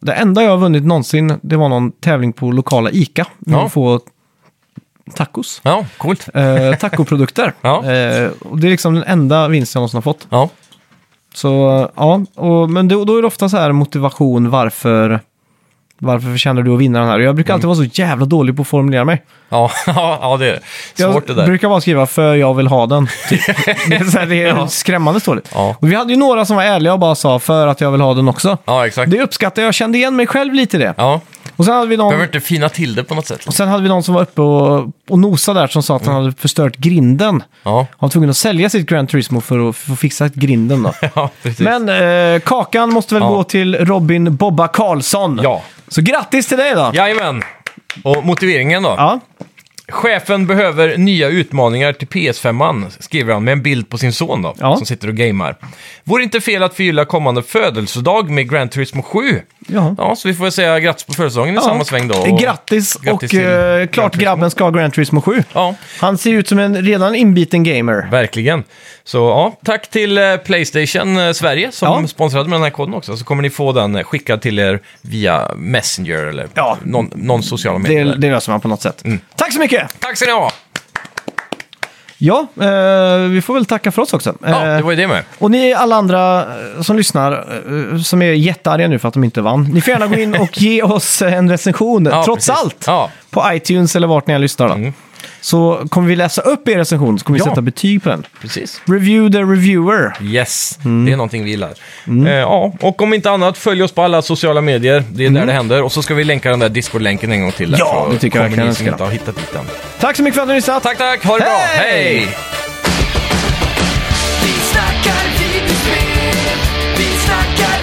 [SPEAKER 2] Det enda jag har vunnit någonsin, det var någon tävling på lokala ICA.
[SPEAKER 1] Ja.
[SPEAKER 2] Ja. Att få tacos.
[SPEAKER 1] Ja, coolt.
[SPEAKER 2] Eh, tacoprodukter.
[SPEAKER 1] Ja.
[SPEAKER 2] Eh, och det är liksom den enda vinst jag någonsin har fått.
[SPEAKER 1] Ja,
[SPEAKER 2] Så ja, och, men då, då är det ofta så här motivation varför varför förtjänar du att vinna den här? Och Jag brukar
[SPEAKER 1] Mm.
[SPEAKER 2] alltid vara så jävla dålig på att formulera mig.
[SPEAKER 1] ja, ja, ja det är
[SPEAKER 2] Jag
[SPEAKER 1] svårt det där.
[SPEAKER 2] brukar bara skriva för jag vill ha den. Typ. det är, så här, det är skrämmande dåligt.
[SPEAKER 1] Ja.
[SPEAKER 2] Och vi hade ju några som var ärliga och bara sa för att jag vill ha den också.
[SPEAKER 1] Ja, exakt.
[SPEAKER 2] Det uppskattar jag, jag kände igen mig själv lite i det.
[SPEAKER 1] Ja,
[SPEAKER 2] Och sen hade vi någon...
[SPEAKER 1] Behöver inte fina till det på något sätt.
[SPEAKER 2] Och sen hade vi någon som var uppe och, och nosade där som sa att han hade förstört grinden.
[SPEAKER 1] Mm. Ja,
[SPEAKER 2] Han var tvungen att sälja sitt Gran Turismo för att få fixa grinden då.
[SPEAKER 1] ja precis.
[SPEAKER 2] Men eh, kakan måste väl
[SPEAKER 1] Ja.
[SPEAKER 2] gå till Robin Bobba Karlsson.
[SPEAKER 1] Ja.
[SPEAKER 2] Så grattis till dig då!
[SPEAKER 1] Jajamän! Och motiveringen då?
[SPEAKER 2] Ja.
[SPEAKER 1] Chefen behöver nya utmaningar till PS5, skriver han med en bild på sin son då,
[SPEAKER 2] Ja.
[SPEAKER 1] som sitter och gamer. Vore inte fel att förgylla kommande födelsedag med Gran Turismo 7.
[SPEAKER 2] Jaha.
[SPEAKER 1] Ja, så vi får väl säga grattis på födelsedagen i samma sväng då. och-
[SPEAKER 2] Eh, Grattis,
[SPEAKER 1] Grattis
[SPEAKER 2] och
[SPEAKER 1] till
[SPEAKER 2] eh, klart
[SPEAKER 1] Gran Turismo.
[SPEAKER 2] grabben ska ha Gran Turismo 7.
[SPEAKER 1] Ja,
[SPEAKER 2] Han ser ut som en redan inbiten gamer.
[SPEAKER 1] verkligen. Så ja, tack till eh, Playstation eh, Sverige som
[SPEAKER 2] Ja.
[SPEAKER 1] sponsrade med den här koden också. Så kommer ni få den eh, skickad till er via Messenger eller
[SPEAKER 2] Ja.
[SPEAKER 1] någon, någon sociala medier.
[SPEAKER 2] Det, det löser man på något sätt.
[SPEAKER 1] Mm.
[SPEAKER 2] Tack så mycket!
[SPEAKER 1] Tack ska ni ha!
[SPEAKER 2] Ja, eh, vi får väl tacka för oss också.
[SPEAKER 1] Ja,
[SPEAKER 2] Eh,
[SPEAKER 1] det var ju det med.
[SPEAKER 2] Och ni alla andra eh, som lyssnar, eh, som är jättearga nu för att de inte vann, ni får gärna gå in och ge oss eh, en recension,
[SPEAKER 1] Ja,
[SPEAKER 2] trots
[SPEAKER 1] precis.
[SPEAKER 2] allt,
[SPEAKER 1] Ja. Mm.
[SPEAKER 2] på iTunes eller vart ni än lyssnar. Då. Så kommer vi läsa upp er recension, så kommer vi
[SPEAKER 1] Ja.
[SPEAKER 2] sätta betyg på den.
[SPEAKER 1] Precis.
[SPEAKER 2] Review the reviewer.
[SPEAKER 1] Yes,
[SPEAKER 2] Mm.
[SPEAKER 1] det är någonting vi gillar. Eh, ja, och om inte annat, följ oss på alla sociala medier. Det är där det händer. Och så ska vi länka den där Discord-länken en gång till. där,
[SPEAKER 2] Mm. Ja,
[SPEAKER 1] så
[SPEAKER 2] det tycker jag
[SPEAKER 1] kommer
[SPEAKER 2] verkligen
[SPEAKER 1] ni som
[SPEAKER 2] ska.
[SPEAKER 1] inte har hittat dit än.
[SPEAKER 2] Tack så mycket för att ni lyssnade.
[SPEAKER 1] Tack, tack! Ha det bra!
[SPEAKER 2] Hej!
[SPEAKER 1] Hej!
[SPEAKER 3] Vi snackar videospel, vi snackar